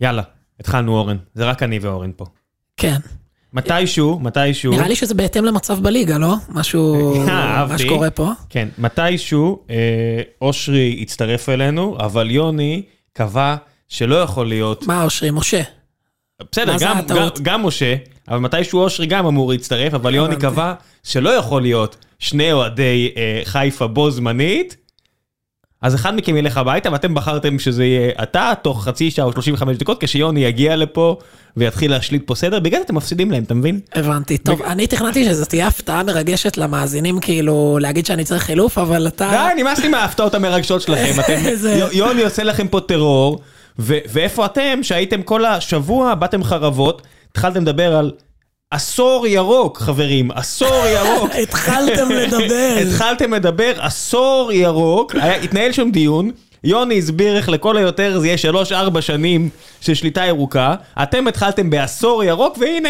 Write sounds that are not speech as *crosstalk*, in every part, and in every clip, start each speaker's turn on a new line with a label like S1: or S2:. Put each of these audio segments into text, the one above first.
S1: יאללה, התחלנו אורן, זה רק אני ואורן פה.
S2: כן.
S1: מתישהו, מתישהו,
S2: נראה לי שזה בהתאם למצב בליגה, לא? משהו...
S1: אה,
S2: מה
S1: אהבתי.
S2: שקורה פה.
S1: כן, מתישהו אה, אושרי הצטרף אלינו, אבל יוני קבע שלא יכול להיות,
S2: מה אושרי? משה.
S1: בסדר,
S2: מה זה
S1: גם, גם,
S2: הטעות?
S1: גם משה, אבל מתישהו אושרי גם אמור להצטרף, אבל יוני
S2: הבנתי.
S1: קבע שלא יכול להיות שני אוהדי אה, חיפה בו זמנית. אז אחד מכם ילך הביתה ואתם בחרתם שזה יהיה אתה תוך חצי שעה או 35 דקות כשיוני יגיע לפה ויתחיל להשליט פה סדר בגלל זה אתם מפסידים להם אתה מבין?
S2: הבנתי. טוב, אני תכננתי שזו תהיה הפתעה מרגשת למאזינים, כאילו, להגיד שאני צריך חילוף, אבל אתה...
S1: די, נמאס לי מההפתעות המרגשות שלכם. אתם,
S2: איזה-
S1: יו- יוני עושה לכם פה טרור, ו- ואיפה אתם שהייתם כל השבוע, באתם חרבות, התחלתם לדבר על עשור ירוק, חברים, עשור ירוק.
S2: *laughs* התחלתם
S1: *laughs*
S2: לדבר.
S1: התחלתם לדבר עשור ירוק, היה, התנהל שם דיון. יוני הסביר איך לכל היותר זה יהיה שלוש-ארבע שנים של שליטה ירוקה. אתם התחלתם בעשור ירוק, והנה.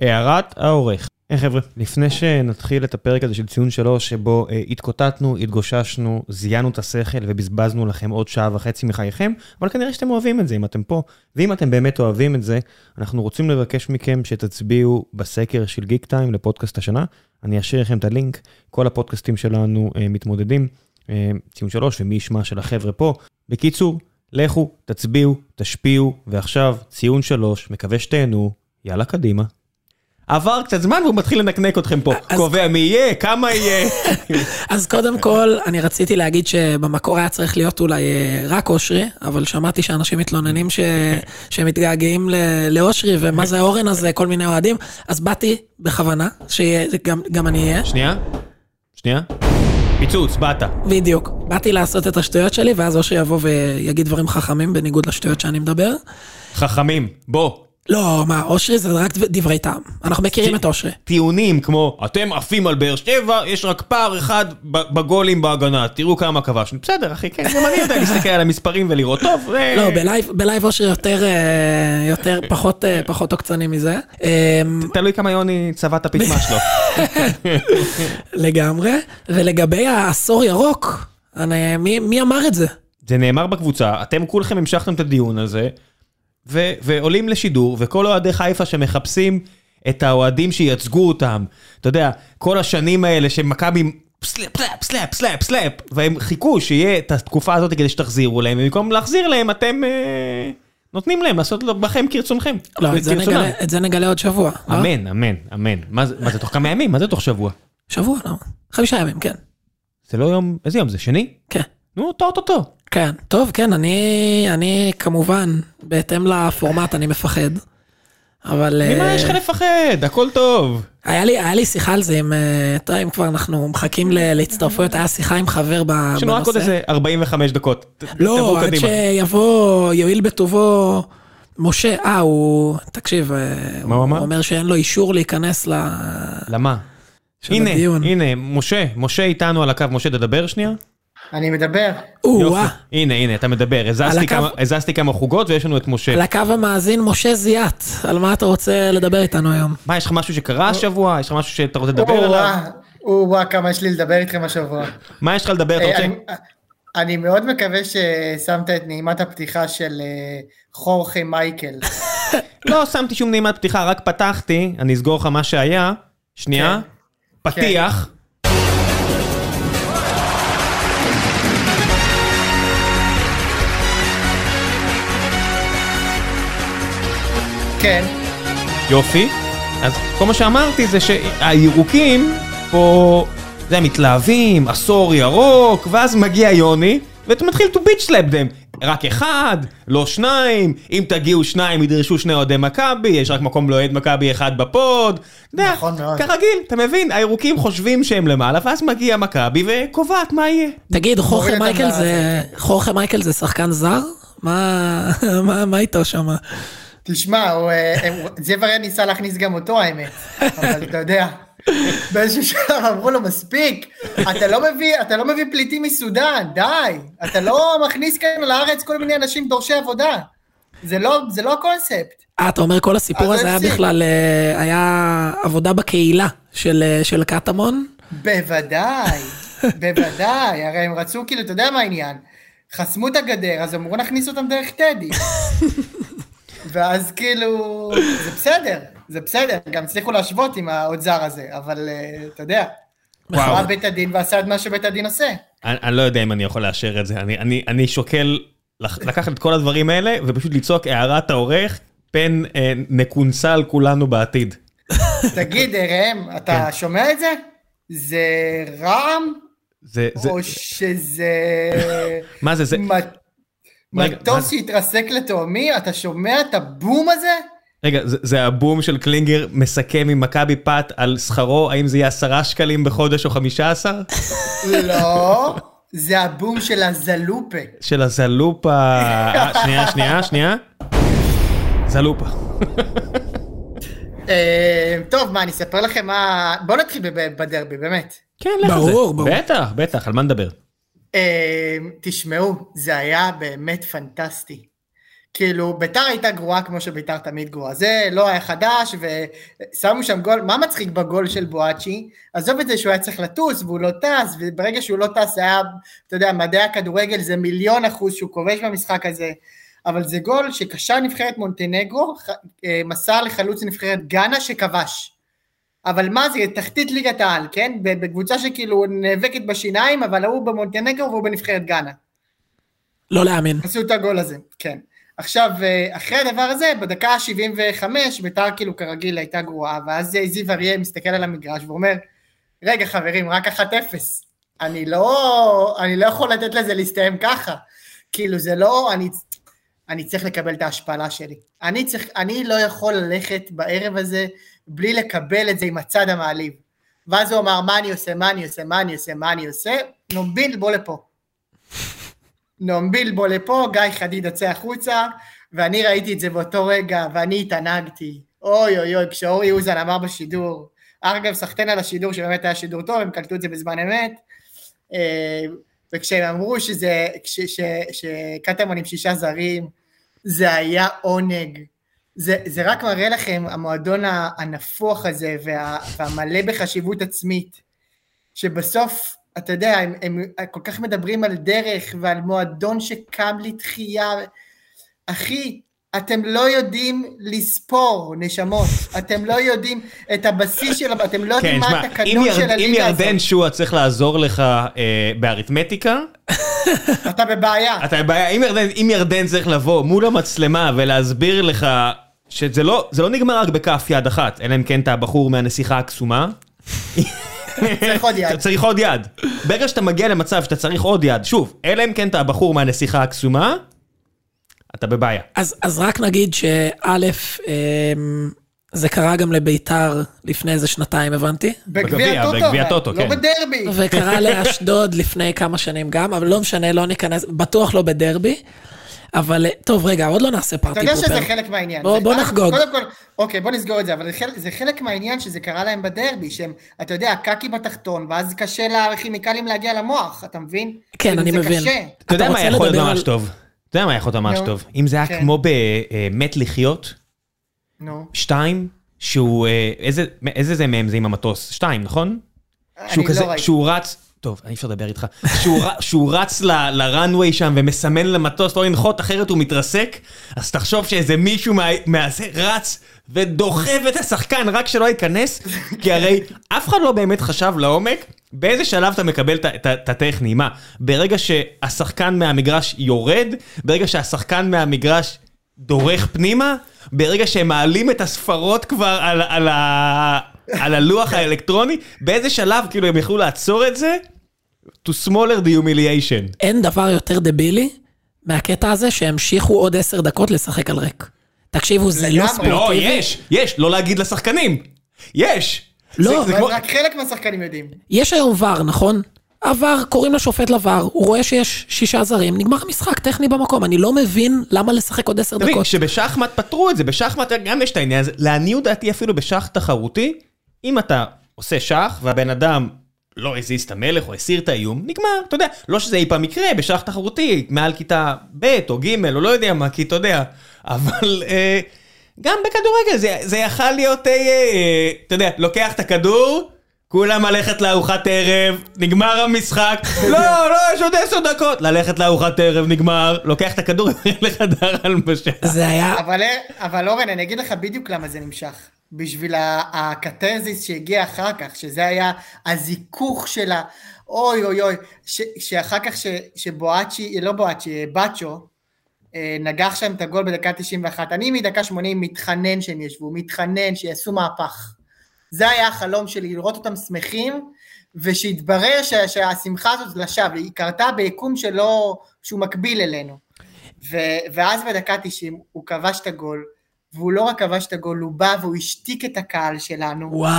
S1: הערת העורך. היי חבר'ה, לפני שנתחיל את הפרק הזה של ציון שלוש, שבו אה, התקוטטנו, התגוששנו, זיינו את השכל ובזבזנו לכם עוד שעה וחצי מחייכם, אבל כנראה שאתם אוהבים את זה אם אתם פה. ואם אתם באמת אוהבים את זה, אנחנו רוצים לבקש מכם שתצביעו בסקר של גיק טיים לפודקאסט השנה. אני אשאיר לכם את הלינק, כל הפודקאסטים שלנו אה, מתמודדים, אה, ציון שלוש ומי ישמע של החבר'ה פה. בקיצור, לכו, תצביעו, תשפיעו, ועכשיו ציון שלוש, מקווה שתהנו, יאללה קדימה. עבר קצת זמן והוא מתחיל לנקנק אתכם פה.
S2: אז-
S1: קובע מי יהיה, כמה יהיה.
S2: אז קודם כל, אני רציתי להגיד שבמקור היה צריך להיות אולי אה, רק אושרי, אבל שמעתי שאנשים
S1: *laughs*
S2: מתלוננים ש... שהם מתגעגעים ל... לאושרי, ומה זה אורן הזה, כל מיני אוהדים. אז באתי בכוונה, שגם גם אני אהיה.
S1: שנייה, שנייה. פיצוץ, באת.
S2: בדיוק. באתי לעשות את השטויות שלי, ואז אושרי יבוא ויגיד דברים חכמים בניגוד לשטויות שאני מדבר.
S1: חכמים, בוא.
S2: לא, מה, אושרי זה רק דברי טעם. אנחנו מכירים
S1: ש-
S2: את אושרי.
S1: טיעונים כמו, אתם עפים על באר שבע, יש רק פער אחד ב- בגולים בהגנה, תראו כמה כבשנו. בסדר, אחי, כן, גם אני יודע להסתכל על המספרים ולראות טוב. אה, זה-
S2: לא, בלייב- בלייב אושרי יותר, אה, יותר, פחות, אה, פחות עוקצני מזה. אמ,
S1: תלוי כמה יוני צבע את הפטמה שלו.
S2: לגמרי. ולגבי העשור ירוק, אני, מי, מי אמר את זה?
S1: זה נאמר בקבוצה, אתם כולכם המשכתם את הדיון הזה, ו- ועולים לשידור, וכל אוהדי חיפה שמחפשים את האוהדים שייצגו אותם, אתה יודע, כל השנים האלה שמכבי... סלאפ, סלאפ, סלאפ, סלאפ, סלאפ, והם חיכו שיהיה את התקופה הזאת כדי שתחזירו להם, ובמקום להחזיר להם, אתם אה, נותנים להם לעשות לו- בכם כרצונכם.
S2: לא, את זה,
S1: כרצונם. אה?
S2: נגלה, את זה נגלה עוד שבוע. לא?
S1: אמן, אמן, אמן. מה זה, מה זה תוך כמה ימים? מה זה תוך שבוע?
S2: שבוע, לא. חמישה ימים, כן.
S1: זה לא יום, איזה יום זה? שני?
S2: כן.
S1: נו, טו-טו-טו.
S2: כן. טוב, כן, אני, אני כמובן, בהתאם לפורמט, אני מפחד. אבל...
S1: ממה
S2: אה,
S1: יש לך לפחד? הכל טוב.
S2: היה לי, היה לי שיחה על זה עם, אה, אתה יודע, אם כבר אנחנו מחכים ל- להצטרפויות, היה שיחה עם חבר ב- בנושא.
S1: יש לנו רק עוד איזה 45 דקות. ת- תעברו
S2: לא, עד
S1: קדימה.
S2: שיבוא, יואיל בטובו, משה, אה, הוא, תקשיב, אה,
S1: מה הוא אמר?
S2: אומר שאין לו אישור להיכנס ל...
S1: למה?
S2: של
S1: הנה,
S2: הדיון.
S1: הנה, משה, משה איתנו על הקו, משה, תדבר שנייה.
S3: אני מדבר.
S2: או-אה,
S1: הנה, הנה, אתה מדבר.
S2: על
S1: הזזתי
S2: הקו.
S1: כמה- הזזתי כמה חוגות ויש לנו את משה.
S2: על הקו המאזין משה זיאת, על מה אתה רוצה לדבר איתנו היום?
S1: מה, יש לך משהו שקרה השבוע? יש לך משהו שאתה רוצה לדבר עליו?
S3: או-אה, או-אה, כמה יש לי לדבר איתכם השבוע.
S1: מה יש לך לדבר? אתה
S3: אה,
S1: רוצה?
S3: אני- אני מאוד מקווה ששמת את נעימת הפתיחה של אה, חורכה
S1: *laughs*
S3: מייקל.
S1: לא שמתי שום נעימת פתיחה, רק פתחתי, אני אסגור לך מה שהיה. שנייה.
S3: כן.
S1: פתיח.
S3: כן,
S1: יופי. אז כל מה שאמרתי זה שהירוקים פה, זה הם מתלהבים, עשור ירוק, ואז מגיע יוני, ואתה מתחיל to bitch slap them. רק אחד, לא שניים, אם תגיעו שניים ידרשו שני אוהדי מכבי, יש רק מקום לאוהד מכבי אחד בפוד. אתה יודע,
S3: נכון מאוד.
S1: כרגיל, אתה מבין, הירוקים חושבים שהם למעלה, ואז מגיע מכבי וקובעת מה יהיה.
S2: תגיד, חורכה
S3: מוריד אותם
S2: מייקל
S3: ל-
S2: זה... חורכה מייקל זה שחקן זר? מה, מה, מה איתו שם?
S3: תשמע, הוא, אה, הוא- זה וריאן ניסה להכניס גם אותו האמת, אבל אתה יודע, באיזשהו שלב אמרו לו מספיק, אתה לא מביא, אתה לא מביא פליטים מסודאן, די, אתה לא מכניס כאן לארץ כל מיני אנשים דורשי עבודה. זה לא, זה לא הקונספט.
S2: אה, אתה אומר כל הסיפור
S3: אז
S2: הזה היה
S3: הפסיק.
S2: בכלל, אה, היה עבודה בקהילה של, אה, של קטמון?
S3: בוודאי, בוודאי, הרי הם רצו, כאילו, אתה יודע מה העניין? חסמו את הגדר, אז אמרו נכניס אותם דרך טדי. ואז כאילו, זה בסדר, זה בסדר, גם הצליחו להשוות עם האוצר הזה, אבל אה, אתה יודע,
S1: וואו.
S3: בא בית הדין ועשה את מה שבית הדין עושה.
S1: אני, אני לא יודע אם אני יכול לאשר את זה, אני, אני, אני שוקל לח- לקחת את כל הדברים האלה ופשוט לצעוק הערת העורך, פן אה, נקונסל כולנו בעתיד.
S3: תגיד, אה, ראם,
S1: כן.
S3: אתה שומע את זה? זה רעם?
S1: זה, זה,
S3: או שזה
S1: מה זה, זה,
S3: מט-
S1: רגע, מה
S3: מטוס
S1: זה?
S3: שהתרסק לתהומי? אתה שומע את הבום הזה?
S1: רגע, זה, זה הבום של קלינגר מסכם עם מכבי פת על שכרו, האם זה יהיה עשרה שקלים בחודש או חמישה עשר?
S3: לא, זה הבום של הזלופה.
S1: של הזלופה, אה, שנייה, שנייה, שנייה. זלופה.
S3: אה, טוב, מה, אני אספר לכם מה... בואו נתחיל בב- בדרבי, באמת.
S1: כן, לך על זה.
S2: ברור, ברור.
S1: בטח, בטח, על מה נדבר?
S3: אה, תשמעו, זה היה באמת פנטסטי. כאילו, ביתר הייתה גרועה כמו שביתר תמיד גרועה. זה לא היה חדש, ושמו שם גול, מה מצחיק בגול של בואצ'י? עזוב את זה שהוא היה צריך לטוס, והוא לא טס, וברגע שהוא לא טס, זה היה, אתה יודע, מדעי הכדורגל זה מיליון אחוז שהוא כובש במשחק הזה. אבל זה גול שקשר נבחרת מונטנגרו, ח- אה, מסר לחלוץ נבחרת גאנה שכבש. אבל מה זה, תחתית ליגת העל, כן? בקבוצה שכאילו נאבקת בשיניים, אבל ההוא במונטנגרו והוא בנבחרת גאנה.
S2: לא להאמין.
S3: עשו את הגול הזה, כן. עכשיו, אה, אחרי הדבר הזה, בדקה ה-75, ביתר כאילו כרגיל הייתה גרועה, ואז אה, זיו אריה מסתכל על המגרש ואומר, רגע חברים, רק 1-0. אני לא, אני לא יכול לתת לזה להסתיים ככה. כאילו, זה לא, אני, אני צריך לקבל את ההשפלה שלי. אני, צריך, אני לא יכול ללכת בערב הזה בלי לקבל את זה עם הצד המעליב. ואז הוא אמר, מה אני עושה, מה אני עושה, מה אני עושה, מה אני עושה? נומבין, בוא לפה. נועם בילבו לפה, גיא חדיד יוצא החוצה, ואני ראיתי את זה באותו רגע, ואני התענגתי. אוי אוי אוי, כשאורי אוזן אמר בשידור, אגב, סחטיין על השידור, שבאמת היה שידור טוב, הם קלטו את זה בזמן אמת, אה, וכשהם אמרו שזה, כש- ש- שקטמון עם שישה זרים, זה היה עונג. זה, זה רק מראה לכם, המועדון הנפוח הזה, וה, והמלא בחשיבות עצמית. שבסוף, אתה יודע, הם, הם כל כך מדברים על דרך ועל מועדון שקם לתחייה. אחי, אתם לא יודעים לספור, נשמות. אתם לא יודעים את הבסיס של... אתם לא
S1: כן,
S3: יודעים מה
S1: שמע, אם
S3: התקנון של
S1: ירד- אם
S3: הליגה
S1: ירדן
S3: הזאת.
S1: שועה צריך לעזור לך אה, באריתמטיקה,
S3: אתה בבעיה.
S1: אתה בבעיה, אם ירדן, אם ירדן צריך לבוא מול המצלמה ולהסביר לך שזה לא, זה לא נגמר רק בכף יד אחת, אלא אם כן אתה הבחור מהנסיכה הקסומה.
S3: צריך עוד יד.
S1: אתה צריך עוד יד. ברגע שאתה מגיע למצב שאתה צריך עוד יד, שוב, אלא אם כן אתה הבחור מהנסיכה הקסומה, אתה בבעיה.
S2: אז, אז רק נגיד שא', אמ, זה קרה גם לביתר לפני איזה שנתיים, הבנתי?
S1: בגביע,
S3: בגביע הטוטו,
S1: בגביע
S3: אבל,
S1: הטוטו,
S3: לא
S1: כן.
S3: בדרבי.
S2: וקרה לאשדוד לפני כמה שנים גם, אבל לא משנה, לא ניכנס, בטוח לא בדרבי. אבל אה, טוב, רגע, עוד לא נעשה פארטי
S3: אתה יודע
S2: פופר.
S3: שזה חלק מהעניין.
S2: בוא-
S3: זה-
S2: בוא
S3: אה,
S2: נחגוג.
S3: קודם כל, אוקיי, בוא נסגור את זה, אבל זה חלק- זה חלק מהעניין שזה קרה להם בדרבי, שהם, אתה יודע, קקי בתחתון, ואז קשה לכימיקלים להגיע למוח, אתה מבין?
S2: כן,
S3: כאילו,
S2: אני
S3: זה
S2: מבין.
S3: קשה.
S1: אתה יודע
S2: אתה
S1: מה
S2: רוצה
S1: יכול להיות
S2: לדבר
S1: ממש
S2: על-
S1: טוב? אתה יודע מה יכול להיות ממש
S3: נו.
S1: טוב? אם זה היה
S3: כן.
S1: כמו במת לחיות,
S3: נו.
S1: שתיים, שהוא, אה, איזה- איזה זה מהם זה עם המטוס? שתיים, נכון? שהוא
S3: אני
S1: כזה,
S3: לא ראיתי.
S1: שהוא רץ, טוב, אי אפשר לדבר איתך, שהוא ר- שהוא רץ ל- לראנוויי שם ומסמן למטוס לא לנחות, אחרת הוא מתרסק, אז תחשוב שאיזה מישהו מה- מהזה רץ ודוחף את השחקן רק שלא ייכנס, כי הרי אף אחד לא באמת חשב לעומק. באיזה שלב אתה מקבל את ה- את ה- את הטכני? מה, ברגע שהשחקן מהמגרש יורד? ברגע שהשחקן מהמגרש דורך פנימה? ברגע שהם מעלים את הספרות כבר על, על, ה, על הלוח האלקטרוני, באיזה שלב כאילו הם יכלו לעצור את זה? To smaller the humiliation.
S2: אין דבר יותר דבילי מהקטע הזה שהמשיכו עוד עשר דקות לשחק על ריק. תקשיבו, זה לא
S3: לגמרי.
S1: לא,
S2: ספורטיבי.
S1: יש, יש, לא להגיד לשחקנים. יש.
S2: לא,
S1: זה- זה
S3: אבל
S1: כמו-
S3: רק חלק מהשחקנים יודעים.
S2: יש היום ור, נכון? עבר, קוראים לשופט לבר, הוא רואה שיש שישה זרים, נגמר המשחק, טכני במקום. אני לא מבין למה לשחק עוד עשר
S1: תבין,
S2: דקות.
S1: כשבשחמט פתרו את זה, בשחמט גם יש את העניין הזה. לעניות דעתי אפילו בשח תחרותי, אם אתה עושה שח והבן אדם לא הזיז את המלך או הסיר את האיום, נגמר, אתה יודע. לא שזה אי פעם יקרה, בשח תחרותי, מעל כיתה ב' או ג' או לא יודע מה, כי אתה יודע. אבל אה, אה, גם בכדורגל זה, זה יכל להיות, אה, אה, אתה יודע, לוקח את הכדור. כולם ללכת לארוחת ערב, נגמר המשחק, לא, לא, יש עוד עשר דקות, ללכת לארוחת ערב, נגמר, לוקח את הכדור *laughs* לחדר הלבשה.
S2: זה היה...
S3: אבל, אה, אבל אורן, אני אגיד לך בדיוק למה זה נמשך. בשביל ה- הקתרזיס שהגיע אחר כך, שזה היה הזיכוך של ה... אוי אוי אוי, ש- שאחר כך ש- שבואצ'י, לא בואצ'י, אה, באצ'ו, אה, נגח שם את הגול בדקה 91. אני מדקה 80 מתחנן שהם ישבו, מתחנן שיעשו מהפך. זה היה החלום שלי, לראות אותם שמחים, ושהתברר ש- שהשמחה הזאת לשווא, היא קרתה ביקום שלא, שהוא מקביל אלינו. ו- ואז בדקה 90 הוא כבש את הגול, והוא לא רק כבש את הגול, הוא בא והוא השתיק את הקהל שלנו.
S2: וואו.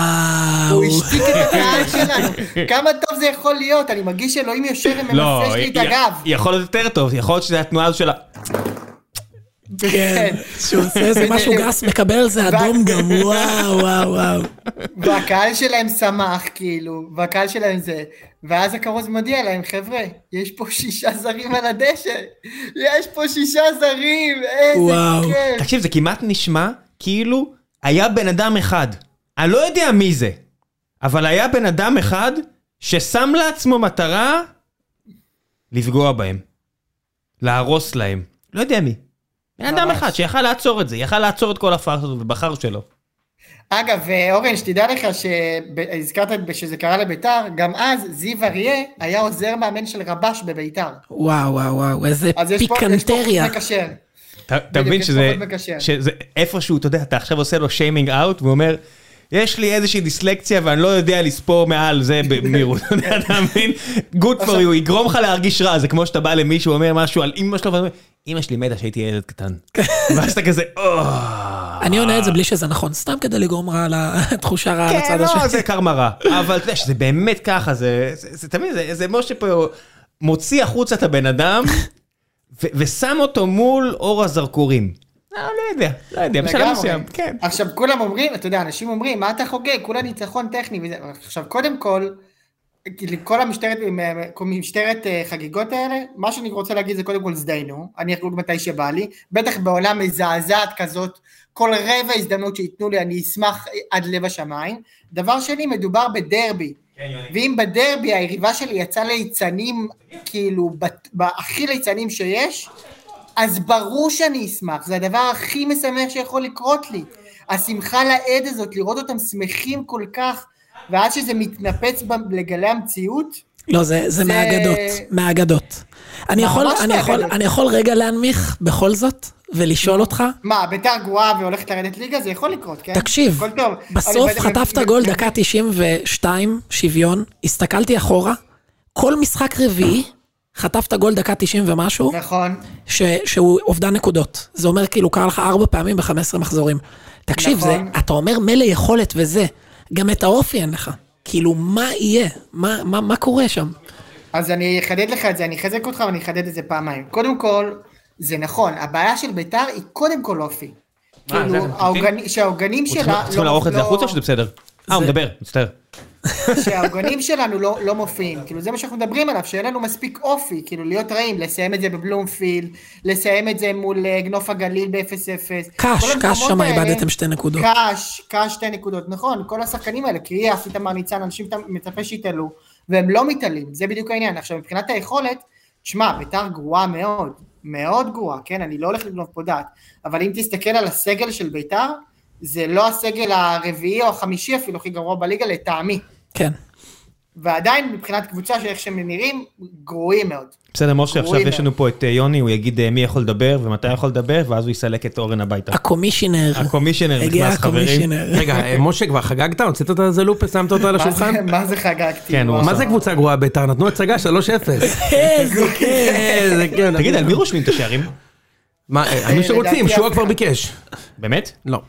S3: הוא השתיק את הקהל שלנו. כמה טוב זה יכול להיות, אני מרגיש שאלוהים יושב וממסס לי את
S1: לא, י-
S3: הגב.
S1: יכול להיות יותר טוב, יכול להיות שזה התנועה הזו של ה...
S2: כן. שהוא עושה
S3: *laughs*
S2: איזה משהו גס, מקבל על זה אדום גם, וואו, וואו, וואו.
S3: והקהל שלהם שמח, כאילו, והקהל שלהם זה... ואז הכרוז מודיע להם, חבר'ה, יש פה שישה זרים על הדשא. יש פה שישה זרים, איזה
S2: וואו.
S3: כיף.
S1: תקשיב, זה כמעט נשמע כאילו היה בן אדם אחד. אני לא יודע מי זה, אבל היה בן אדם אחד ששם לעצמו מטרה לפגוע בהם. להרוס להם. לא יודע מי. בן אדם
S3: ממש.
S1: אחד שיכל לעצור את זה, יכל לעצור את כל הפארסה הזאת ובחר שלא.
S3: אגב, אה, אורן, שתדע לך שהזכרת שזה קרה לביתר, גם אז זיו אריה היה עוזר מאמן של רבש בביתר.
S2: וואו, וואו, וואו, איזה
S3: אז יש פה, יש פה חוט
S2: פיקנטריה.
S3: מקשר.
S1: אתה אתה מבין
S3: יש
S1: שזה,
S3: פחות מקשר.
S1: שזה איפשהו, אתה יודע, אתה עכשיו עושה לו שיימינג אאוט, והוא אומר, יש לי איזושהי דיסלקציה ואני לא יודע לספור מעל זה במהירות, *laughs* אתה יודע, אתה מבין? Good for you, יגרום לך להרגיש רע, זה כמו שאתה בא למישהו אומר משהו על אמא שלו, ואתה אומר, אמא שלי מתה כשהייתי ילד קטן. *laughs* ואז אתה כזה, "אוח."
S2: אני עונה את
S3: אה.
S2: זה בלי שזה נכון, סתם כדי לגרום רע *laughs* לתחושה רעה
S1: כן,
S2: לצד
S1: לא,
S2: השני.
S1: זה קרמה רע. אבל אתה יודע שזה באמת ככה, זה, זה, זה תמיד, זה, זה משה פה מוציא החוצה את הבן אדם, ו- ושם אותו מול אור הזרקורים. לא, לא יודע, לא יודע, בשלב
S3: לגמרי.
S1: מסוים, כן.
S3: עכשיו, כולם אומרים, אתה יודע, אנשים אומרים, מה אתה חוגג? כולה ניצחון טכני. וזה- עכשיו, קודם כל, כאילו, כל המשטרת, כל משטרת אה, חגיגות האלה, מה שאני רוצה להגיד זה קודם כל הזדיינו, אני אחגוג מתי שבא לי, בטח בעולם מזעזעת כזאת, כל רבע הזדמנות שייתנו לי, אני אשמח אה, עד לב השמיים. דבר שני, מדובר בדרבי. ואם בדרבי היריבה שלי יצאה ליצנים, כאילו, בת- ב- הכי ליצנים שיש, אז ברור שאני אשמח, זה הדבר הכי משמח שיכול לקרות לי. השמחה לעד הזאת, לראות אותם שמחים כל כך, ואז שזה מתנפץ ב- לגלי המציאות,
S2: לא, זה זה מהאגדות, מהאגדות. אני יכול-
S3: ממש
S2: אני יכול-
S3: מהאגדות.
S2: אני יכול רגע להנמיך בכל זאת, ולשאול אותך?
S3: מה, ביתר גרועה והולכת לרדת ליגה? זה יכול לקרות, כן?
S2: תקשיב,
S3: הכל טוב.
S2: בסוף
S3: אבל-
S2: חטפת גול דקה 92, שוויון, הסתכלתי אחורה, כל משחק רביעי חטפת גול דקה 90 ומשהו,
S3: נכון.
S2: ש, שהוא אובדן נקודות. זה אומר כאילו קרה לך ארבע פעמים ב-15 מחזורים. תקשיב,
S3: נכון.
S2: זה, אתה אומר מילא יכולת וזה, גם את האופי אין לך. כאילו, מה יהיה? מה, מה, מה קורה שם?
S3: אז אני אחדד לך את זה, אני אחזק אותך ואני אחדד את זה פעמיים. קודם כל, זה נכון, הבעיה של ביתר היא קודם כל אופי.
S1: מה, אה, זה
S3: כאילו,
S1: אנחנו
S3: האוגני- שהאוגנים
S1: צריכים-
S3: שלה...
S1: צריכים
S3: לא-
S1: לערוך את זה
S3: לא-
S1: החוצה או שזה בסדר? אה, הוא
S2: זה-
S1: מדבר, מצטער.
S3: שהאוגנים שלנו לא, לא מופיעים, כאילו זה מה שאנחנו מדברים עליו, שאין לנו מספיק אופי, כאילו להיות רעים, לסיים את זה בבלומפילד, לסיים את זה מול אה, גנוף הגליל ב-0-0.
S2: קש,
S3: כל המקומות
S2: קש שם
S3: האלה-
S2: איבדתם שתי נקודות.
S3: קש, קש שתי נקודות, נכון, כל השחקנים האלה, קריאף, איתמר ניצן, אנשים שאתה מצפה שיתעלו, והם לא מתעלים, זה בדיוק העניין. עכשיו, מבחינת היכולת, תשמע, ביתר גרועה מאוד, מאוד גרועה, כן, אני לא הולך לגנוב פה דעת, אבל אם תסתכל על הסגל של ביתר, זה לא הסגל הרביעי או החמישי אפילו הכי גרוע בליגה לטעמי.
S2: כן.
S3: ועדיין מבחינת קבוצה שאיך שהם נראים, גרועים מאוד.
S1: בסדר, משה, עכשיו
S3: גרועים
S1: יש לנו פה את אה, יוני, הוא יגיד אה, מי יכול לדבר ומתי יכול לדבר, ואז הוא יסלק את אורן
S2: *laughs*
S1: הביתה.
S2: הקומישיונר.
S1: הקומישיונר
S2: הגיע
S1: נכנס, חברים.
S2: הקומישיונר.
S4: רגע, אה, משה, כבר חגגת? הוצאת את זה לופס, שמת אותה על
S3: מה
S4: השולחן?
S3: זה- מה זה חגגתי? לא
S1: כן, הוא
S3: וואו.
S4: מה זה קבוצה גרועה בית"ר? נתנו הצגה 3-0.
S2: איזה כיף.
S4: איזה כן.
S1: תגיד, על מי רושמים את השערים?
S4: מה, אה, מי שרוצים,
S3: לדעתי
S4: שועה
S3: אף
S4: כבר
S3: אחד.
S4: ביקש.
S1: באמת?
S4: לא.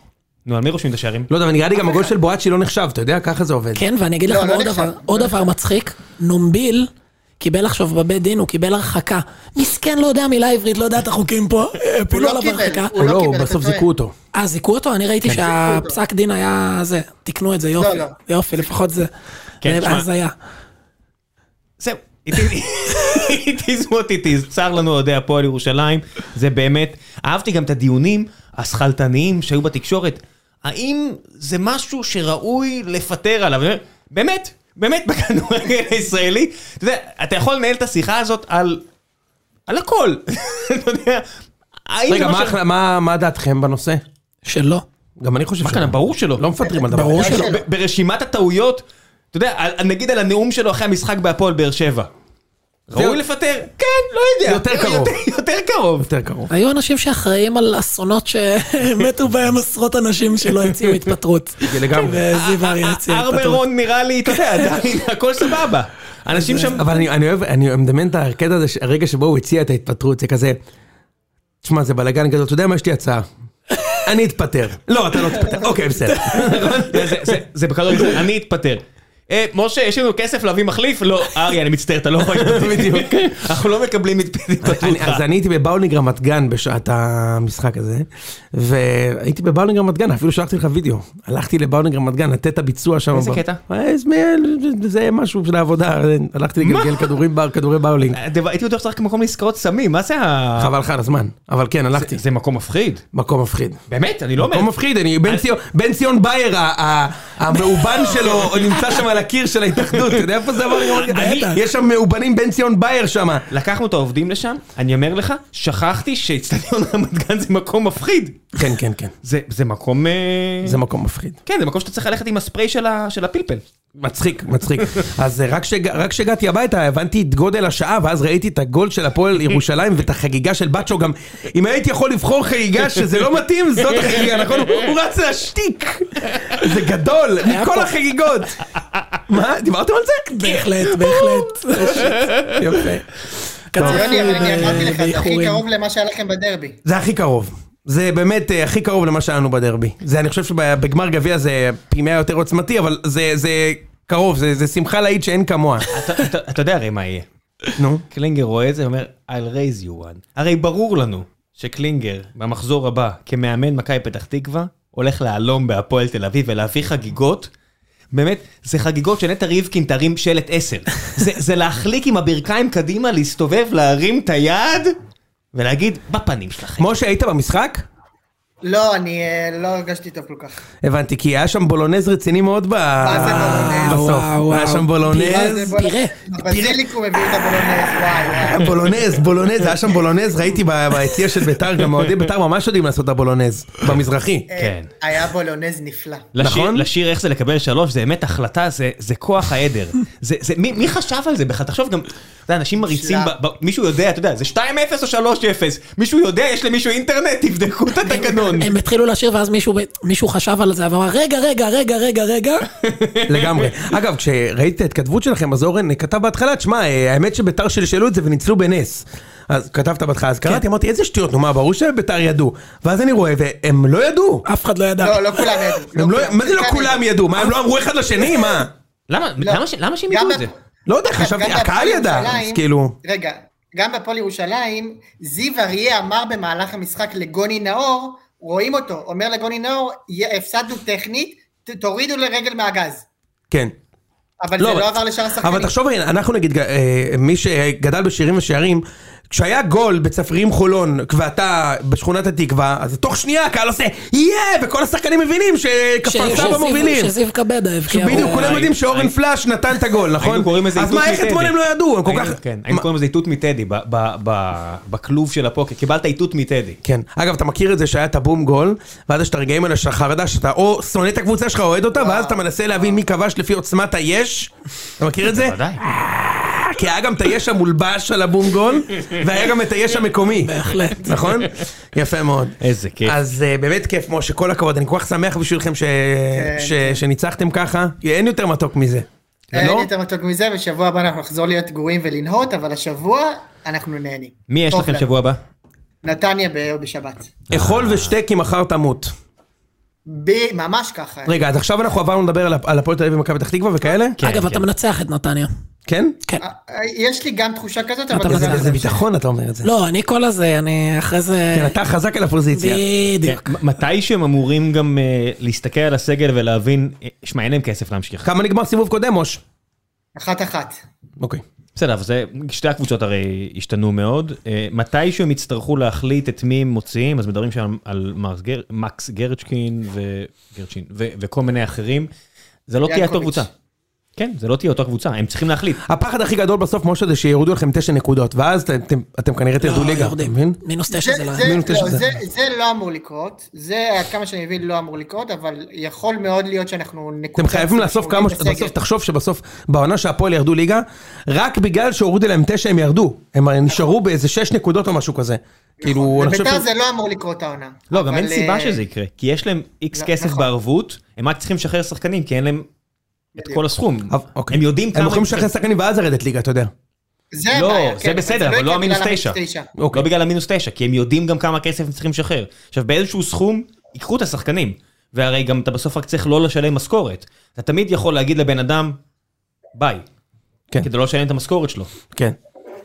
S1: נו, על מי רושמים את השערים?
S4: לא יודע, אבל נראה לי גם הגול של בואצ'י לא נחשב, אתה יודע, ככה זה עובד.
S2: כן, ואני אגיד
S3: לא,
S2: לכם
S3: לא
S2: עוד
S3: נחשב.
S2: דבר, עוד דבר מצחיק, נומביל קיבל עכשיו בבית דין, הוא קיבל הרחקה. מסכן, לא יודע מילה עברית, לא יודע את החוקים פה,
S3: *laughs* הוא
S2: הפילו
S3: לא
S2: עליו
S3: קיבל,
S2: הרחקה.
S4: או
S3: לא
S4: לא,
S3: קיבל, אתה
S4: בסוף
S3: טועה.
S4: זיכו אותו.
S2: אה, זיכו אותו? אני ראיתי שהפסק דין היה זה, תיקנו את זה, יופי,
S3: לא.
S2: יופי, לפחות זה.
S1: כן,
S2: זה
S1: שמע.
S2: הזיה.
S1: זהו, it is- it is what it is, צר לנו אוהדי הפועל ירושלים, זה באמת, אהבתי גם את הדיונים השכלתניים שהיו בתקשורת, האם זה משהו שראוי לפטר עליו? אני אומר, באמת, באמת בכדורגל הישראלי, אתה יודע, אתה יכול לנהל את השיחה הזאת על, על הכל, *laughs* אתה יודע. האם זה
S4: רגע, מה
S1: ש-
S4: החל- מה- מה דעתכם בנושא?
S2: שלא.
S4: גם אני חושב
S1: מה כאן, ברור שלא.
S4: לא מפטרים על דבר.
S2: ברור
S4: כזה.
S2: שלא.
S1: ב- ברשימת הטעויות, אתה יודע, על- נגיד על הנאום שלו אחרי המשחק בהפועל באר שבע. ראוי לפטר? כן, לא יודע. *laughs*
S4: יותר קרוב.
S1: יותר קרוב.
S4: *laughs* יותר קרוב.
S2: היו אנשים שאחראים על אסונות שמתו בהם עשרות אנשים שלא הציעו
S1: *laughs*
S2: התפטרות.
S4: זה לגמרי.
S2: וזיו אריה הציע התפטרות.
S1: ארברון נראה לי, אתה
S4: *laughs*
S1: יודע, עדיין הכל סבבה. אנשים שם...
S4: אבל אני- אני אוהב, אני מדמיין את הקטע הזה, ש- הרגע שבו הוא הציע את ההתפטרות, זה כזה, תשמע, זה בלאגן גדול, אתה יודע מה, יש לי הצעה. אני אתפטר. לא,
S1: *laughs*
S4: אתה לא תתפטר. אוקיי, בסדר.
S1: לא, זה- זה- זה- זה
S4: *laughs*
S1: בכלל לא... אני אתפטר. אה, משה, יש לנו כסף להביא מחליף? לא, אריה, אני מצטער, אתה לא
S4: *laughs*
S1: יכול להתפטר.
S4: בדיוק.
S1: אנחנו לא מקבלים התפטרותך.
S4: אני- אז אני הייתי בבאולינג רמת גן בשעת המשחק הזה, והייתי בבאולינג רמת גן, אפילו שלחתי לך וידאו. הלכתי לבאולינג רמת גן, לתת הביצוע שם.
S1: איזה
S4: ב-
S1: קטע?
S4: אה, זה מ- זה משהו של העבודה, הלכתי לגלגל כדורים בר- כדורי באולינג.
S1: הדבר- אה, הייתי בטוח שצריך מקום לעסקאות סמים, מה זה ה...
S4: חבל לך על הזמן, אבל כן, הלכתי.
S1: זה מקום מפחיד.
S4: מקום מפחיד.
S1: באמת, אני לא אומר.
S4: מקום מפחיד, אני, בן ציון- בן ציון באייר, ה- ה- המאובן שלו נמצא שם על הקיר של ההתאחדות, אתה יודע איפה זה אמר?
S1: אני-
S4: יש שם מאובנים בן ציון באייר שם.
S1: לקחנו את העובדים לשם, אני אומר לך, שכחתי שאיצטדיון רמת גן זה מקום מפחיד.
S4: כן, כן, כן.
S1: זה, זה מקום... אה,
S4: זה מקום מפחיד.
S1: כן, זה מקום שאתה צריך ללכת עם הספרי של, ה, של הפלפל.
S4: מצחיק, מצחיק. אז אה, רק כשהג- רק כשהגעתי הביתה הבנתי את גודל השעה, ואז ראיתי את הגול של הפועל ירושלים ואת החגיגה של בצ'ו גם. אם הייתי יכול לבחור חגיגה שזה לא מתאים, זאת החגיגה, נכון? הוא- הוא רץ להשתיק. זה גדול, מכל החגיגות. מה, דיברתם על זה?
S2: בהחלט, בהחלט.
S4: יפה.
S2: קצר
S3: יוני, אבל אני אמרתי לך, זה הכי
S2: אה, באיחורים.
S3: קרוב למה שהיה לכם בדרבי.
S4: זה הכי קרוב. זה באמת אה, הכי קרוב למה שהיה לנו בדרבי. זה, אני חושב שבגמר גביע זה פי מאה יותר עוצמתי, אבל זה, זה קרוב, זה, זה שמחה להעיד שאין כמוה.
S1: אתה, אתה, אתה יודע הרי מה יהיה.
S4: נו.
S1: קלינגר רואה את זה ואומר, I'll raise you one. הרי ברור לנו שקלינגר, במחזור הבא, כמאמן מכבי פתח תקווה, הולך להלום בהפועל תל אביב ולהביא חגיגות. באמת, זה חגיגות שנטע ריבקין תרים שלט 10. זה, זה להחליק עם הברכיים קדימה, להסתובב, להרים את היד ולהגיד, בפנים שלכם.
S4: משה, היית במשחק?
S3: לא, אני אה, לא הרגשתי טוב כל כך.
S4: הבנתי, כי היה שם בולונז רציני מאוד ב...
S3: זה בולונז?
S4: בסוף.
S2: וואו,
S4: היה
S2: וואו.
S4: שם בולונז.
S3: זה בול-
S2: תראה,
S3: בזיליק הוא מביא את הבולונז, וואי, וואי.
S4: בולונז, בולונז, היה שם בולונז, ראיתי ב- ביציע של ביתר, גם אוהדי ביתר ממש יודעים לעשות את הבולונז, במזרחי.
S1: כן.
S3: אה, היה בולונז נפלא.
S1: לשיר,
S4: נכון?
S1: לשיר איך זה לקבל שלוש, זה באמת החלטה, זה, זה כוח העדר. זה, זה, מי, מי חשב על זה בכלל? תחשוב גם, אתה יודע, אנשים מריצים, ב, ב, מישהו יודע, אתה יודע, זה 2-0 או 3-0, מישהו יודע, יש למישהו אינטרנט, תבדקו את
S2: *laughs*
S1: התקנון.
S2: הם התחילו לשיר ואז מישהו ב- מישהו חשב על זה ואמר רגע רגע רגע רגע
S3: *laughs*
S2: רגע
S4: לגמרי. אגב, כשראיתי את ההתכתבות שלכם, אז אורן כתב בהתחלה, תשמע, אה, האמת שביתר שלשלו את זה וניצלו בנס. אז כתבת בהתחלה, אז
S2: כן.
S4: קראתי, אמרתי, איזה שטויות, נו מה, ברור שביתר ידעו. ואז אני רואה, והם לא ידעו.
S2: אף אחד לא ידע.
S3: לא, לא כולם ידעו.
S4: הם לא-
S3: כולם.
S4: מה זה לא כולם ידעו? מה, הם לא אמרו אחד לשני? מה?
S1: למה, למה, ש- למה שהם
S3: גם
S1: ידעו את
S3: ב-
S1: זה?
S4: לא יודע,
S3: גם-
S4: חשבתי,
S3: גם
S4: הקהל
S3: בהפועל
S4: ידע, אז
S3: ירושלים-
S4: כאילו...
S3: רגע, גם בהפועל ירושלים, זיו אריה אמר במהלך המשחק לגוני נאור, רואים אותו, אומר לגוני נאור, "יה- הפסדנו טכנית, ת- תורידו לרגל מהגז.
S4: כן.
S3: אבל זה לא עבר לשאר השחקנים.
S4: אבל תחשוב, הנה, אנחנו נגיד, אה, מי שגדל בשירים ושערים, כשהיה גול בצפרירים חולון, ואתה בשכונת התקווה, אז תוך שנייה הקהל עושה, יהיה! וכל השחקנים מבינים שכפר
S2: ש-
S4: סבא
S2: שזיו-
S4: מובילים.
S2: שזיו כבדה הבקיע.
S4: בדיוק,
S2: הוא-
S1: אה,
S4: כולם יודעים שאורן פלאש נתן את הגול, נכון?
S1: היינו קוראים לזה
S4: אז
S1: איתות
S4: מה, איך אתמול
S1: מטדי.
S4: הם לא ידעו? הם כל כך...
S1: היינו- כן, היינו קוראים לזה איתות מטדי, ב- ב- ב- בכלוב של הפוקר, קיבלת איתות מטדי.
S4: כן. אגב, אתה מכיר את זה שהיה את הבום גול, ואז יש את הרגעים האלה של החרדה, שאתה או שונא את הקבוצה שלך, אוהד אותה, ואז אתה מנסה להבין מי כבש לפי עוצמת היש. אתה מכיר את זה?
S1: בוודאי.
S4: כי היה גם את היש המולבש על הבום גול, והיה גם את היש המקומי.
S2: בהחלט.
S4: נכון? יפה מאוד.
S1: איזה כיף.
S4: אז אה, באמת כיף, משה, כל הכבוד, אני כל כך שמח בשבילכם ש-
S3: כן.
S4: ש- שניצחתם ככה. אין יותר מתוק מזה.
S3: אין
S4: לא?
S3: יותר אה, מתוק מזה, בשבוע הבא אנחנו נחזור להיות גרועים ולנהות, אבל השבוע אנחנו נהנים.
S1: מי יש
S3: טוב
S1: לכם
S3: לנו.
S1: שבוע הבא?
S3: נתניה ב- בשבת.
S4: אכול ושתה כי מחר תמות.
S3: ב- ממש ככה.
S4: רגע, אז עכשיו אנחנו עברנו לדבר על הפ- על הפועל תל אביב ומכבי פתח תקווה וכאלה?
S1: כן,
S2: אגב, אתה
S1: כן.
S2: מנצח את נתניה.
S4: כן?
S2: כן.
S3: אה, אה, יש לי גם תחושה כזאת, אבל...
S2: אתה
S3: זה-
S2: מזל.
S4: איזה ביטחון אתה אומר את זה.
S2: לא, אני כל הזה, אני אחרי זה...
S4: כן, אתה חזק על הפוזיציה.
S2: בדיוק.
S1: כן, מ- מתי שהם אמורים גם אה, להסתכל על הסגל ולהבין, אה, שמע, אין להם כסף להמשיך.
S4: כמה נגמר סיבוב קודם, מוש?
S3: אחת אחת.
S4: אוקיי.
S1: בסדר, אבל זה, שתי הקבוצות הרי השתנו מאוד. אה, מתי שהם יצטרכו להחליט את מי הם מוציאים, אז מדברים שם על מרס גר, מקס גרצ'קין ו, גרצ'ין, ו, וכל מיני אחרים, זה לא תהיה אותה
S3: ינקוביץ'.
S1: קבוצה. כן, זה לא תהיה אותה קבוצה, הם צריכים להחליט.
S4: הפחד הכי גדול בסוף, משה, זה שיורידו לכם תשע נקודות, ואז אתם- אתם- אתם כנראה תרדו
S2: לא,
S4: ליגה, אתה
S2: יורדים.
S4: מבין?
S2: מינוס תשע
S3: זה-
S2: זה לא...
S3: זה-
S4: מינוס תשע
S3: לא,
S4: זה-
S3: זה- זה לא אמור לקרות, זה עד כמה שאני מבין לא אמור לקרות, אבל יכול מאוד להיות שאנחנו נקודה...
S4: אתם חייבים לאסוף כמה, ש-
S3: בסגל.
S4: בסוף, תחשוב שבסוף, בעונה שהפועל ירדו ליגה, רק בגלל שהורידו להם תשע הם ירדו. הם הרי נשארו באיזה שש נקודות או משהו כזה. כאילו, אני חושב
S3: לביתר
S4: ש-
S3: זה לא אמור לקרות העונה.
S1: לא, גם אין
S3: אבל,
S1: סיבה
S3: אה,
S1: שזה יקרה, כי יש להם איקס
S3: לא,
S1: כסף
S3: נכון.
S1: בערבות, הם רק צריכים לשחרר שחקנים, כי אין להם את
S3: בדיוק.
S1: כל הסכום.
S4: אבל- אוקיי.
S1: הם יודעים כמה...
S4: הם יכולים לשחרר שחקנים ואז לרדת ליגה, אתה יודע.
S3: זה
S1: לא,
S3: הבעיה,
S1: זה
S3: כן,
S1: בסדר, אבל
S3: יקרה
S1: לא המינוס
S3: בגלל
S1: תשע.
S3: המינוס תשע.
S1: לא בגלל המינוס תשע, כי הם יודעים גם כמה כסף הם צריכים לשחרר. עכשיו, באיזשהו סכום, ייקחו את השחקנים. והרי גם אתה בסוף רק צריך לא לשלם משכורת. אתה תמיד יכול להגיד לבן אדם, ביי.
S4: כן.
S1: כדי לא לשלם את המשכורת שלו.
S4: כן,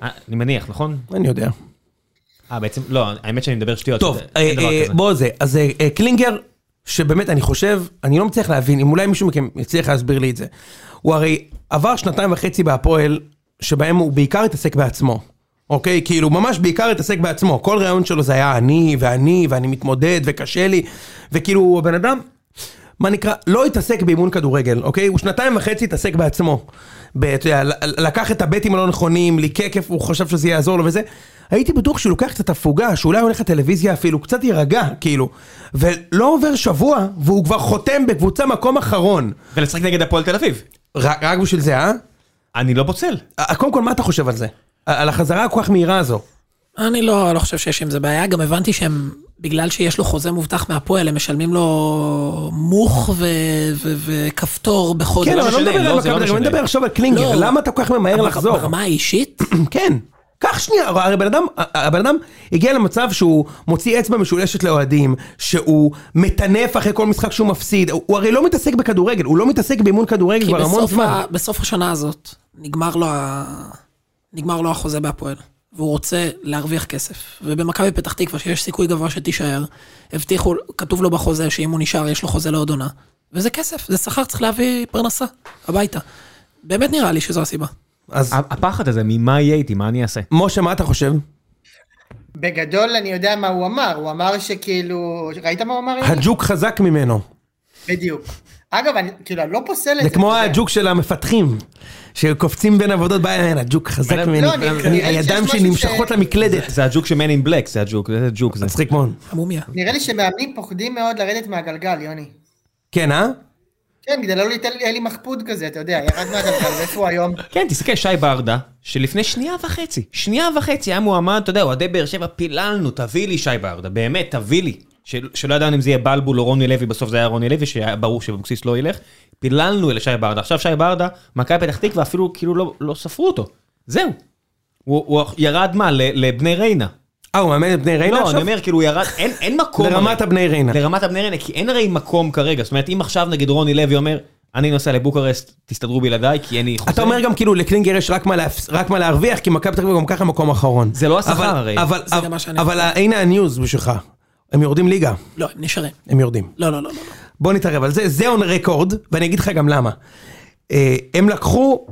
S1: אה, אני מניח, נכון?
S4: אני יודע.
S1: אה, בעצם, לא, האמת שאני מדבר שטויות.
S4: טוב,
S1: אין דבר
S4: אה, אה,
S1: כזה.
S4: בוא זה, אז אה, אה, קלינגר, שבאמת אני חושב, אני לא מצליח להבין, אם אולי מישהו מכם יצליח להסביר לי את זה. הוא הרי עבר שנתיים וחצי בהפועל, שבהם הוא בעיקר התעסק בעצמו. אוקיי? כאילו, ממש בעיקר התעסק בעצמו. כל ראיון שלו זה היה אני, ואני, ואני מתמודד, וקשה לי, וכאילו, הבן אדם, מה נקרא, לא התעסק באימון כדורגל, אוקיי? הוא שנתיים וחצי התעסק בעצמו. ב- אתה יודע, ל- לקח את הבטים הלא נכונים, ליקק איפה הוא חשב שזה יעזור לו וזה. הייתי בטוח שהוא לוקח קצת הפוגה, שאולי הולך לטלוויזיה אפילו, קצת יירגע, כאילו. ולא עובר שבוע, והוא כבר חותם בקבוצה מקום אחרון.
S1: ולשחק נגד הפועל תל אביב.
S4: רק, רק בשביל זה, אה?
S1: אני לא פוצל.
S4: אה, קודם כל, מה אתה חושב על זה? על החזרה הכל כך מהירה הזו.
S2: אני לא, לא חושב שיש עם זה בעיה, גם הבנתי שהם, בגלל שיש לו חוזה מובטח מהפועל, הם משלמים לו מוך ו- ו- וכפתור בחודש.
S4: כן, אבל אני לא
S1: משנה,
S4: מדבר
S1: לא,
S4: על
S1: זה לא
S4: מכבי תל אביב, אני
S1: משנה.
S4: מדבר עכשיו על קלינגר.
S2: לא.
S4: למה אתה כל כך ממהר
S2: אבל
S4: לחזור?
S2: ברמה האישית?
S4: *clears throat* כן. קח שנייה, הרי הבן אדם, הבן אדם הגיע למצב שהוא מוציא אצבע משולשת לאוהדים, שהוא מטנף אחרי כל משחק שהוא מפסיד, הוא, הוא הרי לא מתעסק בכדורגל, הוא לא מתעסק באימון כדורגל
S2: כי
S4: כבר המון
S2: בסוף,
S4: זמן.
S2: ה, בסוף השנה הזאת נגמר לו, ה... נגמר לו החוזה בהפועל, והוא רוצה להרוויח כסף. ובמכבי פתח תקווה, שיש סיכוי גבוה שתישאר, הבטיחו, כתוב לו בחוזה שאם הוא נשאר יש לו חוזה לעוד עונה. וזה כסף, זה שכר, צריך להביא פרנסה הביתה. באמת נראה לי שזו הסיבה.
S4: אז
S1: הפחד הזה, ממה יהיה איתי, מה אני אעשה?
S4: משה, מה אתה חושב?
S3: בגדול אני יודע מה הוא אמר, הוא אמר שכאילו... ראית מה הוא אמר? יוני?
S4: הג'וק חזק ממנו.
S3: בדיוק. אגב, אני כאילו, אני לא פוסל את
S4: זה
S3: זה.
S4: כמו
S3: אתה יודע.
S4: הג'וק של המפתחים, שקופצים בין עבודות, בא אליי, הג'וק חזק
S1: לא,
S4: ממני.
S3: אני- אני-
S4: הידיים
S3: יש
S4: שלי
S3: משהו
S4: נמשכות
S3: ש-
S4: למקלדת.
S1: זה הג'וק של Man in Black, זה הג'וק, זה ג'וק. זה.
S4: מצחיק מאוד.
S2: המומיה.
S3: נראה לי שמאמנים פוחדים מאוד לרדת מהגלגל, יוני.
S4: כן, אה?
S3: כן, כדי לא ליתן לי אלי מחפוד כזה, אתה יודע, ירד מהגלגל, ואיפה הוא היום?
S1: כן, תסתכל, שי ברדה, שלפני שנייה וחצי, שנייה וחצי היה מועמד, אתה יודע, אוהדי באר שבע, פיללנו, תביא לי שי ברדה, באמת, תביא לי. של, שלא ידענו אם זה יהיה בלבול או רוני לוי, בסוף זה היה רוני לוי, שהיה ברור שאבוקסיס לא ילך. פיללנו אל שי ברדה. עכשיו שי ברדה, מכבי פתח תקווה, אפילו כאילו לא, לא ספרו אותו. זהו. הוא, הוא ירד מה? ל, לבני ריינה.
S4: אה, הוא מאמן את בני ריינה
S1: לא, אני
S4: עכשיו?
S1: אומר, כאילו, הוא ירד, אין, אין מקום.
S4: לרמת
S1: הרי.
S4: הבני ריינה.
S1: לרמת הבני ריינה, כי אין הרי מקום כרגע. זאת אומרת, אם עכשיו נגיד רוני לוי אומר, אני נוסע לבוקרשט, תסתדרו בלעדיי, כי אין לי חוזה.
S4: אתה אומר גם כאילו לקלינגר יש רק מה, להפס... רק מה להרוויח, כי מכבי פתח תקווה גם ככה מקום אחרון.
S1: זה לא השכר
S4: אבל-
S1: הרי.
S4: אבל,
S2: זה
S4: אבל,
S2: גם מה שאני
S4: אבל ה- הנה הניוז בשבילך. הם יורדים ליגה,
S2: לא, הם נשארים.
S4: הם יורדים.
S2: לא, לא, לא, לא.
S4: בוא נתערב על זה, זה און רקורד, ואני אגיד לך גם למה. אה, הם לקחו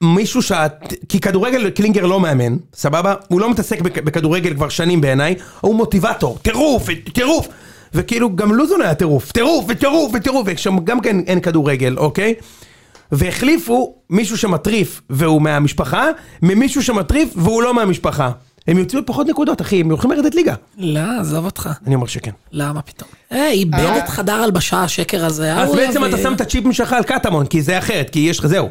S4: מ- מישהו שה... כי כדורגל קלינגר לא מאמן, סבבה? הוא לא מתעסק בכ... בכדורגל כבר שנים בעיניי, הוא מוטיבטור, טירוף, טירוף. וכאילו גם לוזון היה טירוף, טירוף וטירוף וטירוף, ושם גם כן אין כדורגל, אוקיי? והחליפו מישהו שמטריף והוא מהמשפחה, ממישהו שמטריף והוא לא מהמשפחה. הם יוצאו פחות נקודות, אחי, הם הולכים לרדת ליגה.
S2: לא, עזוב אותך.
S4: אני אומר שכן.
S2: למה פתאום? אה, איבד את חדר הלבשה השקר הזה. אה,
S4: אז
S2: הוא
S4: בעצם
S2: יביא.
S4: אתה שם את הצ'יפים שלך על קטמון, כי זה אחרת, כי יש לך, זהו.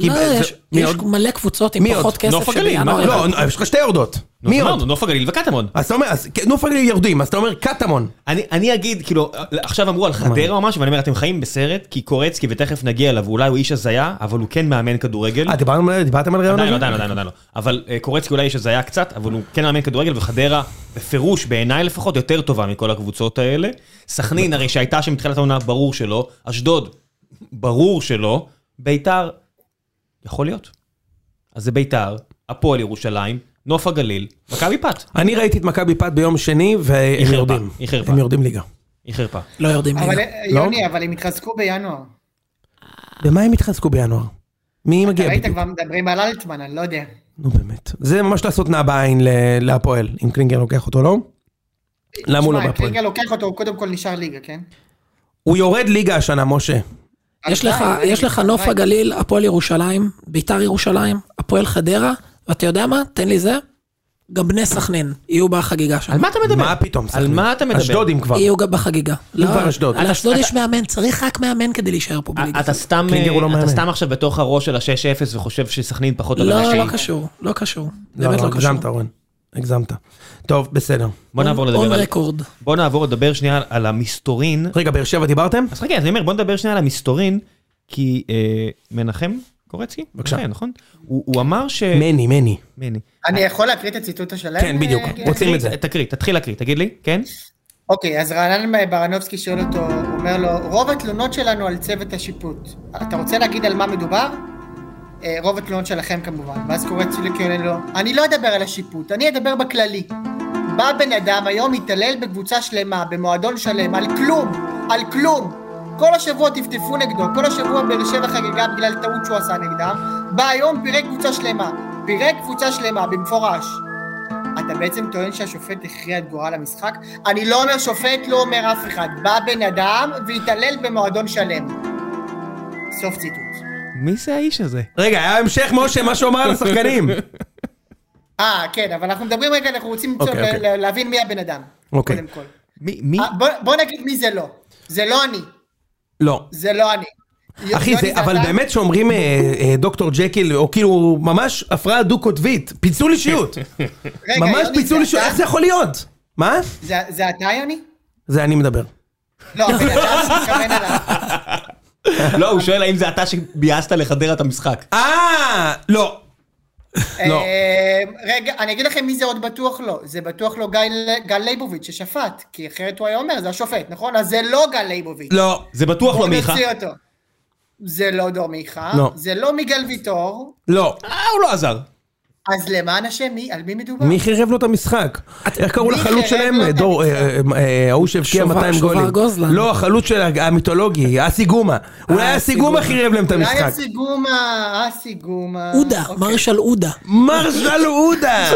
S4: כי
S2: לא,
S4: זה-
S2: יש-
S4: מי
S2: יש
S4: עוד?
S2: מלא קבוצות עם
S4: מי עוד?
S2: פחות כסף.
S1: נוף הגליל, מה?
S2: שבינואר
S4: לא,
S2: ירדו.
S4: יש לך שתי יורדות.
S1: נו,
S4: מי
S1: אמרנו,
S4: עוד?
S1: נוף הגליל וקטמון.
S4: אז אתה אומר, אז נוף הגליל יורדים, אז אתה אומר קטמון.
S1: אני, אני אגיד, כאילו, עכשיו אמרו על חדרה או משהו, ואני אומר, אתם חיים בסרט, כי קורצקי, ותכף נגיע אליו, ואולי הוא איש הזיה, אבל הוא כן מאמן כדורגל.
S4: אה, דיברנו על- דיברתם על רעיון
S1: עדיין, לא,
S4: הזה?
S1: עדיין, עדיין, עדיין לא. אבל אה, קורצקי אולי איש הזיה קצת, אבל הוא כן מאמן כדורגל, וחדרה, בפירוש, בעיניי לפחות, יותר טובה מכל הקבוצות האלה. סכנין, הרי שהייתה שם מתחילת העונה, ברור שלא. אשדוד, ברור שלא. ביתר, יכול להיות. אז זה ביתר, הפועל ירושלים, נוף הגליל, מכבי פת.
S4: אני ראיתי את מכבי פת ביום שני,
S1: היא
S4: והם
S1: חרפה,
S4: יורדים.
S1: היא חרפה.
S4: הם יורדים ליגה.
S1: היא חרפה.
S2: לא יורדים
S3: אבל
S2: ליגה.
S3: אה, יוני, אבל הם התחזקו בינואר.
S4: במה הם התחזקו בינואר? מי מגיע
S3: ראית
S4: כן, בדיוק?
S3: כבר מדברים על אלטמן, אני לא יודע.
S4: נו באמת. זה ממש לעשות נע בעין ל- להפועל, אם קלינגר לוקח אותו, לא? למה הוא לא
S3: שמע,
S4: בהפועל?
S3: קלינגר לוקח אותו, הוא קודם כל נשאר ליגה, כן?
S4: הוא יורד ליגה השנה, משה.
S2: יש לך-
S3: הלוואי,
S2: יש לך נוף
S3: הלוואי.
S2: הגליל, הפועל ירושלים, ביתר ירושלים, הפועל חדרה, ואתה יודע מה? תן לי זה. גם בני סכנין יהיו בחגיגה שם.
S1: על מה אתה מדבר?
S4: מה פתאום?
S1: על
S4: סכנין?
S1: מה אתה מדבר?
S4: אשדודים כבר.
S2: יהיו גם בחגיגה. לא,
S4: כבר אשדוד.
S2: על אשדוד יש מאמן, צריך רק מאמן כדי להישאר פה בליגה.
S1: אתה סתם אה,
S4: קלינגר הוא לא מאמן.
S1: אתה סתם עכשיו בתוך הראש של ה-6-0 וחושב שסכנין פחות טובה
S2: לא,
S1: מהשני.
S2: לא קשור, לא קשור.
S4: לא,
S2: באמת
S4: לא,
S2: לא
S4: הגזמת,
S2: קשור.
S4: אורן. הגזמת. טוב, בסדר.
S1: בוא נעבור
S2: און
S1: לדבר על...
S2: רקורד.
S1: בוא נעבור לדבר שנייה על המסתורין.
S4: רגע, באר שבע דיברתם?
S1: אז חכה, אז אני אומר, בוא נדבר שנייה על המסתורין, כי אה, מנחם קורצקי?
S4: בבקשה.
S1: מנחם, נכון? הוא הוא אמר ש...
S4: מני, מני.
S1: מני.
S3: אני יכול להקריא את הציטוט השלם?
S4: כן, בדיוק.
S3: אה,
S4: רוצים
S1: תקריא,
S4: את זה.
S1: תקריא, תתחיל להקריא, תגיד לי, כן?
S3: אוקיי, אז רענן ברנובסקי שואל אותו, הוא אומר לו, רוב התלונות שלנו על צוות השיפוט. אתה רוצה להגיד על מה מדובר? אה, רוב התלונות שלכם כמובן. ואז קורא ציליקי עונה לו, אני לא אדבר על השיפוט, אני אדבר בכללי. בא בן אדם היום התעלל בקבוצה שלמה, במועדון שלם, על כלום, על כלום. כל השבוע טפטפו נגדו, כל השבוע באר שבע חגגה בגלל טעות שהוא עשה נגדם. בא היום, פירק קבוצה שלמה. פירק קבוצה שלמה, במפורש. אתה בעצם טוען שהשופט הכריע את גורל המשחק? אני לא אומר שופט, לא אומר אף אחד. בא בן אדם והתעלל במועדון שלם. סוף ציטוט.
S1: מי זה האיש הזה?
S4: רגע, היה המשך, משה, מה שהוא אמר על *laughs* השחקנים.
S3: אה, כן, אבל אנחנו מדברים רגע, אנחנו רוצים למצוא,
S4: אוקיי, אוקיי.
S3: ל- להבין מי הבן אדם.
S4: אוקיי.
S3: קודם כל.
S1: מי? מי?
S3: אה, בוא, בוא נגיד מי זה לא. זה לא אני.
S4: לא.
S3: זה לא אני.
S4: אחי,
S3: יוני
S4: זה, אבל
S3: אתה.
S4: באמת שאומרים אה, אה, דוקטור ג'קיל, או כאילו, ממש הפרעה דו-קוטבית. פיצול *laughs* אישיות.
S3: רגע,
S4: ממש
S3: יוני,
S4: פיצול אישיות.
S3: אתה?
S4: איך זה יכול להיות? מה?
S3: זה, זה אתה, יוני?
S4: זה אני מדבר.
S3: לא, הבן אדם מתכוון אליו.
S1: לא, הוא שואל האם זה אתה שביאסת לחדרה את המשחק.
S4: אה, לא. לא.
S3: אה, רגע, אני אגיד לכם מי זה עוד בטוח לא. זה בטוח לא גיא ל- גל ליבוביץ' ששפט, כי אחרת הוא היה אומר, זה השופט, נכון? אז זה לא גל ליבוביץ'.
S4: לא.
S1: זה בטוח לא
S3: בוא
S1: מיכה.
S3: נוציא אותו. זה לא דור מיכה,
S4: לא.
S3: זה לא מיגל ויטור,
S4: לא.
S1: אה, הוא לא עזר.
S3: אז למען השם, מי, על מי מדובר?
S4: מי חירב לו את המשחק? איך קראו
S3: מי
S4: לחלוץ
S3: חירב
S4: שלהם?
S3: לו את
S4: דור, אה,
S3: המשחק?
S4: אה, אה, ההוא שהבקיע
S2: שובר-
S4: 200
S2: שובר
S4: גולים.
S2: גוזלן.
S4: לא, החלוץ של המיתולוגי, אסי גומה.
S1: אה,
S4: אולי אסי
S2: אסי
S4: גומה
S2: גומה.
S4: חירב להם את
S3: אולי
S4: המשחק.
S3: אסי גומה, אסי גומה.
S2: עודה,
S3: אוקיי.
S2: מרשל עודה.
S4: מרזל עודה,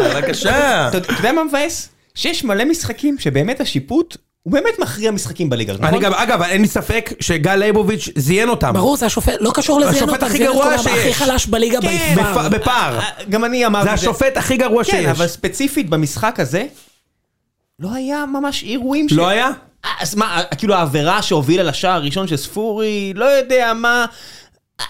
S1: *laughs*
S4: בבקשה.
S1: אתה אתה יודע מה מבאס? שיש מלא משחקים שבאמת השיפוט, הוא באמת מכריע משחקים בליגה הזאת,
S4: אני
S1: נכון?
S4: גם, אגב, אין לי ספק שגל ליבוביץ' זיין אותם.
S2: ברור, זה השופט, לא קשור לזיין
S4: השופט
S2: אותם,
S4: הכי
S2: זיין
S4: גרוע
S2: אותם, הכי
S4: שיש.
S2: חלש בליגה
S1: כן,
S2: בעבר.
S4: בפ- בפער.
S1: אה, גם אני אמרתי...
S4: זה
S1: את
S4: השופט הכי גרוע
S1: כן, אבל
S4: שיש.
S1: ספציפית במשחק הזה, לא היה ממש אירועים ש...
S4: לא היה?
S1: אז מה, כאילו העבירה שהובילה לשער הראשון של ספורי, לא יודע מה...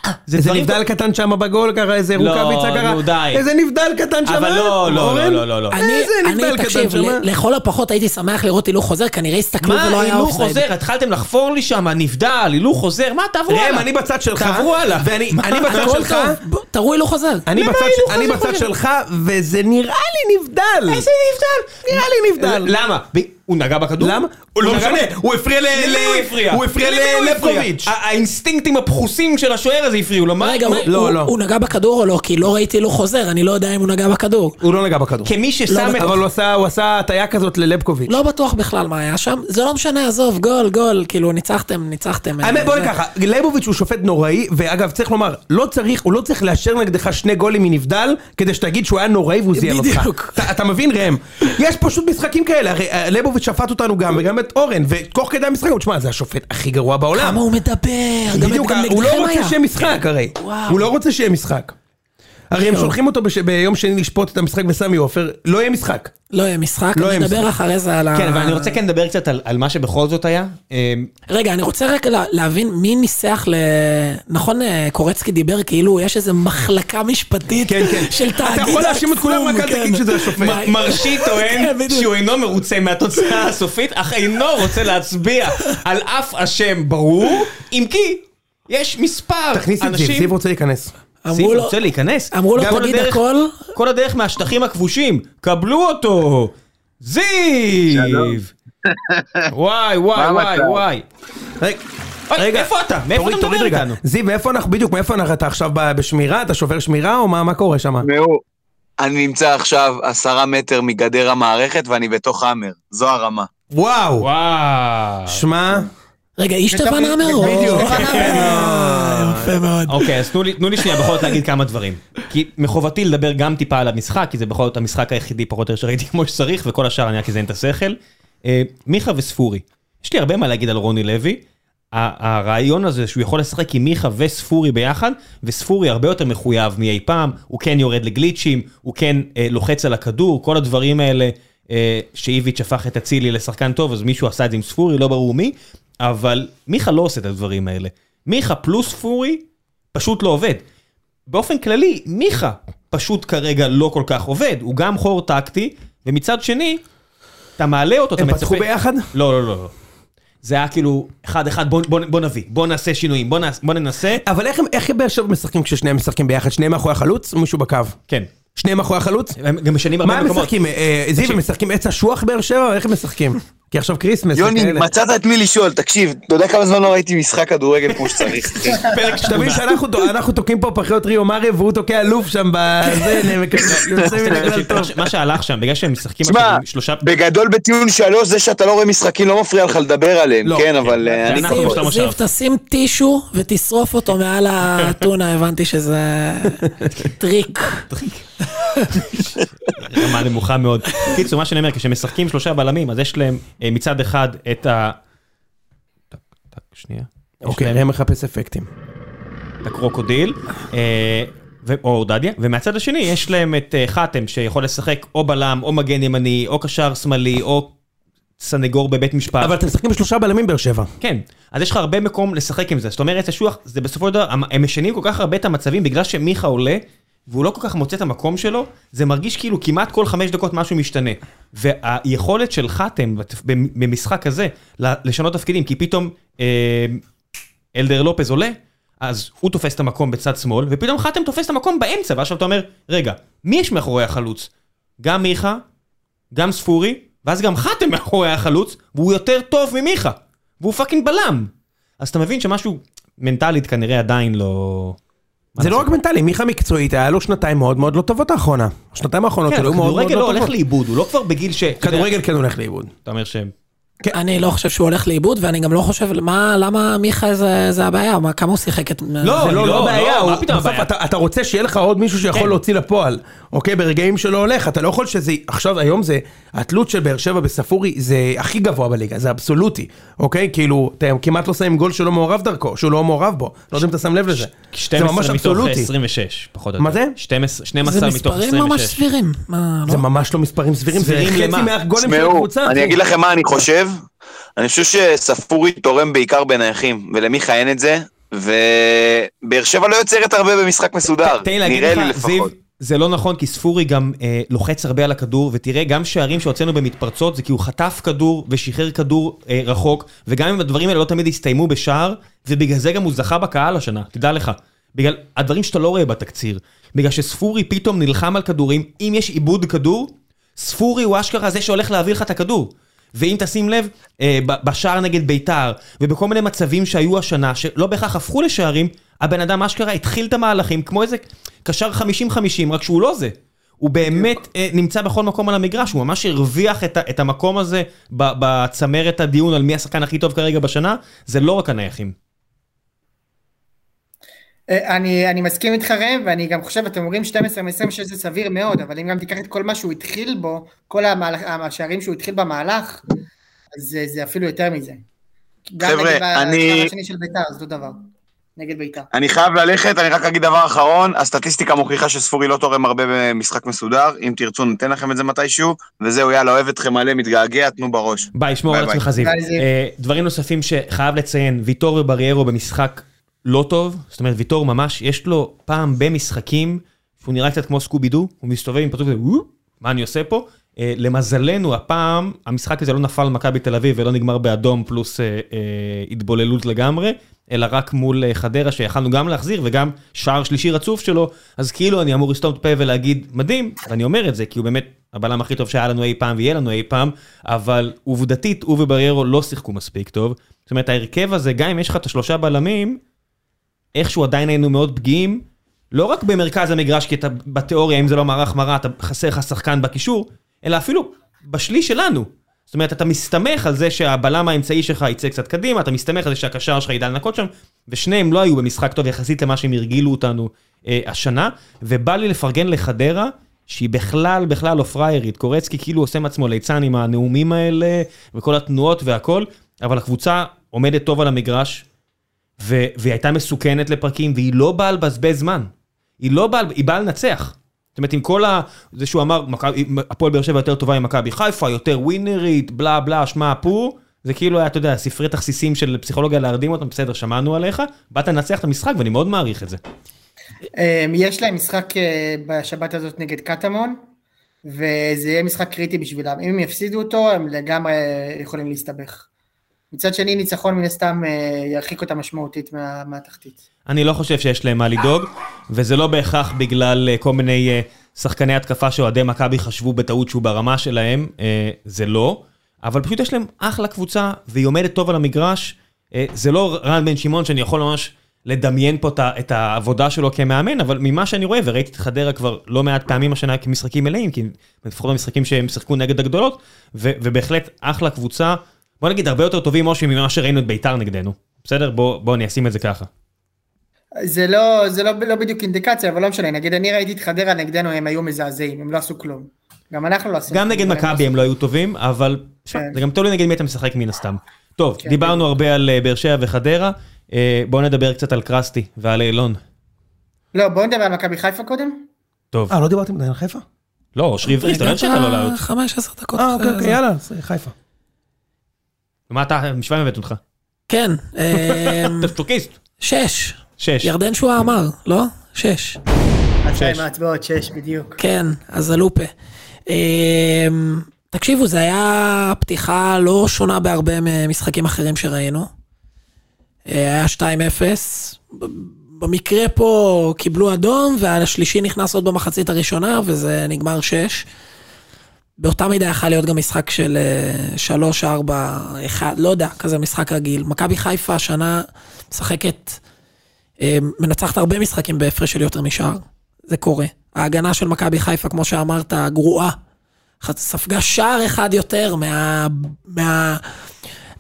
S1: אה,
S4: איזה
S1: דברים-
S4: נבדל קטן שם בגול קרה, איזה
S1: לא,
S4: רוקאביצה קרה.
S1: נו, די.
S4: איזה נבדל קטן שם. אה?
S1: אבל לא, לא, לא, לא, לא, לא.
S2: אני,
S4: איזה נבדל
S2: אני,
S4: קטן
S2: תקשיב,
S4: שם. אה?
S2: ל- לכל הפחות הייתי שמח לראות הילוך חוזר, כנראה הסתכלו
S4: כאילו
S2: ולא
S4: לא
S1: מה,
S2: היה
S1: הילוך
S2: אופסייד.
S1: חוזר, התחלתם לחפור לי שם, נבדל, הילוך חוזר, מה, תעברו
S4: ראם,
S1: הלאה.
S4: אני בצד שלך.
S1: תעברו הלאה.
S4: ואני אני בצד
S2: אה, הכל
S4: שלך.
S2: טוב, בוא, תראו הילוך חוזר.
S4: אני
S1: למה
S4: בצד,
S1: הילוך
S4: ש... אני
S1: הזה
S4: בצד
S1: חוזר?
S4: שלך, וזה נראה לי נבדל.
S1: איזה נבדל?
S4: נראה לי נבדל.
S1: למה? ב- הוא נגע בכדור?
S4: למה? הוא לא
S1: נגע
S4: משנה,
S1: בכ-
S4: הוא הפריע ל...
S1: למי הוא
S4: ל-
S1: הפריע?
S4: הוא הפריע
S1: למי הוא הפריע?
S4: ללפקוביץ'.
S1: הא- האינסטינקטים הפחוסים של השוער הזה הפריעו לו, מה?
S2: רגע,
S1: הוא-
S2: הוא,
S4: לא,
S2: הוא,
S4: לא.
S2: הוא נגע בכדור או לא? כי לא ראיתי הילוך חוזר, אני לא יודע אם הוא נגע בכדור.
S4: הוא לא נגע בכדור.
S1: כמי ששם את...
S4: אבל הוא עשה- הוא עשה הטיה כזאת ללפקוביץ'.
S2: לא בטוח בכלל מה היה שם, זה לא משנה, עזוב, גול, גול, כאילו ניצחתם, ניצחתם. אה,
S4: האמת, בואי
S2: זה-
S4: ככה, ליבוביץ' הוא שופט נוראי, ואגב, צריך לומר, לא צריך, הוא לא צריך לאשר נגדך שני גולים מנבדל, כדי שתגיד שהוא היה נוראי והוא זיין אותך.
S2: בדיוק.
S4: אתה- אתה מבין, ראם? יש פשוט משחקים כאלה, הרי אה, ליבוביץ' שפט אותנו גם, וגם את אורן, ותוך כדי המשחק, הוא, תשמע, זה השופט הכי גרוע בעולם.
S2: כמה הוא מדבר, גם
S4: בדיוק,
S2: גם
S4: הוא
S2: נגדכם
S4: לא רוצה
S2: היה.
S4: שיהיה משחק הרי.
S2: וואו.
S4: הוא לא רוצה שיהיה משחק. הרי הם
S2: טוב.
S4: שולחים אותו בש- ביום שני לשפוט את המשחק בסמי עופר, לא יהיה משחק.
S2: לא יהיה משחק,
S4: לא
S2: אני
S4: יהיה
S2: אדבר
S4: משחק.
S2: אחרי זה על ה...
S1: כן, אבל אני
S4: אה.
S1: רוצה כן לדבר קצת על- על מה שבכל זאת היה. אמ,
S2: רגע, אני רוצה רק לה, להבין מי ניסח ל... נכון, אה, קורצקי דיבר כאילו יש איזו מחלקה משפטית
S4: כן, כן.
S2: של
S4: אתה
S2: תאגיד עצום.
S4: יכול להאשים את כולם, רק אל
S2: כן.
S4: תגיד שזה השופט.
S2: מה-
S1: מרשי
S2: כן,
S1: טוען
S2: בדיוק.
S1: שהוא אינו מרוצה מהתוצאה הסופית, אך אינו רוצה להצביע על אף אשם ברור, אם כי יש מספר
S4: תכניס את זיו,
S1: אנשים...
S4: זיו רוצה להיכנס.
S2: אמרו
S1: זיו
S2: לו-
S1: רוצה להיכנס.
S2: אמרו לו,
S1: גם
S2: "תגיד
S1: הדרך-
S2: הכל."
S1: כל הדרך מהשטחים הכבושים, קבלו אותו! זיו!
S5: שלום.
S1: וואי, וואי,
S5: מה
S1: וואי,
S5: המצב?
S1: וואי.
S4: רגע,
S1: אוי, איפה אתה? מאיפה
S4: תוריד,
S1: אתה
S4: תוריד
S1: מדבר
S4: רגע.
S1: איתנו?
S4: זיו, מאיפה אנחנו, בדיוק, מאיפה אנחנו, אתה עכשיו ב- בשמירה? אתה שובר שמירה או מה מה קורה שם?
S5: תשמעו, אני נמצא עכשיו עשרה מטר מגדר המערכת ואני בתוך האמר, זו הרמה.
S4: וואו.
S1: וואו.
S4: שמע,
S2: רגע, איש
S3: ותמיד-
S2: תבן רמרו.
S3: בדיוק.
S4: כן,
S2: אה, יפה מאוד.
S1: אוקיי, אז תנו לי- תנו לי שנייה בכל זאת להגיד כמה דברים. כי מחובתי לדבר גם טיפה על המשחק, כי זה בכל זאת המשחק היחידי פחות או יותר שראיתי *laughs* כמו שצריך, וכל השאר אני רק אזיין את השכל. אה, מיכה וספורי, יש לי הרבה מה להגיד על רוני לוי, ה- הרעיון הזה שהוא יכול לשחק עם מיכה וספורי ביחד, וספורי הרבה יותר מחויב מאי פעם, הוא כן יורד לגליצ'ים, הוא כן אה, לוחץ על הכדור, כל הדברים האלה אה, שאיביץ' הפך את אצילי לשחקן טוב, אז מישהו עשה את זה עם ספורי, לא ברור מי, אבל מיכה לא עושה את הדברים האלה. מיכה פלוס ספורי פשוט לא עובד. באופן כללי, מיכה פשוט כרגע לא כל כך עובד, הוא גם חור טקטי, ומצד שני, אתה מעלה אותו, אתה
S4: הם
S1: מצפה...
S4: פתחו ביחד?
S1: לא, לא, לא, לא. זה היה כאילו, אחד אחד, בוא, בוא, בוא נביא, בוא נעשה שינויים, בוא, נעש, בוא ננסה.
S4: אבל איך הם- איך באר שבע משחקים כששניהם משחקים ביחד? שניהם מאחורי החלוץ או מישהו בקו?
S1: כן.
S4: שניהם מאחורי החלוץ?
S1: הם גם משנים הרבה
S4: מה הם
S1: מקומות.
S4: משחקים? אה, אה, זיו, הם משחקים עץ אשוח באר שבע? איך הם משחקים? כי עכשיו כריסמס.
S5: יוני,
S4: וכאלה.
S5: מצאת את מי לשאול, תקשיב, אתה יודע כמה זמן לא ראיתי משחק כדורגל כמו שצריך. כן.
S1: *laughs* פרק
S4: אתה מבין שאנחנו תו- אנחנו תוקעים פה פחיות ריו מארי והוא תוקע לוף שם בזה, *laughs* הם יוצאים מן הכלל
S1: מה
S4: טוב.
S1: ש- מה שהלך שם, בגלל שהם משחקים
S5: תשמע,
S1: עכשיו עם שלושה...
S5: בגדול בטיעון שלוש, זה שאתה לא רואה משחקים לא מפריע לך לדבר עליהם,
S4: לא,
S5: כן,
S4: כן.
S5: אבל אה, אני...
S1: אנחנו בשלב
S2: זיו, זיו,
S1: המושב.
S2: תשים טישו ותשרוף אותו מעל האתונה, הבנתי שזה טריק.
S1: רמה נמוכה מאוד. קיצור, מה שאני אומר, כשמשחקים שלושה בלמים, אז יש להם אה, מצד אחד את ה... טק, טק, שנייה. יש
S4: אוקיי,
S1: להם
S4: ראם מחפש אפקטים.
S1: את הקרוקודיל, אה, ו- או אורדדיה, ומהצד השני יש להם את אה, חתם שיכול לשחק או בלם, או מגן ימני, או קשר שמאלי, או סנגור בבית משפט.
S4: אבל אתם משחקים שלושה בלמים באר שבע.
S1: כן, אז יש לך הרבה מקום לשחק עם זה, זאת אומרת, אשוח, זה בסופו של דבר, המ- הם משנים כל כך הרבה את המצבים, בגלל שמיכה עולה, והוא לא כל כך מוצא את המקום שלו, זה מרגיש כאילו כמעט כל חמש דקות משהו משתנה. והיכולת של חתם בת- במ- במשחק הזה, ל- לשנות תפקידים, כי פתאום אה, אלדר לופז עולה, אז הוא תופס את המקום בצד שמאל, ופתאום חתם תופס את המקום באמצע, ועכשיו אתה אומר, רגע, מי יש מאחורי החלוץ? גם מיכה, גם ספורי, ואז גם חתם מאחורי החלוץ, והוא יותר טוב ממיכה. והוא פאקינג בלם. אז אתה מבין שמשהו מנטלית כנראה עדיין לא... מה
S4: זה לא רק
S1: לעשות?
S4: מנטלי, מיכה מקצועית, היה לו שנתיים מאוד מאוד לא טובות האחרונה. השנתיים האחרונות
S1: כן,
S4: שלו היו מאוד מאוד
S1: הכדורגל לא
S4: לא
S1: הולך
S4: טובות.
S1: לאיבוד, הוא לא כבר בגיל ש... אתה יודע,
S4: כדורגל כן הולך לאיבוד.
S1: אתה אומר שהם...
S4: כן.
S2: אני לא חושב שהוא הולך לאיבוד, ואני גם לא חושב, מה, למה מיכה זה זה הבעיה? מה, כמה הוא שיחק את...
S4: זה
S1: לא,
S4: לא,
S1: לא,
S4: לא בעיה,
S1: לא,
S4: הוא-
S1: מה פתאום
S4: בסוף
S1: הבעיה?
S4: אתה- אתה רוצה שיהיה לך עוד מישהו שיכול
S1: כן.
S4: להוציא לפועל, אוקיי? ברגעים שלא הולך, אתה לא יכול שזה, עכשיו היום זה, התלות של באר שבע בספורי זה הכי גבוה בליגה, זה אבסולוטי, אוקיי? כאילו, אתה כמעט לא שמים גול שלא מעורב דרכו, שהוא לא מעורב בו, לא יודע אם אתה שם לב לזה. זה
S1: 12
S4: ממש
S1: מתוך
S4: אבסולוטי.
S1: 26, פחות או יותר.
S4: מה זה?
S1: 12
S2: זה
S1: 12 מתוך
S2: מספרים ממש
S1: 26.
S2: סבירים. מה, לא?
S4: זה ממש לא מספרים סבירים, זה
S1: סבירים
S4: חצי
S1: למה?
S4: מהגולים של
S5: תשמעו,
S4: הקבוצה.
S5: אני
S4: אחי.
S5: אגיד לכם מה אני חושב. אני חושב שספורי תורם בעיקר בנייחים, ולמיכה אין את זה, ובאר שבע לא יוצרת הרבה במשחק מסודר,
S1: תן לי להגיד
S5: נראה לי
S1: לך, זיו,
S5: לפחות.
S1: זה לא נכון, כי ספורי גם אה, לוחץ הרבה על הכדור, ותראה, גם שערים שהוצאנו במתפרצות, זה כי הוא חטף כדור ושחרר כדור אה, רחוק, וגם אם הדברים האלה לא תמיד הסתיימו בשער, ובגלל זה גם הוא זכה בקהל השנה, תדע לך. בגלל הדברים שאתה לא רואה בתקציר. בגלל שספורי פתאום נלחם על כדורים, אם יש עיבוד כדור, ספורי הוא אשכרה זה שהולך להעביר לך את הכדור. ואם תשים לב, אה, ב- בשער נגד ביתר, ובכל מיני מצבים שהיו השנה, שלא בהכרח הפכו לשערים, הבן אדם אשכרה התחיל את המהלכים כמו איזה קשר 50-50, רק שהוא לא זה. הוא באמת אה, נמצא בכל מקום על המגרש, הוא ממש הרוויח את, ה- את המקום הזה ב- בצמרת הדיון על מי השחקן הכי טוב כרגע בשנה, זה לא רק הנייחים.
S3: אה, אני, אני מסכים איתך ראם, ואני גם חושב, אתם אומרים 12 מ-26 זה סביר מאוד, אבל אם גם תיקח את כל מה שהוא התחיל בו, כל המהלך, השערים שהוא התחיל במהלך, אז אה, זה, זה אפילו יותר מזה. גם
S5: חבר'ה,
S3: נגיד בשער
S5: אני-
S3: השני של ביתר, זה אותו דבר. נגד ביתר.
S5: אני חייב ללכת, אני רק אגיד דבר אחרון, הסטטיסטיקה מוכיחה שספורי לא תורם הרבה במשחק מסודר, אם תרצו ניתן לכם את זה מתישהו, וזהו, יאללה, אוהב אתכם מלא, מתגעגע, תנו בראש.
S1: ביי, שמור
S5: ביי,
S1: על
S5: ביי.
S1: עצמך זיו.
S3: ביי, זיו.
S1: אה, דברים נוספים שחייב לציין, ויטור ובריירו במשחק לא טוב, זאת אומרת ויטור ממש, יש לו פעם במשחקים, שהוא נראה קצת כמו סקובי דו, הוא מסתובב עם פתוח, "וואו, מה אני עושה פה? אה, למזלנו הפעם, המשחק הזה לא נפל על מכבי תל אביב ולא נגמר באדום פלוס אה, אה, התבוללות לגמרי, אלא רק מול אה, חדרה שיכלנו גם להחזיר וגם שער שלישי רצוף שלו, אז כאילו אני אמור לסתום את הפה ולהגיד מדהים, ואני אומר את זה כי הוא באמת הבלם הכי טוב שהיה לנו אי פעם ויהיה לנו אי פעם, אבל עובדתית הוא ובריירו לא שיחקו מספיק טוב. זאת אומרת ההרכב הזה, גם אם יש לך את השלושה בלמים, איכשהו עדיין היינו מאוד פגיעים, לא רק במרכז המגרש, כי אתה בתיאוריה, אם זה לא מערך מראה, אתה חסר לך שחקן בקישור, אלא אפילו בשליש שלנו. זאת אומרת, אתה מסתמך על זה שהבלם האמצעי שלך יצא קצת קדימה, אתה מסתמך על זה שהקשר שלך ידע לנקות שם, ושניהם לא היו במשחק טוב יחסית למה שהם הרגילו אותנו אה, השנה, ובא לי לפרגן לחדרה, שהיא בכלל בכלל לא פריירית. קורצקי כאילו עושה מעצמו ליצן עם הנאומים האלה, וכל התנועות והכל, אבל הקבוצה עומדת טוב על המגרש, ו- והיא הייתה מסוכנת לפרקים, והיא לא באה לבזבז זמן. היא לא באה, היא באה לנצח. זאת אומרת, עם כל ה... זה שהוא אמר, מכבי- הפועל באר שבע יותר טובה עם מכבי חיפה, יותר ווינרית, בלה בלה, שמע פו, זה כאילו היה, אתה יודע, ספרי תכסיסים של פסיכולוגיה להרדים אותם, בסדר, שמענו עליך, באת לנצח את המשחק, ואני מאוד מעריך את זה.
S3: אמ, יש להם משחק אה, בשבת הזאת נגד קטמון, וזה יהיה משחק קריטי בשבילם. אם הם יפסידו אותו, הם לגמרי אה, יכולים להסתבך. מצד שני, ניצחון מן הסתם אה, ירחיק אותם משמעותית מה- מהתחתית.
S1: אני לא חושב שיש להם מה לדאוג, וזה לא בהכרח בגלל אה, כל מיני אה, שחקני התקפה שאוהדי מכבי חשבו בטעות שהוא ברמה שלהם, אה, זה לא, אבל פשוט יש להם אחלה קבוצה, והיא עומדת טוב על המגרש. אה, זה לא רן בן שמעון שאני יכול ממש לדמיין פה את ה- את העבודה שלו כמאמן, אבל ממה שאני רואה, וראיתי את חדרה כבר לא מעט פעמים השנה כמשחקים מלאים, כי לפחות במשחקים שהם שיחקו נגד הגדולות, ו- ובהחלט אחלה קבוצה. בוא נגיד, הרבה יותר טובים, משה, ממה שראינו את ביתר נגדנו. בסדר? בוא, בוא, אני אשים את זה ככה.
S3: זה לא, זה לא, לא בדיוק אינדיקציה, אבל לא משנה. נגיד, אני ראיתי את חדרה נגדנו, הם היו מזעזעים, הם לא עשו כלום. גם אנחנו לא עשינו
S1: גם נגד
S3: כלום, הם לא
S1: מכבי הם לא היו טובים, אבל שמע,
S3: כן.
S1: זה גם תלוי נגד מי אתה משחק מן הסתם. טוב, דיברנו הרבה על אה, באר שבע וחדרה, אה, בואו נדבר קצת על קרסטי ועל אילון.
S3: לא, בואו נדבר על מכבי חיפה קודם.
S1: טוב.
S4: אה, לא דיברתם עדיין על חיפה?
S1: לא, אושרי
S2: אה,
S1: עברי, אתה לא שאתה לא לעלות.
S2: 15 דקות.
S4: אה,
S2: אחרי
S4: אוקיי, אוקיי,
S2: זה.
S4: יאללה, אז חיפה.
S1: מה אתה, משווה הבאת אותך?
S2: כן, אמ,
S1: אתה צ'וקיסט.
S2: שש.
S1: שש.
S2: ירדן שואה אמר, לא? שש.
S3: שש. עם ההצבעות, שש בדיוק.
S2: כן, אז הלופה. אמ, תקשיבו, זו הייתה פתיחה לא שונה בהרבה ממשחקים אחרים שראינו. אה, היה 2-0. ב- במקרה פה קיבלו אדום, והשלישי נכנס עוד במחצית הראשונה, וזה נגמר 6. באותה מידה יכול להיות גם משחק של 3, 4, 1, לא יודע, כזה משחק רגיל. מכבי חיפה השנה משחקת, אה, מנצחת הרבה משחקים בהפרש של יותר משער. זה קורה. ההגנה של מכבי חיפה, כמו שאמרת, גרועה. ח- ספגה שער אחד יותר מה... מה...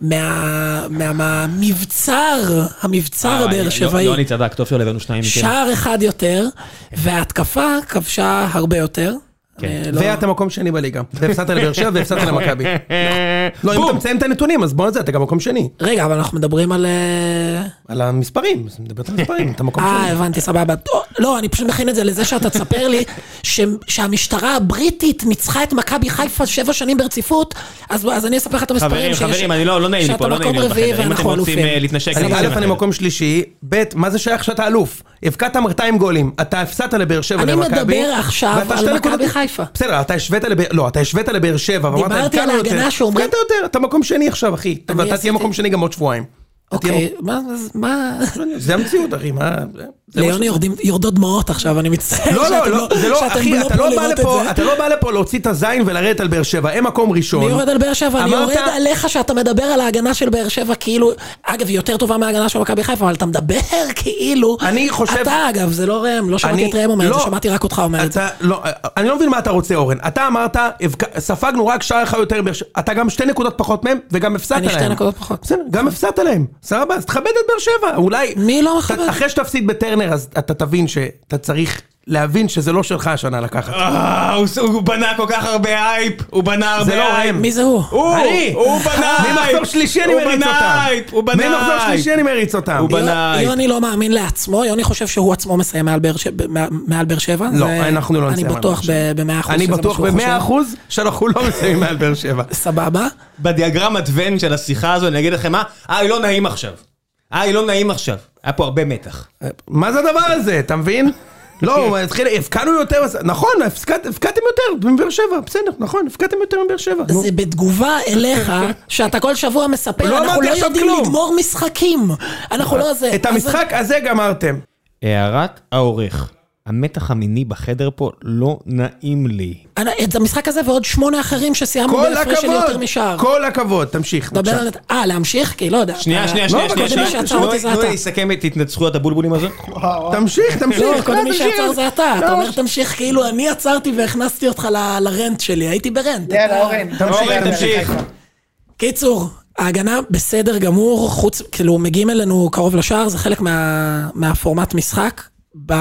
S2: מה... מה... מהמבצר, המבצר
S1: אה,
S2: הבאר
S1: יו-
S2: שבעי.
S1: יוני צדק, טוב שלא הבאנו שניים מכם.
S2: שער אחד יותר, וההתקפה כבשה הרבה יותר.
S1: כן.
S2: אני לא-
S4: ואתה מקום שני בליגה. והפסדת לבאר שבע והפסדת
S1: *laughs*
S4: למכבי. לא, אם אתה
S1: בום!
S4: מציין את הנתונים, אז בוא נזה, אתה גם מקום שני.
S2: רגע, אבל אנחנו מדברים על... אה,
S4: על המספרים, אז מדברת על המספרים, אתה מקום
S2: אה,
S4: שני.
S2: הבנתי, סבבה. טוב, לא, אני פשוט מכין את זה לזה שאתה תספר לי ש- שהמשטרה הבריטית ניצחה את מכבי חיפה שבע שנים ברציפות, אז אז אני אספר לך את המספרים
S1: חברים,
S2: שיש.
S1: חברים, אני לא, לא נעים לי פה, לא
S2: שאתה
S1: נעים
S2: מקום
S1: לי
S2: רביעי
S1: בחדר. אם אתם
S2: ואנחנו
S1: רוצים
S2: אלופים.
S1: אה, להתנשק,
S4: אני
S1: זה
S4: א',
S1: בסדר.
S4: אני מקום שלישי, ב', מה זה שייך שאתה אלוף? הבקעת 200 גולים, אתה הפסדת לבאר שבע
S2: אני
S4: למכבי.
S2: מדבר עכשיו
S4: ואתה
S2: על
S4: שתי
S2: מכבי
S4: נקודות-
S2: חיפה.
S4: בסדר, אתה השווית לבאר, לא, אתה השווית לבאר שבע, ואמרת,
S2: דיברתי
S4: "הבקענו
S2: על ההגנה
S4: יותר."
S2: שאומרים-
S4: הפקעת יותר, אתה מקום שני עכשיו, אחי.
S2: אני
S4: ואתה
S2: עשיתי-
S4: תהיה מקום שני גם עוד שבועיים. אתה תהיה
S2: אוקיי, מה... אז מה-
S4: מקום- זה המציאות, אחי, מה... זה-
S1: לא
S4: זה מה ש-
S2: ליוני יורדים- יורדות דמעות עכשיו, אני מצטער
S4: לא,
S2: שאתם
S4: לא, לא, זה לא,
S2: שאתם
S4: אחי, אתה
S2: פה
S4: לא בא
S2: לראות את
S4: לפה,
S2: זה.
S4: אתה לא בא לפה להוציא את הזין ולרדת על באר שבע, הם מקום ראשון.
S2: אני יורד על באר שבע, אני
S4: אמרת-
S2: יורד עליך שאתה מדבר על ההגנה של באר שבע כאילו, אגב, היא יותר טובה מההגנה של מכבי חיפה, אבל אתה מדבר *laughs* כאילו,
S4: אני חושב-
S2: אתה אגב, זה לא ראם, לא שמעתי
S4: אני-
S2: את ראם אומר את זה,
S4: לא.
S2: שמעתי רק אותך אומר את זה.
S4: אתה, לא, אני לא מבין מה אתה רוצה אורן, אתה אמרת, הבק- ספגנו רק שער אחד יותר, מבאר שבע. אתה גם שתי נקודות פחות מהם, וגם הפסדת להם.
S2: אני שתי נקודות פחות.
S4: בסדר, גם הפסדת להם, סבבה, אז תכבד את באר שבע, אולי...
S2: מי לא
S4: אתה-
S2: מכבד?
S4: אחרי שתפסיד בטרנר, אז אתה תבין שאתה צריך להבין שזה לא שלך השנה לקחת.
S1: אה, הוא ס- הוא בנה כל כך הרבה הייפ, הוא בנה הרבה
S4: זה לא
S1: הייפ.
S4: ראם.
S2: מי זה הוא?
S1: הוא,
S4: אני.
S1: אה, הוא בנה
S4: ממחזור
S1: הייפ.
S4: שלישי אני
S1: הוא
S4: מריץ
S1: בנה
S4: אותם.
S1: הייפ, הוא בנה
S4: ממחזור
S1: הייפ.
S4: שלישי אני מריץ אותם.
S1: הוא בנה
S2: יו-
S1: הייפ.
S2: יוני לא מאמין לעצמו, יוני חושב שהוא עצמו מסיים מעל באר שבע. מעל באר שבע.
S4: לא,
S2: זה-
S4: אנחנו לא נסיים
S2: אני
S4: מעל
S2: בטוח
S4: באר שבע.
S2: במאה אחוז.
S4: אני
S2: שזה מה
S4: בטוח
S2: שהוא
S4: במאה
S2: חושב.
S4: אחוז שאנחנו לא מסיימים מעל באר שבע.
S2: סבבה.
S1: בדיאגרמת ון של השיחה הזו, אני אגיד לכם מה, אה, היא לא נעים עכשיו. אה, היא לא נעים עכשיו. היה פה הרבה מתח.
S4: מה זה הדבר הזה, אתה
S2: *laughs*
S4: מבין?
S2: כן.
S4: לא, הוא התחיל, הבקענו יותר, אז- נכון, הפסקת- הפקעתם יותר מבאר שבע, בסדר, נכון, הפקעתם יותר מבאר שבע. נו.
S2: זה בתגובה
S4: *laughs*
S2: אליך, שאתה כל שבוע מספר,
S4: לא
S2: אנחנו
S4: אמרתי
S2: לא
S4: עכשיו
S2: יודעים
S4: כלום." אה,
S2: לגמור משחקים. אנחנו לא זה.
S4: את
S2: אז-
S4: המשחק הזה גמרתם.
S1: הערת העורך, המתח המיני בחדר פה לא נעים לי.
S2: אני- את המשחק הזה ועוד שמונה אחרים שסיימנו
S4: כל
S2: בהפרש של יותר
S4: הכבוד,
S2: משער.
S4: כל הכבוד, תמשיך.
S2: דבר
S4: בבקשה.
S2: על... הת- אה, להמשיך? כי לא יודע.
S1: שנייה,
S2: אתה-
S1: שנייה,
S2: לא,
S1: שנייה,
S2: אבל
S1: שנייה.
S2: קודם מי
S1: שנייה.
S2: שעצר אותי זה
S1: תנו לי
S2: אתה.
S1: לסכם את התנצחויות הבולבולים הזו.
S4: תמשיך, תמשיך.
S2: לא, קודם מי
S4: תמשיך.
S2: שעצר זה אתה. אתה
S4: לא,
S2: אומר תמשיך כאילו אני עצרתי והכנסתי אותך ל- לרנט שלי, הייתי ברנט.
S3: יאללה,
S2: אתה-
S3: אורן.
S4: תמשיך,
S3: אורן,
S1: אורן, תמשיך.
S3: חיפה.
S2: קיצור, ההגנה בסדר גמור, חוץ, כאילו מגיעים אלינו קרוב לשער, זה חלק מה, מהפורמט משחק. ב...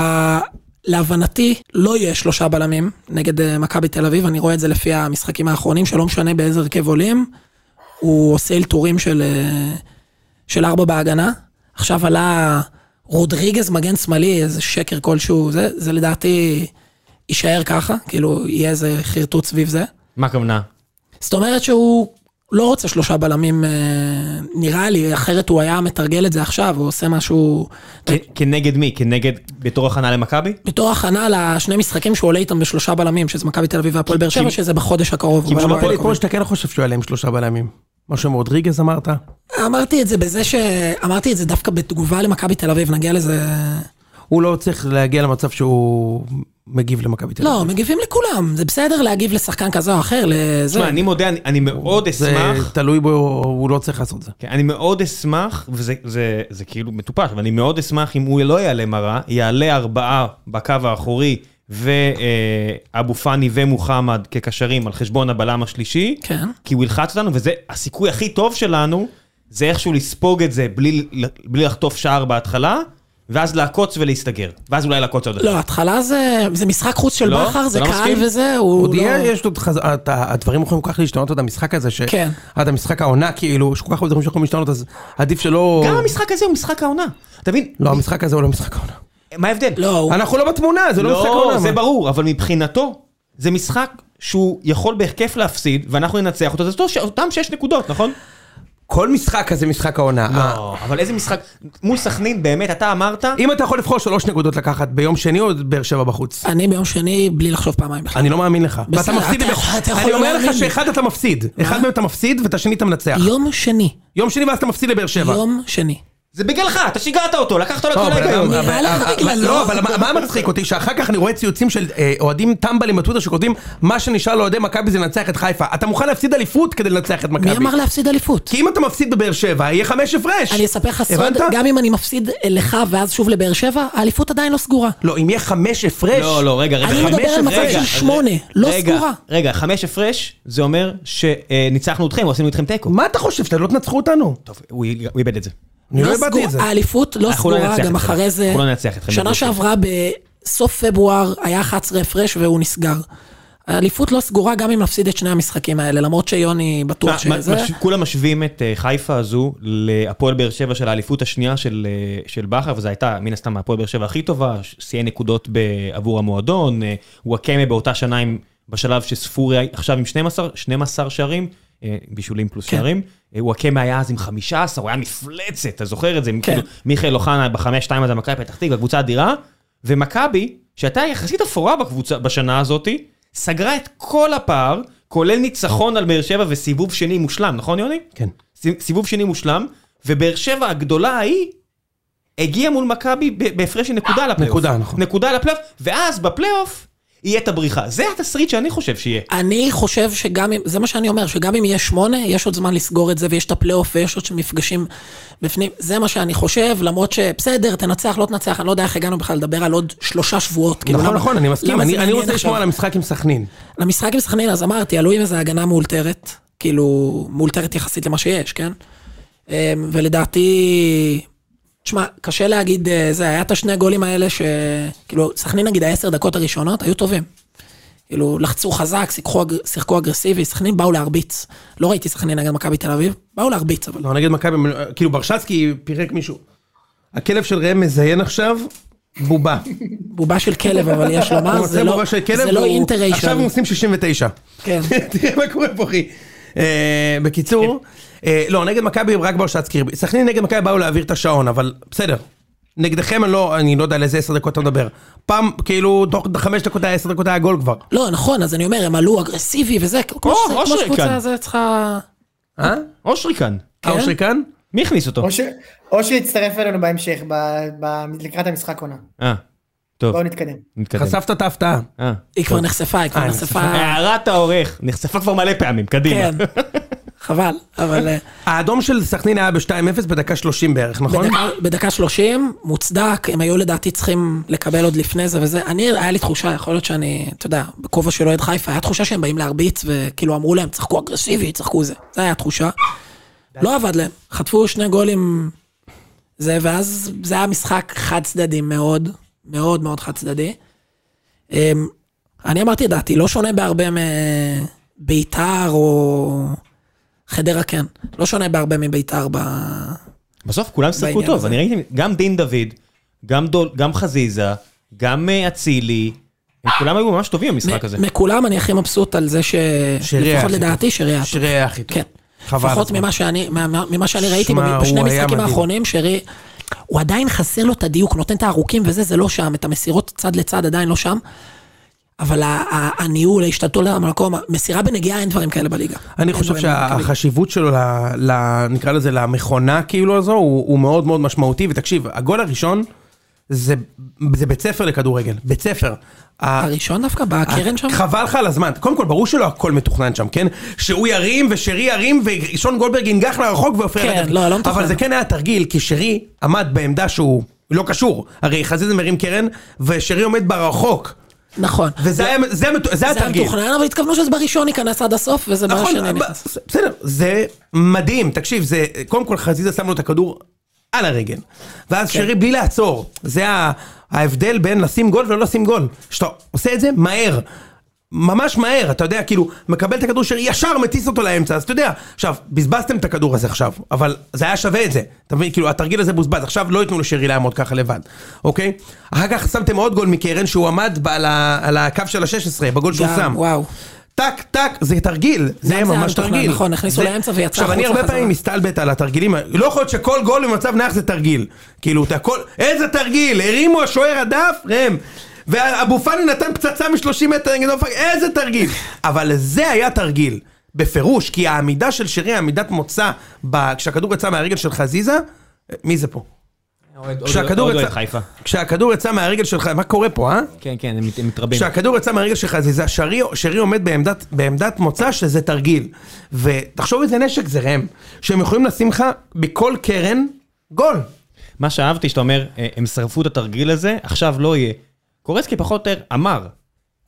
S2: להבנתי, לא יהיה שלושה בלמים נגד אה, מכבי תל אביב, אני רואה את זה לפי המשחקים האחרונים, שלא משנה באיזה הרכב עולים, הוא עושה אלתורים של, אה, של ארבע בהגנה. עכשיו עלה רודריגז מגן שמאלי, איזה שקר כלשהו, זה, זה לדעתי יישאר ככה, כאילו יהיה איזה חרטוט סביב זה.
S1: מה הכוונה?
S2: זאת אומרת שהוא לא רוצה שלושה בלמים, אה, נראה לי, אחרת הוא היה מתרגל את זה עכשיו, הוא עושה משהו...
S1: כ- כנגד מי? כנגד בתור הכנה למכבי?
S2: בתור הכנה לשני משחקים שהוא עולה איתם בשלושה בלמים, שזה מכבי תל אביב והפועל באר שבע, שזה בחודש הקרוב.
S4: אבל
S2: בשבוע
S4: אמרת לי
S2: הקרוב.
S4: אתמול שאתה כן חושב שהוא יעלה עם שלושה בלמים. משהו עם רודריגז אמרת?
S2: אמרתי את זה בזה ש... אמרתי את זה דווקא בתגובה למכבי תל אביב, נגיע לזה...
S4: הוא לא צריך להגיע למצב שהוא מגיב למכבי תל אביב.
S2: לא, מגיבים לכולם, זה בסדר להגיב לשחקן כזה או אחר, לזה.
S1: תשמע, אני מודה, אני- אני מאוד אשמח...
S4: זה תלוי בו, הוא לא צריך לעשות זה.
S1: כן, אני מאוד אשמח, וזה זה, זה כאילו מטופש, אבל אני מאוד אשמח אם הוא לא יעלה מרה, יעלה ארבעה בקו האחורי ואבו פאני ומוחמד כקשרים על חשבון הבלם השלישי,
S2: כן.
S1: כי הוא ילחץ אותנו, וזה הסיכוי הכי טוב שלנו, זה איכשהו לספוג את זה בלי, בלי לחטוף שער בהתחלה, ואז לעקוץ ולהסתגר, ואז אולי לעקוץ עוד אחד.
S2: לא, התחלה זה, זה משחק חוץ של
S1: לא,
S2: בכר,
S1: אתה
S2: זה
S1: לא
S2: קהל
S1: מסכים?
S2: וזה, הוא
S4: עוד
S2: לא...
S4: יהיה, יש עוד חז... אתה- הדברים יכולים כל כך להשתנות עד המשחק הזה, ש...
S2: כן.
S4: עד המשחק העונה, כאילו, יש כל כך הרבה דברים שיכולים להשתנות, אז עדיף שלא...
S1: גם המשחק הזה הוא משחק העונה, אתה מבין?
S4: לא, המשחק הזה הוא לא משחק העונה.
S1: מה ההבדל?
S2: לא, הוא...
S4: אנחנו לא בתמונה, זה לא, משחק העונה.
S1: לא, זה
S4: אבל-
S1: ברור, אבל מבחינתו, זה משחק שהוא יכול בהיקף להפסיד, ואנחנו ננצח אותו, זה אותו ש- אותם שש נקודות, נכון?
S4: כל משחק כזה משחק העונה.
S2: לא.
S4: אה,
S1: אבל איזה משחק, מול סכנין באמת, אתה אמרת,
S4: אם אתה יכול לבחור שלוש נקודות לקחת ביום שני או באר שבע בחוץ.
S2: אני ביום שני בלי לחשוב פעמיים בכלל.
S4: אני לא מאמין לך. ואתה
S2: בסדר,
S4: מפסיד...
S2: אתה
S4: עם-
S2: יכול- אתה יכול
S4: אני אומר
S2: לא
S4: לך
S2: להאמין לי.
S4: שאחד אתה מפסיד. אחד מהם אתה מפסיד ואת השני אתה מנצח.
S2: יום שני,
S4: יום שני ואז אתה מפסיד לבאר שבע.
S2: יום שני.
S1: זה בגללך, אתה שיגעת אותו, לקחת לו את
S4: לא,
S1: כל
S4: אבל-
S1: ההיגיון.
S4: אבל-
S2: נראה לך
S4: אבל-
S2: בגללו.
S4: לא, אבל מה- מה מצחיק אותי? שאחר כך אני רואה ציוצים של אה, אוהדים טמבלים בטוויטר שכותבים מה שנשאר לאוהדי מכבי זה לנצח את חיפה. אתה מוכן להפסיד אליפות כדי לנצח את מכבי.
S2: מי אמר להפסיד אליפות?
S4: כי אם אתה מפסיד בבאר שבע, יהיה חמש הפרש.
S2: אני אספר לך סוד,
S4: הבנת?
S2: גם אם אני מפסיד לך ואז שוב לבאר שבע, האליפות עדיין לא סגורה.
S4: לא, אם יהיה חמש הפרש...
S1: לא, לא, רגע, רגע.
S2: אני מדבר
S1: חמש
S2: על
S1: הפרש.
S2: מצב של
S1: רגע,
S2: שמונה, לא
S1: רגע,
S2: סגורה.
S1: רגע, חמש הפרש, זה אומר שניצחנו אתכם, או עשינו אתכם תיקו.
S4: מה אתה חושב? שאתם לא תנצחו אותנו?
S1: טוב, הוא יג- הוא איבד את זה.
S4: אני לא
S2: לא
S4: הבנתי
S2: סגור-
S4: את זה.
S2: האליפות לא
S1: אנחנו לא
S2: סגורה,
S1: ננצח אתכם.
S2: גם אחרי זה...
S1: אנחנו לא ננצח אתכם
S2: שנה
S1: בגלל זה.
S2: שעברה בסוף פברואר היה 11 הפרש והוא נסגר. האליפות לא סגורה גם אם נפסיד את שני המשחקים האלה, למרות שיוני בטוח
S1: מה- מה-
S2: שזה...
S1: מש- כולם משווים את אה, חיפה הזו להפועל באר שבע של האליפות השנייה של, אה, של בכר, וזו הייתה מן הסתם הפועל באר שבע הכי טובה, ש- שיאי נקודות ב- עבור המועדון, אה, וואקמה באותה שנה עם, בשלב שספורי היה- עכשיו עם 12, 12 שערים, אה, בישולים פלוס
S2: כן.
S1: שערים, אה, וואקמה היה אז עם 15, הוא היה מפלצת, אתה זוכר את זה?
S2: כן.
S1: כן. כאילו, מיכאל אוחנה בחמש, שתיים הזה, מכבי פתח תקווה, קבוצה אדירה, ומכבי, שהייתה יחסית אפורה בקבוצה, בשנה הזאתי, סגרה את כל הפער, כולל ניצחון על באר שבע וסיבוב שני מושלם, נכון יוני?
S2: לא,
S4: כן.
S1: ס- סיבוב שני מושלם, ובאר שבע הגדולה ההיא, הגיעה מול מכבי ב- בהפרש של נקודה לפלייאוף.
S4: נקודה, נכון.
S1: נקודה לפלייאוף, ואז בפלייאוף יהיה את הבריחה. זה התסריט שאני חושב שיהיה.
S2: אני חושב שגם אם, זה מה שאני אומר, שגם אם יהיה שמונה, יש עוד זמן לסגור את זה, ויש את הפלייאוף, ויש עוד מפגשים בפנים. זה מה שאני חושב, למרות שבסדר, תנצח, לא תנצח, אני לא יודע איך הגענו בכלל לדבר על עוד שלושה שבועות. כאילו,
S4: נכון,
S2: למה-
S4: נכון, אני מסכים.
S2: למה זה לא נכון?
S4: אני אני
S2: מעניין
S4: רוצה
S2: עכשיו?
S4: לשמוע על המשחק עם סכנין.
S2: למשחק עם סכנין, אז אמרתי, עלו עם איזה הגנה מאולתרת, כאילו, מאולתרת יחסית למה שיש, כן? אמ, ולדעתי, תשמע, קשה להגיד, אה, זה, היה את השני הגולים האלה ש... כאילו, סכנין נגיד העשר דקות הראשונות היו טובים. כאילו, לחצו חזק, שיחקו, אג- שיחקו אגרסיבי, סכנין באו להרביץ. לא ראיתי סכנין נגד מכבי תל אביב, באו להרביץ, אבל...
S4: לא, נגד מכבי, כאילו ברשצקי פירק מישהו. הכלב של ראם מזיין עכשיו בובה.
S2: בובה של כלב, אבל יש
S4: הוא
S2: לומר,
S4: רוצה
S2: זה לא,
S4: בובה של כלב
S2: זה לא
S4: והוא-
S2: אינטריישן.
S4: עכשיו הם עושים 69.
S2: כן.
S4: *laughs* תראה מה קורה פה, אחי. אה, בקיצור, אה, לא, נגד מכבי רק ברשצקי. הרביץ. סכנין נגד מכבי באו להעביר את השעון, אבל בסדר. נגדכם אני לא, אני לא יודע על איזה עשר דקות אתה מדבר. פעם, כאילו, תוך חמש דקות היה עשר דקות היה גול כבר.
S2: לא, נכון, אז אני אומר, הם עלו אגרסיבי וזה, כמו שזה- כמו
S1: אושרי
S2: שקבוצה
S1: כאן.
S2: זה צריכה...
S4: אה?
S1: אושרי כאן.
S2: כן.
S4: האושרי כאן?
S1: מי הכניס אותו?
S3: או ש- או שיצטרף אלינו בהמשך, ב- ב- לקראת המשחק עונה.
S1: אה, טוב,
S3: בואו נתקדם.
S1: נתקדם.
S4: חשפת את ההפתעה.
S1: אה.
S2: היא כבר נחשפה, היא כבר
S4: אה,
S2: נחשפה,
S1: הערת העורך, נחשפה כבר מלא פעמים, קדימה.
S2: כן, חבל, אבל אה,
S4: האדום של סכנין היה ב-2-0 בדקה 30 בערך, נכון?
S2: בדקה- בדקה 30, מוצדק, הם היו לדעתי צריכים לקבל עוד לפני זה וזה, אני, היה לי תחושה, יכול להיות שאני, אתה יודע, בכובע של אוהד חיפה, היה תחושה שהם באים להרביץ, וכאילו אמרו להם, צחקו אגרסיבי, צחקו זה, זה היה התחושה. לא עבד להם, חטפו שני גולים, זה, ואז זה היה משחק חד צדדי מאוד, מאוד מאוד חד צדדי. אמ, אני אמרתי את דעתי, לא שונה בהרבה מביתר או חדרה כן, לא שונה בהרבה מביתר ב...
S1: בסוף כולם שיחקו
S2: בעניין
S1: טוב,
S2: הזה.
S1: אני ראיתי, גם דין דוד, גם דול- גם חזיזה, גם אה, אצילי, הם כולם היו ממש טובים במשחק הזה.
S2: מ- מכולם אני הכי מבסוט על זה ש...
S4: שרי היה
S2: לפחות
S4: הכי
S2: לדעתי שרי היה טוב.
S4: שרי היה הכי טוב.
S2: כן.
S4: חבל
S2: לפחות
S4: הזמן.
S2: ממה שאני, מה- מה- ממה שאני ראיתי
S4: שמע,
S2: במ-
S4: הוא
S2: בשני
S4: היה
S2: המשחקים
S4: מדהים.
S2: האחרונים, שרי, הוא עדיין חסר לו את הדיוק, נותן את הארוכים וזה, זה לא שם, את המסירות צד לצד עדיין לא שם. אבל ה- ה- הניהול, ההשתלטות על המקום, מסירה בנגיעה, אין דברים כאלה בליגה.
S4: אני
S2: אין
S4: חושב
S2: דברים כאלה.
S4: שהחשיבות שלו, ל, ל, נקרא לזה, למכונה כאילו הזו, הוא, הוא מאוד מאוד משמעותי, ותקשיב, הגול הראשון זה, זה בית ספר לכדורגל, בית ספר. ה-
S2: הראשון דווקא, בקרן שם?
S4: חבל לך על הזמן. קודם כל, ברור שלא הכל מתוכנן שם, כן? שהוא ירים ושרי ירים ושון גולדברג ינגח לרחוק ועופר
S2: כן,
S4: ידע.
S2: לא, לא מתוכנן.
S4: אבל זה כן היה תרגיל, כי שרי עמד בעמדה שהוא לא קשור. הרי חזיזה מרים קרן, ושרי עומד ברחוק.
S2: נכון.
S4: וזה היה, זה, היה- זה היה
S2: זה היה
S4: תרגיל.
S2: מתוכנן, אבל התכוונו שזה בראשון ייכנס עד הסוף, וזה
S4: נכון,
S2: בשני
S4: אבל-
S2: נכנס.
S4: בסדר, זה מדהים, תקשיב, זה, קודם כל חזיזה שם לו את הכדור על הרגל, ואז
S2: כן.
S4: שרי בלי לעצור, זה ה- ההבדל בין לשים גול ולא לשים גול, שאתה עושה את זה מהר. ממש מהר, אתה יודע, כאילו, מקבל את הכדור שרי, ישר מטיס אותו לאמצע, אז אתה יודע, עכשיו, בזבזתם את הכדור הזה עכשיו, אבל זה היה שווה את זה, אתה מבין, כאילו, התרגיל הזה בוזבז, עכשיו לא ייתנו לשרי לעמוד ככה לבד, אוקיי? אחר כך שמתם עוד גול מקרן, שהוא עמד ב- על ה- על הקו של ה-16, בגול שהוא
S2: גם,
S4: שם.
S2: וואו.
S4: טק, טק, זה תרגיל, זה
S2: גם
S4: היה
S2: זה היה
S4: ממש
S2: מתוכנן,
S4: תרגיל.
S2: נכון, הכניסו
S4: זה-
S2: לאמצע ויצא
S4: עכשיו,
S2: החוצה
S4: אני הרבה
S2: חזרה.
S4: פעמים מסתלבט על התרגילים, האלה. לא יכול להיות שכל גול במצב נח זה תרגיל. כאילו, אתה כל... איזה תרגיל! הרימו השוער הדף, ראם. ואבו פאני נתן פצצה מ-30 מטר נגד אופק, איזה תרגיל! אבל זה היה תרגיל, בפירוש, כי העמידה של שרי, עמידת מוצא, ב- כשהכדור יצא מהרגל של חזיזה, מי זה פה? כשהכדור
S1: עוד לא אוהד
S4: יצא...
S1: חיפה.
S4: כשהכדור יצא מהרגל שלך, מה קורה פה, אה?
S1: כן, כן, הם מת- הם מתרבים.
S4: כשהכדור יצא מהרגל של חזיזה, שרי, שרי עומד בעמדת, בעמדת מוצא שזה תרגיל. ותחשוב איזה נשק זה ראם, שהם יכולים לשים לך בכל קרן גול.
S1: מה שאהבתי שאתה אומר, אה, הם שרפו את התרגיל הזה, עכשיו לא יהיה. קורצקי פחות או יותר אמר,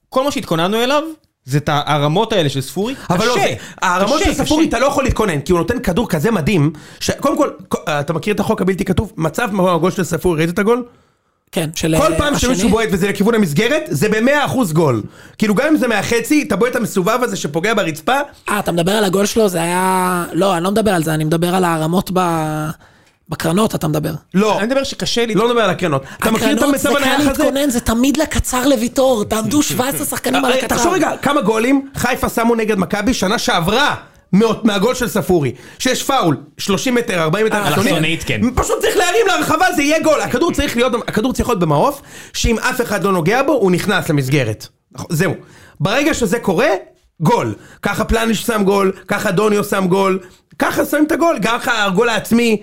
S1: כל מה שהתכוננו אליו, זה את הרמות האלה של ספורי, קשה,
S4: אבל לא, זה- הרמות
S1: קשה,
S4: של ספורי
S1: קשה.
S4: אתה לא יכול להתכונן, כי הוא נותן כדור כזה מדהים, שקודם כל, כל- אתה מכיר את החוק הבלתי כתוב, מצב כמו הגול של ספורי, ראית את הגול?
S2: כן, של
S4: כל
S2: אה,
S4: פעם שמישהו
S2: השני.
S4: בועט וזה לכיוון המסגרת, זה במאה אחוז גול. כאילו גם אם זה מהחצי, אתה בועט את המסובב הזה שפוגע ברצפה,
S2: אה, אתה מדבר על הגול שלו, זה היה... לא, אני לא מדבר על זה, אני מדבר על הערמות ב... בקרנות, אתה מדבר.
S4: לא,
S1: אני מדבר שקשה לי,
S4: לא מדבר על הקרנות. אתה מכיר את
S2: הקרנות זה
S4: המצב
S2: קל
S4: הנייח הזה?
S2: להתכונן, זה תמיד לקצר לוויטור,
S4: *laughs*
S2: תעמדו 17 שחקנים על
S4: הרי
S2: הקצר.
S4: אה, תחשוב רגע, כמה גולים חיפה שמו נגד מכבי שנה שעברה. מאות- מהגול של ספורי, שיש פאול, 30 מטר, 40 מטר,
S1: אלכסונית, כן.
S4: פשוט צריך להרים להרחבה, זה יהיה גול, הכדור צריך להיות, הכדור צריך להיות במעוף, שאם אף אחד לא נוגע בו, הוא נכנס למסגרת. נכון, זהו. ברגע שזה קורה, גול. ככה פלניש שם גול, ככה דוניו שם גול, ככה שמים את הגול, ככה הגול העצמי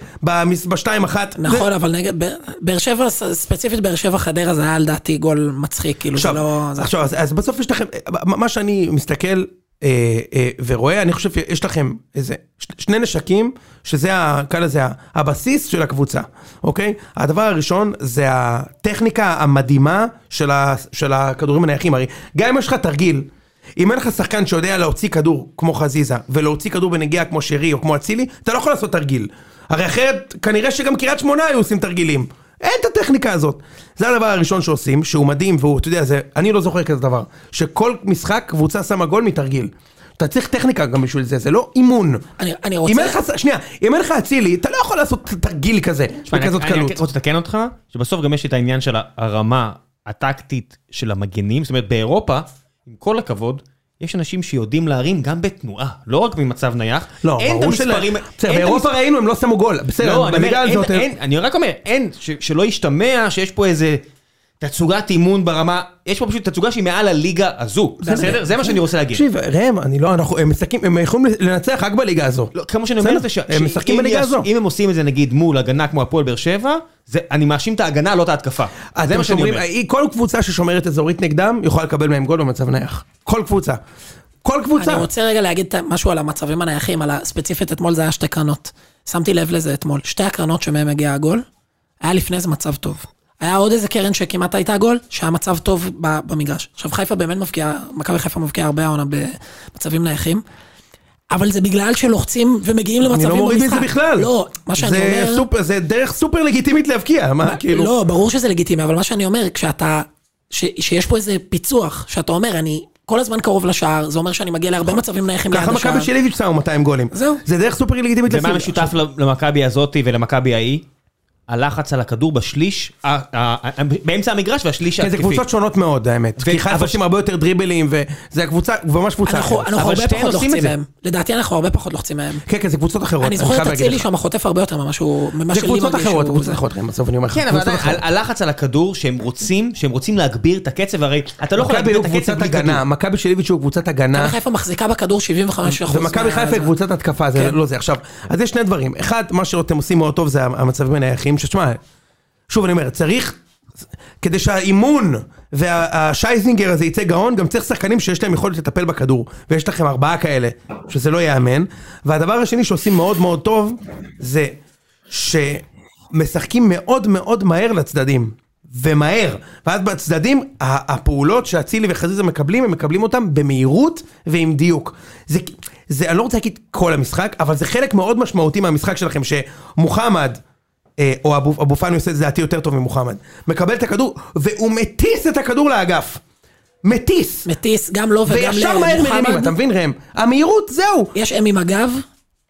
S4: בשתיים אחת.
S2: נכון, אבל נגד... באר- באר שבע, ס- ספציפית באר שבע חדרה, זה היה לדעתי גול מצחיק, כאילו, זה
S4: עכשיו,
S2: לא... זה-
S4: עכשיו אז, אז בסוף יש לכם, מה שאני מסתכל אה, אה, ורואה, אני חושב שיש לכם איזה ש, שני נשקים, שזה, ה- נקרא לזה, ה- הבסיס של הקבוצה, אוקיי? הדבר הראשון זה הטכניקה המדהימה של, ה, של הכדורים הנייחים, הרי גם אם יש לך תרגיל, אם אין לך שחקן שיודע להוציא כדור כמו חזיזה, ולהוציא כדור בנגיעה כמו שרי או כמו אצילי, אתה לא יכול לעשות תרגיל. הרי אחרת, כנראה שגם קריית שמונה היו עושים תרגילים. אין את הטכניקה הזאת. זה הדבר הראשון שעושים, שהוא מדהים, והוא, אתה יודע, זה, אני לא זוכר כזה דבר. שכל משחק קבוצה שמה גול מתרגיל. אתה צריך טכניקה גם בשביל זה, זה לא אימון.
S2: אני- אני רוצה-
S4: אם אין לך, שנייה, אם אין לך אצילי, אתה לא יכול לעשות תרגיל כזה,
S1: תשמע, אני-
S4: בכזאת
S1: אני
S4: קלות.
S1: רק רוצה לתקן אותך, שבסוף גם יש את העניין של הרמה הטקטית של המגנים, זאת אומרת באירופה, עם כל הכבוד, יש אנשים שיודעים להרים גם בתנועה, לא רק ממצב נייח.
S4: לא,
S1: אין את
S4: ברור שלא.
S1: המספרים-
S4: בסדר,
S1: אין את
S4: באירופה
S1: המס-
S4: ראינו, הם לא שמו גול. בסדר,
S1: לא, אני
S4: בליגה
S1: אומר,
S4: הזאת...
S1: אין- אין- אני רק אומר, אין, ש- שלא ישתמע שיש פה איזה תצוגת אימון ברמה, יש פה פשוט תצוגה שהיא מעל הליגה הזו, בסדר? זה מה שאני רוצה להגיד.
S4: תקשיב, ראם, אני לא, אנחנו, הם משחקים, הם יכולים לנצח רק בליגה הזו.
S1: לא, כמו שאני אומר
S4: בסדר,
S1: את זה, ש-
S4: הם משחקים
S1: שאם
S4: בליגה
S1: יעשו-
S4: הזו.
S1: אם הם עושים את זה נגיד מול הגנה כמו הפועל באר שבע, זה- אני מאשים את ההגנה, לא את ההתקפה. זה
S4: אה, אתם
S1: מה שאני
S4: שומרים,
S1: אומר.
S4: היא- כל קבוצה ששומרת אזורית נגדם, יכולה לקבל מהם גול במצב נייח. כל קבוצה. כל
S2: אני
S4: קבוצה.
S2: רוצה רגע להגיד את- משהו על המצבים הנייחים, על ה- ספציפית אתמול זה היה שתי קרנות. שמתי לב לזה אתמול. שתי הקרנות שמהם הגיע הגול, היה לפני זה מצב טוב. היה עוד איזה קרן שכמעט הייתה גול, שהיה מצב טוב ב- במגרש. עכשיו חיפה באמת מבקיעה, מכבי חיפה מבקיעה הרבה העונה במצבים נייחים. אבל זה בגלל שלוחצים ומגיעים למצבים
S4: אני
S2: במשחק.
S4: לא מוריד מזה בכלל.
S2: לא, מה שאני
S4: זה
S2: אומר...
S4: סופר- זה דרך סופר לגיטימית להבקיע, מה כאילו?
S2: לא, ברור שזה לגיטימי, אבל מה שאני אומר, כשאתה... ש, שיש פה איזה פיצוח, שאתה אומר, אני כל הזמן קרוב לשער, זה אומר שאני מגיע להרבה מצבים נייחים ליד
S4: נכון. ככה
S2: השער.
S4: מכבי של איביץ' שמו 200 גולים.
S2: זהו.
S4: זה דרך סופר לגיטימית
S1: ומה משותף למכבי הזאתי ולמכבי ההיא? הלחץ על הכדור בשליש, ה- ה- ה- באמצע המגרש והשליש
S4: כן, זה
S1: ההתקפי.
S4: קבוצות שונות מאוד, האמת.
S1: ו-
S4: כי חיפה
S1: אבל-
S4: עושים הרבה יותר דריבלים, וזה הקבוצה, ממש קבוצה
S2: אנחנו
S4: אחרת.
S2: אנחנו
S1: אבל
S2: הרבה
S1: שתיהן
S2: פחות
S1: עושים את
S2: לוחצים
S1: זה.
S2: מהם. לדעתי אנחנו הרבה פחות לוחצים מהם.
S4: כן, כן, זה קבוצות אחרות.
S2: אני זוכר
S4: חייב
S2: את
S4: להגיד
S2: אצילי
S4: לך.
S2: שם חוטף הרבה יותר ממה שהוא... ממה
S4: זה
S2: שלי
S4: קבוצות
S2: מרגיש
S4: אחרות,
S2: שהוא-
S4: קבוצות אחרות, חיים, בסוף אני אומר לך,
S1: כן, אבל
S4: קבוצות
S1: עדיין,
S4: אחרות.
S1: ה- הלחץ על הכדור, שהם רוצים, שהם רוצים להגביר את הקצב, הרי אתה לא יכול
S4: מכבי
S1: להגביר
S4: הוא
S1: את הקצב
S4: קבוצת
S1: בלי כדור.
S4: הגנה, מכבי של איביץ' הוא קבוצת הגנה,
S2: מכבי חיפה מחזיקה בכדור 75%.
S4: אה. ומכבי
S2: מה-
S4: חיפה היא קבוצת התקפה, זה
S2: כן.
S4: לא זה. עכשיו, אז יש שני דברים. אחד, מה שאתם עושים מאוד טוב זה המצבים הנייחים, ששמע, שוב אני אומר, צריך, כדי שהאימון והשייזינגר הזה יצא גאון, גם צריך שחקנים שיש להם יכולת לטפל בכדור, ויש לכם ארבעה כאלה, שזה לא ייאמן. והדבר השני שעושים מאוד מאוד טוב, זה שמשחקים מאוד מאוד מהר לצדדים. ומהר, ואז בצדדים, ה- הפעולות שאצילי וחזיזה מקבלים, הם מקבלים אותם במהירות ועם דיוק. זה, זה, אני לא רוצה להגיד כל המשחק, אבל זה חלק מאוד משמעותי מהמשחק שלכם, שמוחמד, אה, או אבו, אבו פאני עושה את זה לדעתי יותר טוב ממוחמד, מקבל את הכדור, והוא מטיס את הכדור לאגף. מטיס.
S2: מטיס, גם לו וגם
S4: וישר מהר מרימים,
S2: למוחמד.
S4: אתה מבין ראם? המהירות, זהו.
S2: יש הם עם הגב,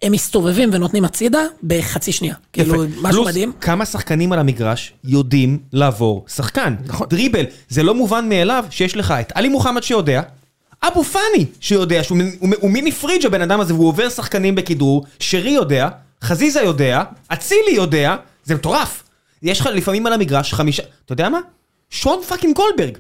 S2: הם מסתובבים ונותנים הצידה בחצי שנייה. כאילו, משהו
S1: פלוס
S2: מדהים.
S1: כמה שחקנים על המגרש יודעים לעבור שחקן.
S2: נכון.
S1: דריבל. זה לא מובן מאליו שיש לך את עלי מוחמד שיודע, אבו פאני שיודע, שהוא מין- הוא מ- הוא מיני פריג' הבן אדם הזה, והוא עובר שחקנים בכדרור, שרי יודע, חזיזה יודע, אצילי יודע, זה מטורף. יש לך לפעמים על המגרש חמישה, אתה יודע מה? שון פאקינג גולדברג.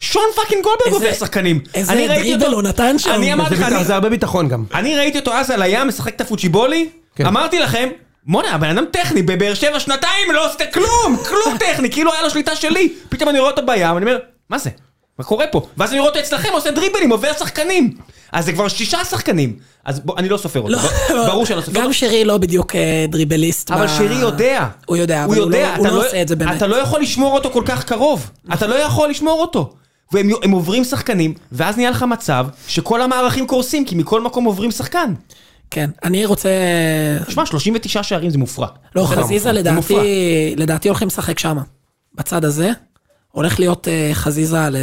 S1: שון פאקינג גולדברג
S2: איזה-
S1: עובר שחקנים.
S2: איזה
S1: אני ראיתי
S2: דריבל
S1: אותו-
S2: הוא נתן שם.
S1: אני אמרתי
S4: זה
S1: לך,
S4: ביטח-
S1: אני-
S4: זה הרבה ביטחון גם.
S1: אני ראיתי אותו אז על הים משחק את הפוצ'יבולי,
S4: כן.
S1: אמרתי לכם, בואנה, הבן אדם טכני, בבאר שבע שנתיים לא עשית כלום, כלום טכני, כאילו היה לו שליטה שלי. פתאום אני רואה אותו בים, אני אומר, מה זה? מה קורה פה? ואז אני רואה אותו אצלכם, עושה דריבלים, עובר שחקנים. אז זה כבר שישה שחקנים. אז בוא, אני לא סופר אותו, בר- ברור שאני לא סופר
S2: גם
S1: אותו.
S2: שרי לא בדיוק אה, דריבליסט.
S1: אבל
S2: ב-
S1: שרי יודע.
S2: הוא יודע,
S1: הוא
S2: אבל הוא לא-
S1: יודע,
S2: הוא
S1: אתה
S2: לא עושה את זה באמת.
S1: אתה לא יכול לשמור אותו כל כך קרוב. אתה לא יכול לשמור אותו. והם הם עוברים שחקנים, ואז נהיה לך מצב שכל המערכים קורסים, כי מכל מקום עוברים שחקן.
S2: כן. אני רוצה...
S1: שמע, 39 שערים זה מופרע.
S2: לא,
S1: זה
S2: חזיזה
S1: מופרע.
S2: לדעתי,
S1: זה
S2: לדעתי הולכים לשחק שמה. בצד הזה. הולך להיות אה, חזיזה ל...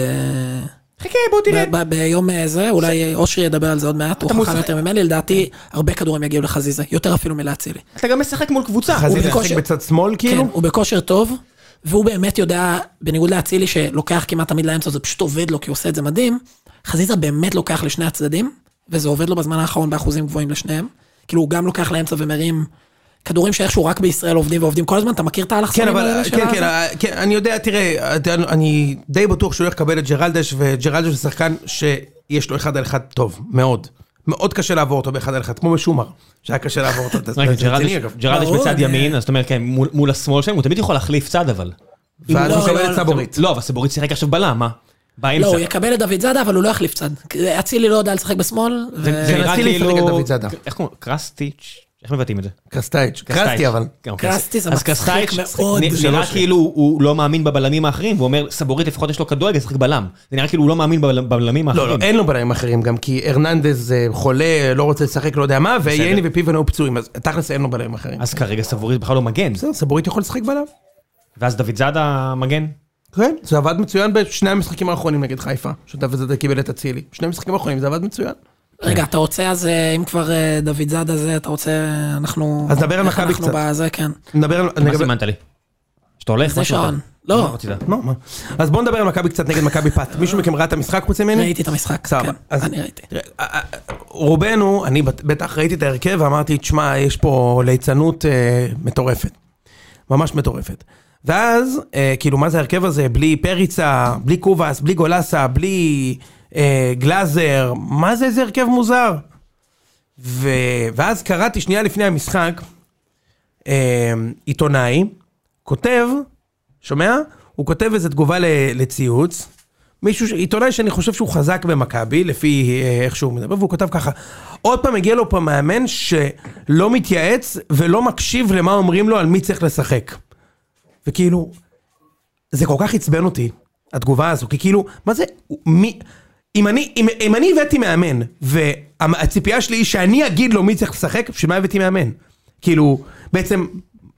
S1: חכה, בוא תראה.
S2: ב- ב- ביום אה, זה, אולי אושרי ידבר על זה עוד מעט, הוא חכם
S1: מוזמן.
S2: יותר ממני, לדעתי הרבה כדורים יגיעו לחזיזה, יותר אפילו מלהצילי.
S1: אתה גם משחק מול קבוצה.
S4: חזיזה
S2: בכושר-
S4: משחק בצד שמאל
S2: כן,
S4: כאילו?
S2: הוא בכושר טוב, והוא באמת יודע, בניגוד לאצילי שלוקח כמעט תמיד לאמצע, זה פשוט עובד לו כי הוא עושה את זה מדהים, חזיזה באמת לוקח לשני הצדדים, וזה עובד לו בזמן האחרון באחוזים גבוהים לשניהם. כאילו הוא גם לוקח לאמצע ומרים כדורים שאיכשהו רק בישראל עובדים ועובדים כל הזמן, אתה מכיר את
S4: כן,
S2: האלכסונים
S4: אבל,
S2: האלה של
S4: כן,
S2: הזה?
S4: כן, אה, כן, אני יודע, תראה, אתה- אני די בטוח שהוא הולך לקבל את ג'רלדש, וג'רלדש הוא שחקן שיש לו אחד על אחד טוב, מאוד. מאוד קשה לעבור אותו באחד על אחד, כמו בשומר, שהיה קשה לעבור אותו. אתה-
S1: רגע,
S4: זה רציני, אגב.
S1: ג'רלדש- ג'רלדש
S2: ברור,
S1: בצד
S2: אני-
S1: ימין, אז אתה אומר, כן, מול מול השמאל שלהם, הוא תמיד יכול להחליף צד, אבל.
S4: ואז הוא
S2: לא,
S4: מקבל
S2: לא,
S4: את סבורית.
S1: לא, אבל סבורית שיחק עכשיו בלם, מה?
S2: לא,
S1: באמצע.
S2: הוא יקבל את דוד זאדה, אבל הוא לא יחליף צד. אצילי לא יודע לשחק בשמאל,
S1: זה זה נראה
S4: אצילי
S1: כאילו...
S4: משחק את דוד זאדה.
S1: איך קוראים לו? קרסטיץ'? איך מבטאים את זה?
S4: קרסטייץ', קרסטי אבל.
S1: כן, אוקיי.
S2: קרסטי זה
S1: אז
S2: מצחיק
S1: קרסטייץ'
S2: מאוד.
S1: נ- נראה
S2: שלוש.
S1: כאילו הוא לא מאמין בבלמים האחרים, והוא אומר, סבורית לפחות יש לו כדורגל, ישחק בלם. זה נראה כאילו הוא לא מאמין בבל- בבלמים
S4: לא,
S1: האחרים.
S4: לא, אין לו בלמים אחרים גם, כי הרננדז אה, חולה, לא רוצה לשחק, לא יודע מה, וייני ופיבן היו פצועים, אז תכלס אין לו בלמים אחרים.
S1: אז כרגע סבורית בכלל לא מגן.
S4: בסדר, סבורית יכול לשחק בלם.
S1: ואז דוד זאדה מגן?
S4: כן, זה עבד מצוין בשני המשחקים האחרונים נגד חיפה, שדוד זאדה קיבל את אצילי. שני המשחקים האחרונים זה עבד מצוין.
S2: רגע, אתה רוצה אז, אה, אם כבר אה, דוד זאדה זה, אתה רוצה, אנחנו...
S4: אז דבר על
S2: איך
S4: מכבי
S2: אנחנו
S4: קצת.
S2: בזה, כן.
S4: נדבר על...
S1: מה
S4: נגב-
S1: סימנת לי? שאתה הולך?
S2: זה
S1: מה סימנת?
S2: שעון. לא.
S1: מה רצית?
S4: לא, מה? אז בואו נדבר על מכבי קצת נגד מכבי פת. מישהו מכם ראה את המשחק חוץ ממני?
S2: ראיתי את המשחק,
S4: סבבה.
S2: כן,
S4: אז-
S2: אני ראיתי.
S4: תראה, א- א- רובנו, אני בת- בטח ראיתי את ההרכב ואמרתי, תשמע, יש פה ליצנות אה, מטורפת. ממש מטורפת. ואז, אה, כאילו, מה זה ההרכב הזה? בלי פריצה, בלי קובאס, בלי גולסה, בלי אה, גלאזר, מה זה איזה הרכב מוזר? ו... ואז קראתי שנייה לפני המשחק, אה, עיתונאי, כותב, שומע? הוא כותב איזה תגובה ל... לציוץ, מישהו, ש- עיתונאי שאני חושב שהוא חזק במכבי, לפי אה, איך שהוא מדבר, והוא כותב ככה, עוד פעם הגיע לו פה מאמן שלא מתייעץ ולא מקשיב למה אומרים לו על מי צריך לשחק. וכאילו, זה כל כך עצבן אותי, התגובה הזו, כי כאילו, מה זה, מי, אם אני, אם, אם אני הבאתי מאמן, והציפייה שלי היא שאני אגיד לו מי צריך לשחק, בשביל מה הבאתי מאמן? כאילו, בעצם,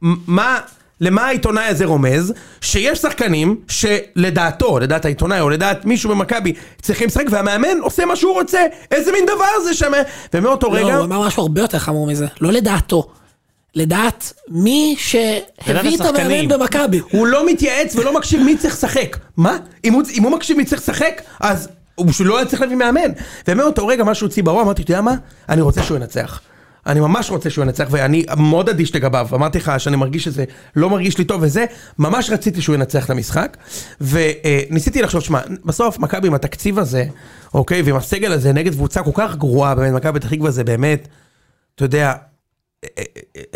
S4: מ- מה, למה העיתונאי הזה רומז? שיש שחקנים שלדעתו, לדעת העיתונאי או לדעת מישהו במכבי, צריכים לשחק, והמאמן עושה מה שהוא רוצה. איזה מין דבר זה שם? ומאותו
S2: לא,
S4: רגע...
S2: הוא אמר משהו הרבה יותר חמור מזה. לא לדעתו. לדעת מי שהביא את המאמן
S1: השחקנים.
S2: במכבי.
S4: הוא לא מתייעץ ולא מקשיב מי צריך לשחק. מה? אם הוא, אם הוא מקשיב מי צריך לשחק, אז הוא בשביל לא היה צריך להביא מאמן. ומאותו רגע מה שהוציא ברור, אמרתי, אתה יודע מה? אני רוצה שהוא ינצח. אני ממש רוצה שהוא ינצח, ואני מאוד אדיש לגביו. אמרתי לך שאני מרגיש שזה לא מרגיש לי טוב וזה, ממש רציתי שהוא ינצח את המשחק. וניסיתי לחשוב, שמע, בסוף מכבי עם התקציב הזה, אוקיי, ועם הסגל הזה נגד קבוצה כל כך גרועה, באמת, מכבי פתח תקווה זה באמת, אתה יודע, אה,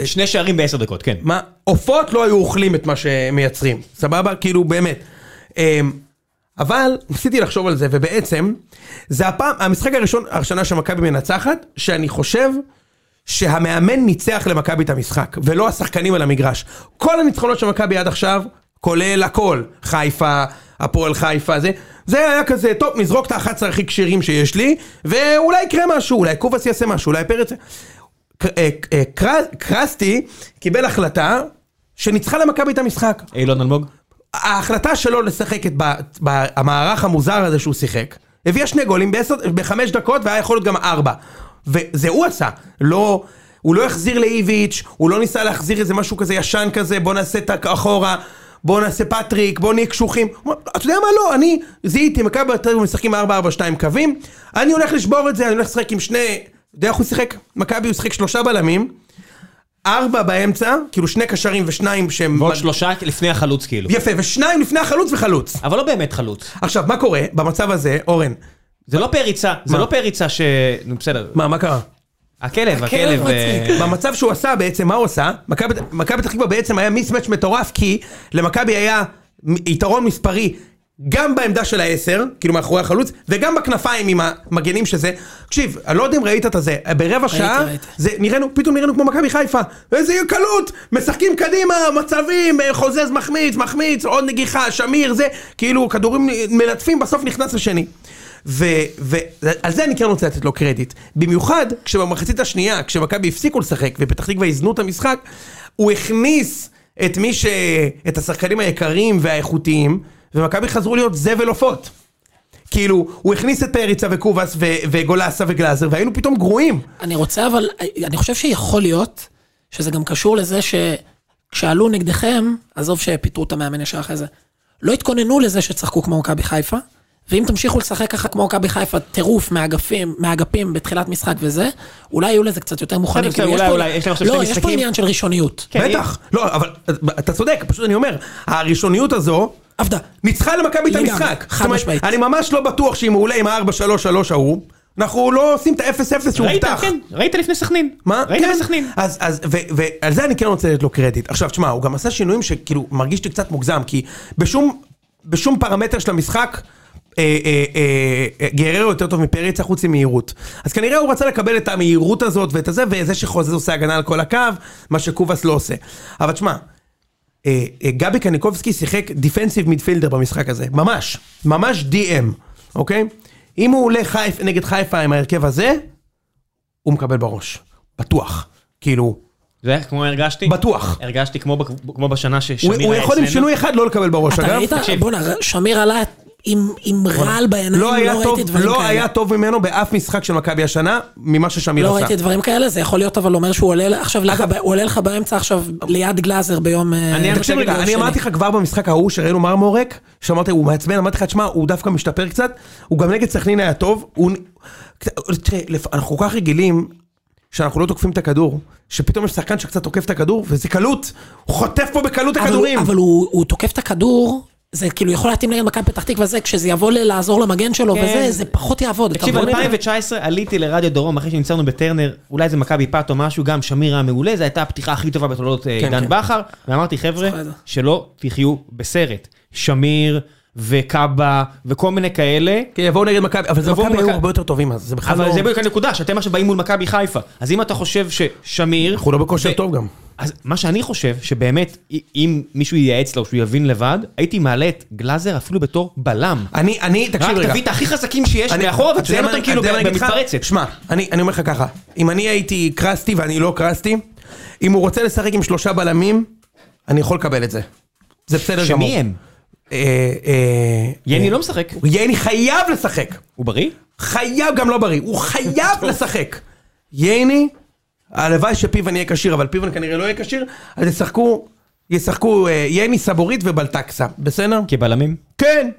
S1: שני שערים בעשר דקות, כן.
S4: מה, עופות לא היו אוכלים את מה שמייצרים, סבבה? כאילו, באמת. אמ, אבל ניסיתי לחשוב על זה, ובעצם, זה הפעם, המשחק הראשון, השנה שמכבי מנצחת, שאני חושב שהמאמן ניצח למכבי את המשחק, ולא השחקנים על המגרש. כל הניצחונות של מכבי עד עכשיו, כולל הכל, חיפה, הפועל חיפה, זה, זה היה כזה, טוב, נזרוק את ה-11 הכי כשרים שיש לי, ואולי יקרה משהו, אולי קובס יעשה משהו, אולי פרץ... ק- אה, אה, קרא- קרסטי קיבל החלטה שניצחה למכבי את המשחק.
S1: אילון אלמוג?
S4: ההחלטה שלו לשחק את ב- ב- המערך המוזר הזה שהוא שיחק, הביאה שני גולים בעשר, בחמש דקות והיה יכול להיות גם ארבע. וזה הוא עשה, לא... הוא לא החזיר לאיביץ', הוא לא ניסה להחזיר איזה משהו כזה ישן כזה, בוא נעשה את אחורה, בוא נעשה פטריק, בוא נהיה קשוחים. הוא אמר, אתה יודע מה לא, אני זיהיתי, מכבי יותר משחקים 4-4-2 קווים, אני הולך לשבור את זה, אני הולך לשחק עם שני... אתה יודע איך הוא שיחק? מכבי הוא שיחק שלושה בלמים, ארבע באמצע, כאילו שני קשרים ושניים שהם...
S1: ועוד שלושה לפני החלוץ כאילו.
S4: יפה, ושניים לפני החלוץ וחלוץ.
S1: אבל לא באמת חלוץ.
S4: עכשיו, מה קורה במצב הזה, אורן?
S1: זה לא פריצה, זה
S4: מה?
S1: לא פריצה ש... נו בסדר.
S4: מה, מה קרה?
S1: הכלב,
S2: הכלב
S1: הכלב... אה,
S2: מצחיק.
S4: במצב שהוא עשה בעצם, מה הוא עשה? מכבי מכבי פתח תקווה בעצם היה מיסמצ' מטורף, כי למכבי היה מ- יתרון מספרי גם בעמדה של העשר, כאילו מאחורי החלוץ, וגם בכנפיים עם המגנים שזה. תקשיב, אני לא יודע אם ראית את הזה, ברבע שעה,
S2: ראיתי.
S4: זה נראינו, פתאום נראינו כמו מכבי חיפה. איזה קלות! משחקים קדימה, מצבים, אה, חוזז מחמיץ, מחמיץ, עוד נגיחה, שמיר, זה, כאילו, כדורים מלטפים, בסוף נכנס השני. ועל זה אני כן רוצה לתת לו קרדיט. במיוחד כשבמחצית השנייה, כשמכבי הפסיקו לשחק ופתח תקווה הזנו את המשחק, הוא הכניס את מי ש... את השחקנים היקרים והאיכותיים, ומכבי חזרו להיות זבל עופות. כאילו, הוא הכניס את פריצה וקובאס ו- וגולסה וגלאזר, והיינו פתאום גרועים.
S2: אני רוצה אבל, אני חושב שיכול להיות שזה גם קשור לזה שכשעלו נגדכם, עזוב שפיטרו את המאמן ישר אחרי זה, לא התכוננו לזה שצחקו כמו מכבי חיפה, ואם תמשיכו לשחק ככה כמו מכבי חיפה, טירוף מהאגפים, מהאגפים בתחילת משחק וזה, אולי יהיו לזה קצת יותר מוכנים.
S1: בסדר,
S2: כאילו, יש
S1: אולי,
S2: פה-
S1: אולי, יש להם עכשיו שני
S2: לא, יש פה
S1: משחקים.
S2: עניין של ראשוניות.
S1: כן,
S4: בטח, לא, אבל אתה צודק, פשוט אני אומר, הראשוניות הזו
S2: עבדה.
S4: ניצחה למכבי את
S2: לגמרי,
S4: המשחק.
S2: חד
S4: זאת אומרת,
S2: משמעית.
S4: אני ממש לא בטוח שאם הוא עולה עם ה-4-3-3 ההוא, אנחנו לא עושים את ה-0-0 שהוא
S1: ראית,
S4: הובטח.
S1: כן, ראית לפני סכנין.
S4: מה? כן.
S1: ראית בסכנין.
S4: אז, אז, ו, ועל זה אני כן רוצה לתת לו קרדיט. עכשיו, תשמע, הוא גם עשה שינויים שכאילו מרגיש לי קצת מוגזם, כי בשום, בשום פרמטר של המשחק... אה, אה, אה, אה, גררו יותר טוב מפריצה חוץ ממהירות. אז כנראה הוא רצה לקבל את המהירות הזאת ואת הזה, וזה שחוזז עושה הגנה על כל הקו, מה שקובאס לא עושה. אבל תשמע, אה, אה, גבי קניקובסקי שיחק דיפנסיב מידפילדר במשחק הזה, ממש, ממש DM, אוקיי? אם הוא עולה חיפ, נגד חיפה עם ההרכב הזה, הוא מקבל בראש, בטוח, כאילו,
S1: זה היה כמו הרגשתי?
S4: בטוח.
S1: הרגשתי כמו בק- כמו בשנה
S4: הוא,
S1: ששמיר
S4: הוא
S1: היה
S4: יכול עם
S1: אצלנו.
S4: שינוי אחד לא לקבל בראש,
S2: אתה
S4: אגב.
S2: ראית?
S1: תקשיב.
S2: בואנה, שמיר עלה עם עם רעל בעיניים,
S4: לא היה,
S2: לא
S4: טוב,
S2: ראיתי דברים
S4: לא
S2: כאלה.
S4: היה טוב ממנו באף משחק של מכבי השנה, ממה ששמיר
S2: לא
S4: עשה.
S2: ראיתי דברים כאלה, זה יכול להיות אבל אומר שהוא עולה עכשיו לך, ב- הוא עולה לך באמצע עכשיו ליד גלאזר ביום... אה,
S1: אני-
S4: תקשיב
S1: אני
S4: רגע,
S2: ביום
S4: אני
S2: שני.
S4: אמרתי לך כבר במשחק ההוא שראינו מרמורק, שאמרתי, הוא מעצבן, אמרתי לך, תשמע, הוא דווקא משתפר קצת, הוא גם נגד סכנין היה טוב, הוא... נ- קצת- תראה, לפ- אנחנו כל כך רגילים, שאנחנו לא תוקפים את הכדור, שפתאום יש שחקן שקצת תוקף את הכדור, וזה קלות, הוא חוטף פה בקלות
S2: אבל
S4: הכדורים.
S2: הוא- אבל הוא הוא תוקף את הכדור, זה כאילו יכול להתאים נגד מכבי פתח תקווה זה, כשזה יבוא ל- לעזור למגן שלו
S1: כן.
S2: וזה, זה פחות יעבוד. אתה
S1: תקשיב,
S2: מבין?
S1: 2019 עליתי לרדיו דרום אחרי שניצרנו בטרנר, אולי זה מכבי פת או משהו, גם שמיר היה מעולה, זו הייתה הפתיחה הכי טובה בתולדות אה,
S4: כן,
S1: עידן
S4: כן.
S1: בכר, ואמרתי חבר'ה,
S2: זוכר את זה.
S1: שלא תחיו בסרט. שמיר וקאבה וכל מיני כאלה,
S4: כן, יבואו נגד מכבי, אבל זה
S1: יבואו
S4: מכבי היו
S1: מכבי.
S4: הרבה יותר טובים אז, זה בכלל לא...
S1: אבל זה בדיוק הנקודה, שאתם עכשיו באים מול מכבי חיפה. אז אם אתה חושב ששמיר...
S4: אנחנו לא בכושר
S1: ו-
S4: טוב גם.
S1: אז מה שאני חושב, שבאמת, אי- אם מישהו ייעץ לו, שהוא יבין לבד, הייתי מעלה את גלאזר אפילו בתור בלם.
S4: אני, אני, תקשיב
S1: רק
S4: רגע.
S1: תביא את הכי חזקים שיש
S4: אני-
S1: מאחורה
S4: אתה יודע
S1: ותציין
S4: מה
S1: אותם
S4: אני-
S1: כאילו
S4: אתה יודע מה אני אגיד לך?
S1: במתפרצת.
S4: שמע, אני אני אומר לך ככה, אם אני הייתי קרסטי ואני לא קרסטי, אם הוא רוצה לשחק עם שלושה בלמים, אני יכול לקבל את זה. זה בסדר גמור.
S1: שמי הם?
S4: אה, אה,
S1: יני
S4: אה,
S1: לא משחק.
S4: יני חייב לשחק.
S1: הוא בריא?
S4: חייב, גם לא בריא, הוא חייב לשחק. ייני, הלוואי שפיבן יהיה כשיר, אבל פיבן כנראה לא יהיה כשיר, אז ישחקו, ישחקו אה, ייני, סבורית ובלטקסה, בסדר?
S1: כבלמים?
S4: כן.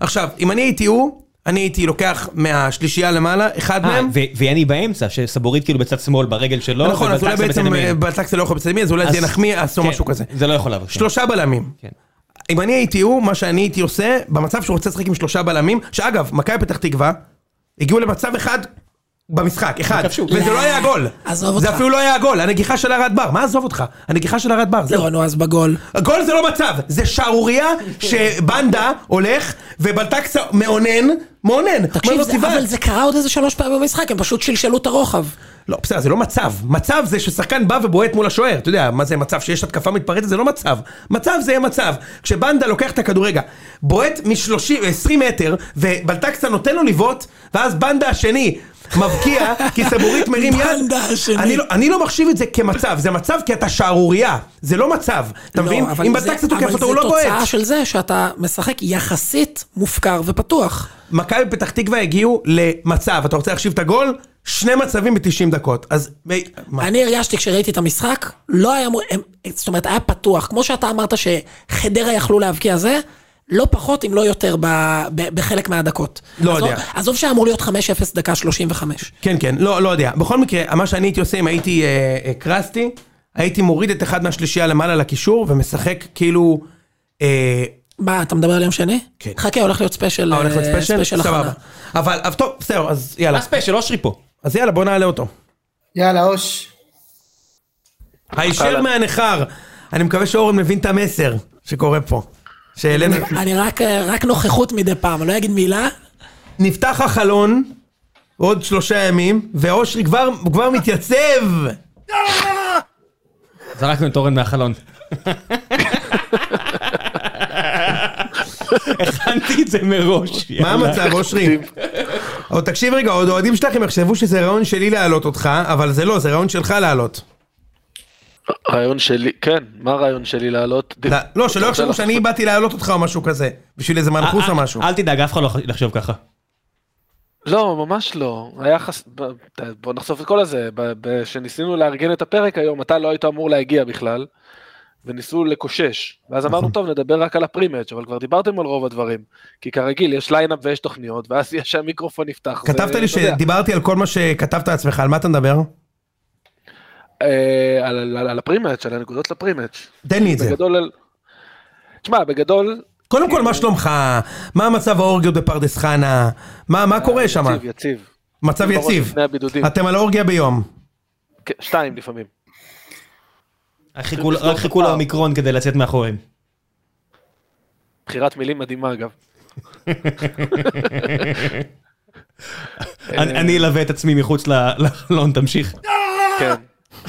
S4: עכשיו, אם אני הייתי הוא, אני הייתי לוקח מהשלישייה למעלה, אחד
S1: אה,
S4: מהם.
S1: ו- ויני באמצע, שסבורית כאילו בצד שמאל ברגל שלו,
S4: נכון, אז אולי
S1: ובלטקסה בצד
S4: בעצם
S1: ימין.
S4: אה, בלטקסה לא יכול בצד ימין, אז אולי
S1: אז-
S4: זה נחמיאס או
S1: כן,
S4: משהו כזה.
S1: זה לא יכול לעבור. כן.
S4: שלושה בלמים.
S1: כן.
S4: אם אני הייתי הוא, מה שאני הייתי עושה, במצב שהוא רוצה לשחק עם שלושה בלמים, שאגב, מכבי פתח תקווה, הגיעו למצב אחד במשחק, אחד,
S1: הם כבשו.
S4: וזה לא היה גול.
S2: עזוב
S4: זה
S2: אותך.
S4: אפילו לא היה גול, הנגיחה של הרד בר, מה עזוב אותך? הנגיחה של הרד בר, זהו.
S2: לא, נו, אז בגול.
S4: גול זה לא מצב, זה שערורייה שבנדה הולך ובלטקסה מאונן, מאונן. אומר
S2: תקשיב,
S4: לו,
S2: זה-
S4: "תבעט".
S2: אבל זה קרה עוד איזה שלוש פעמים במשחק, הם פשוט שלשלו את הרוחב.
S4: לא, בסדר, זה לא מצב. מצב זה ששחקן בא ובועט מול השוער. אתה יודע, מה זה מצב? שיש התקפה מתפרצת זה לא מצב. מצב זה יהיה מצב. כשבנדה לוקח את הכדורגע, בועט מ-20 מטר, ובלטקסה נותן לו לבעוט, ואז בנדה השני מבקיע, כי
S2: *laughs*
S4: סבורית מרים יד.
S2: בנדה השני.
S4: אני לא, אני לא מחשיב את זה כמצב, זה מצב כי אתה שערורייה. זה לא מצב. אתה מבין?
S2: לא, אבל
S4: אם
S2: זה-
S4: בלטקסה תוקף
S2: אבל
S4: אותו, הוא לא
S2: זה
S4: בועט.
S2: תוצאה של זה שאתה משחק יחסית מופקר ופתוח.
S4: מכבי פתח תקווה הגיעו למצב, אתה רוצה להחשיב את הגול? שני מצבים ב-90 דקות. אז... מה?
S2: אני הרגשתי כשראיתי את המשחק, לא היה אמור, הם- זאת אומרת, היה פתוח. כמו שאתה אמרת שחדרה יכלו להבקיע זה, לא פחות אם לא יותר ב, ב, בחלק מהדקות.
S4: לא
S2: עזוב-
S4: יודע.
S2: עזוב שהיה אמור להיות 5-0 דקה 35.
S4: כן, כן, לא, לא יודע. בכל מקרה, מה שאני הייתי עושה אם הייתי אה, אה, קרסטי, הייתי מוריד את אחד מהשלישייה למעלה לקישור ומשחק כאילו... אה,
S2: מה, אתה מדבר על יום שני?
S4: כן.
S2: חכה, הולך להיות ספיישל
S4: אה, הולך להיות
S2: אה,
S4: ספיישל?
S2: הכנה.
S4: סבבה. אבל, אבל טוב, בסדר, אז יאללה.
S1: מה אה, ספיישל? אושרי פה.
S4: אז יאללה, בוא נעלה אותו.
S3: יאללה, אוש.
S4: הישר מהנכר. אני מקווה שאורן מבין את המסר שקורה פה. שהעלינו.
S2: אני רק, אה, רק נוכחות מדי פעם, אני לא אגיד מילה.
S4: נפתח החלון עוד שלושה ימים, ואושרי כבר, הוא כבר מתייצב.
S1: זרקנו את אורן מהחלון. הכנתי את זה מראש.
S4: מה
S1: יאללה.
S4: המצב, אושרי? עוד תקשיב רגע, עוד האוהדים שלכם יחשבו שזה רעיון שלי להעלות אותך, אבל זה לא, זה רעיון שלך להעלות.
S6: רעיון שלי, כן, מה הרעיון שלי לעלות?
S4: לא, לא, שלא יחשבו
S6: רוצה
S4: שאני באתי להעלות אותך או משהו כזה, בשביל איזה מנחוס או
S1: אה, אה,
S4: משהו.
S1: אל תדאג, אף אחד לא יחשוב ככה.
S6: לא, ממש לא. היה חס... ב- ת- בוא נחשוף את כל הזה. כשניסינו לארגן את הפרק היום, אתה לא היית אמור להגיע בכלל, וניסו לקושש. ואז
S4: נכון.
S6: אמרנו, טוב, נדבר רק על הפרימץ', אבל כבר דיברתם על רוב הדברים. כי כרגיל, יש ליינאפ ויש תוכניות, ואז יש שהמיקרופון נפתח. זה-
S4: כתבת לי
S6: אתה יודע.
S4: שדיברתי על כל מה שכתבת לעצמך, על מה אתה מדבר?
S6: אה, על- על על הפרימץ', על הנקודות לפרימץ'.
S4: תן לי את זה.
S6: בגדול... על- תשמע, בגדול,
S4: קודם כל, מה שלומך? מה המצב האורגיות בפרדס חנה? מה מה קורה שם?
S6: יציב, יציב.
S4: מצב
S6: בראש
S4: יציב.
S6: לפני הבידודים.
S4: אתם על אורגיה ביום.
S6: כן, שתיים לפעמים.
S1: רק חיכו- רק חיכו לאומיקרון כדי לצאת מאחוריהם.
S6: בחירת מילים מדהימה, אגב.
S1: אני אני אלווה את עצמי מחוץ ל- לחלון, תמשיך.
S6: כן. *laughs*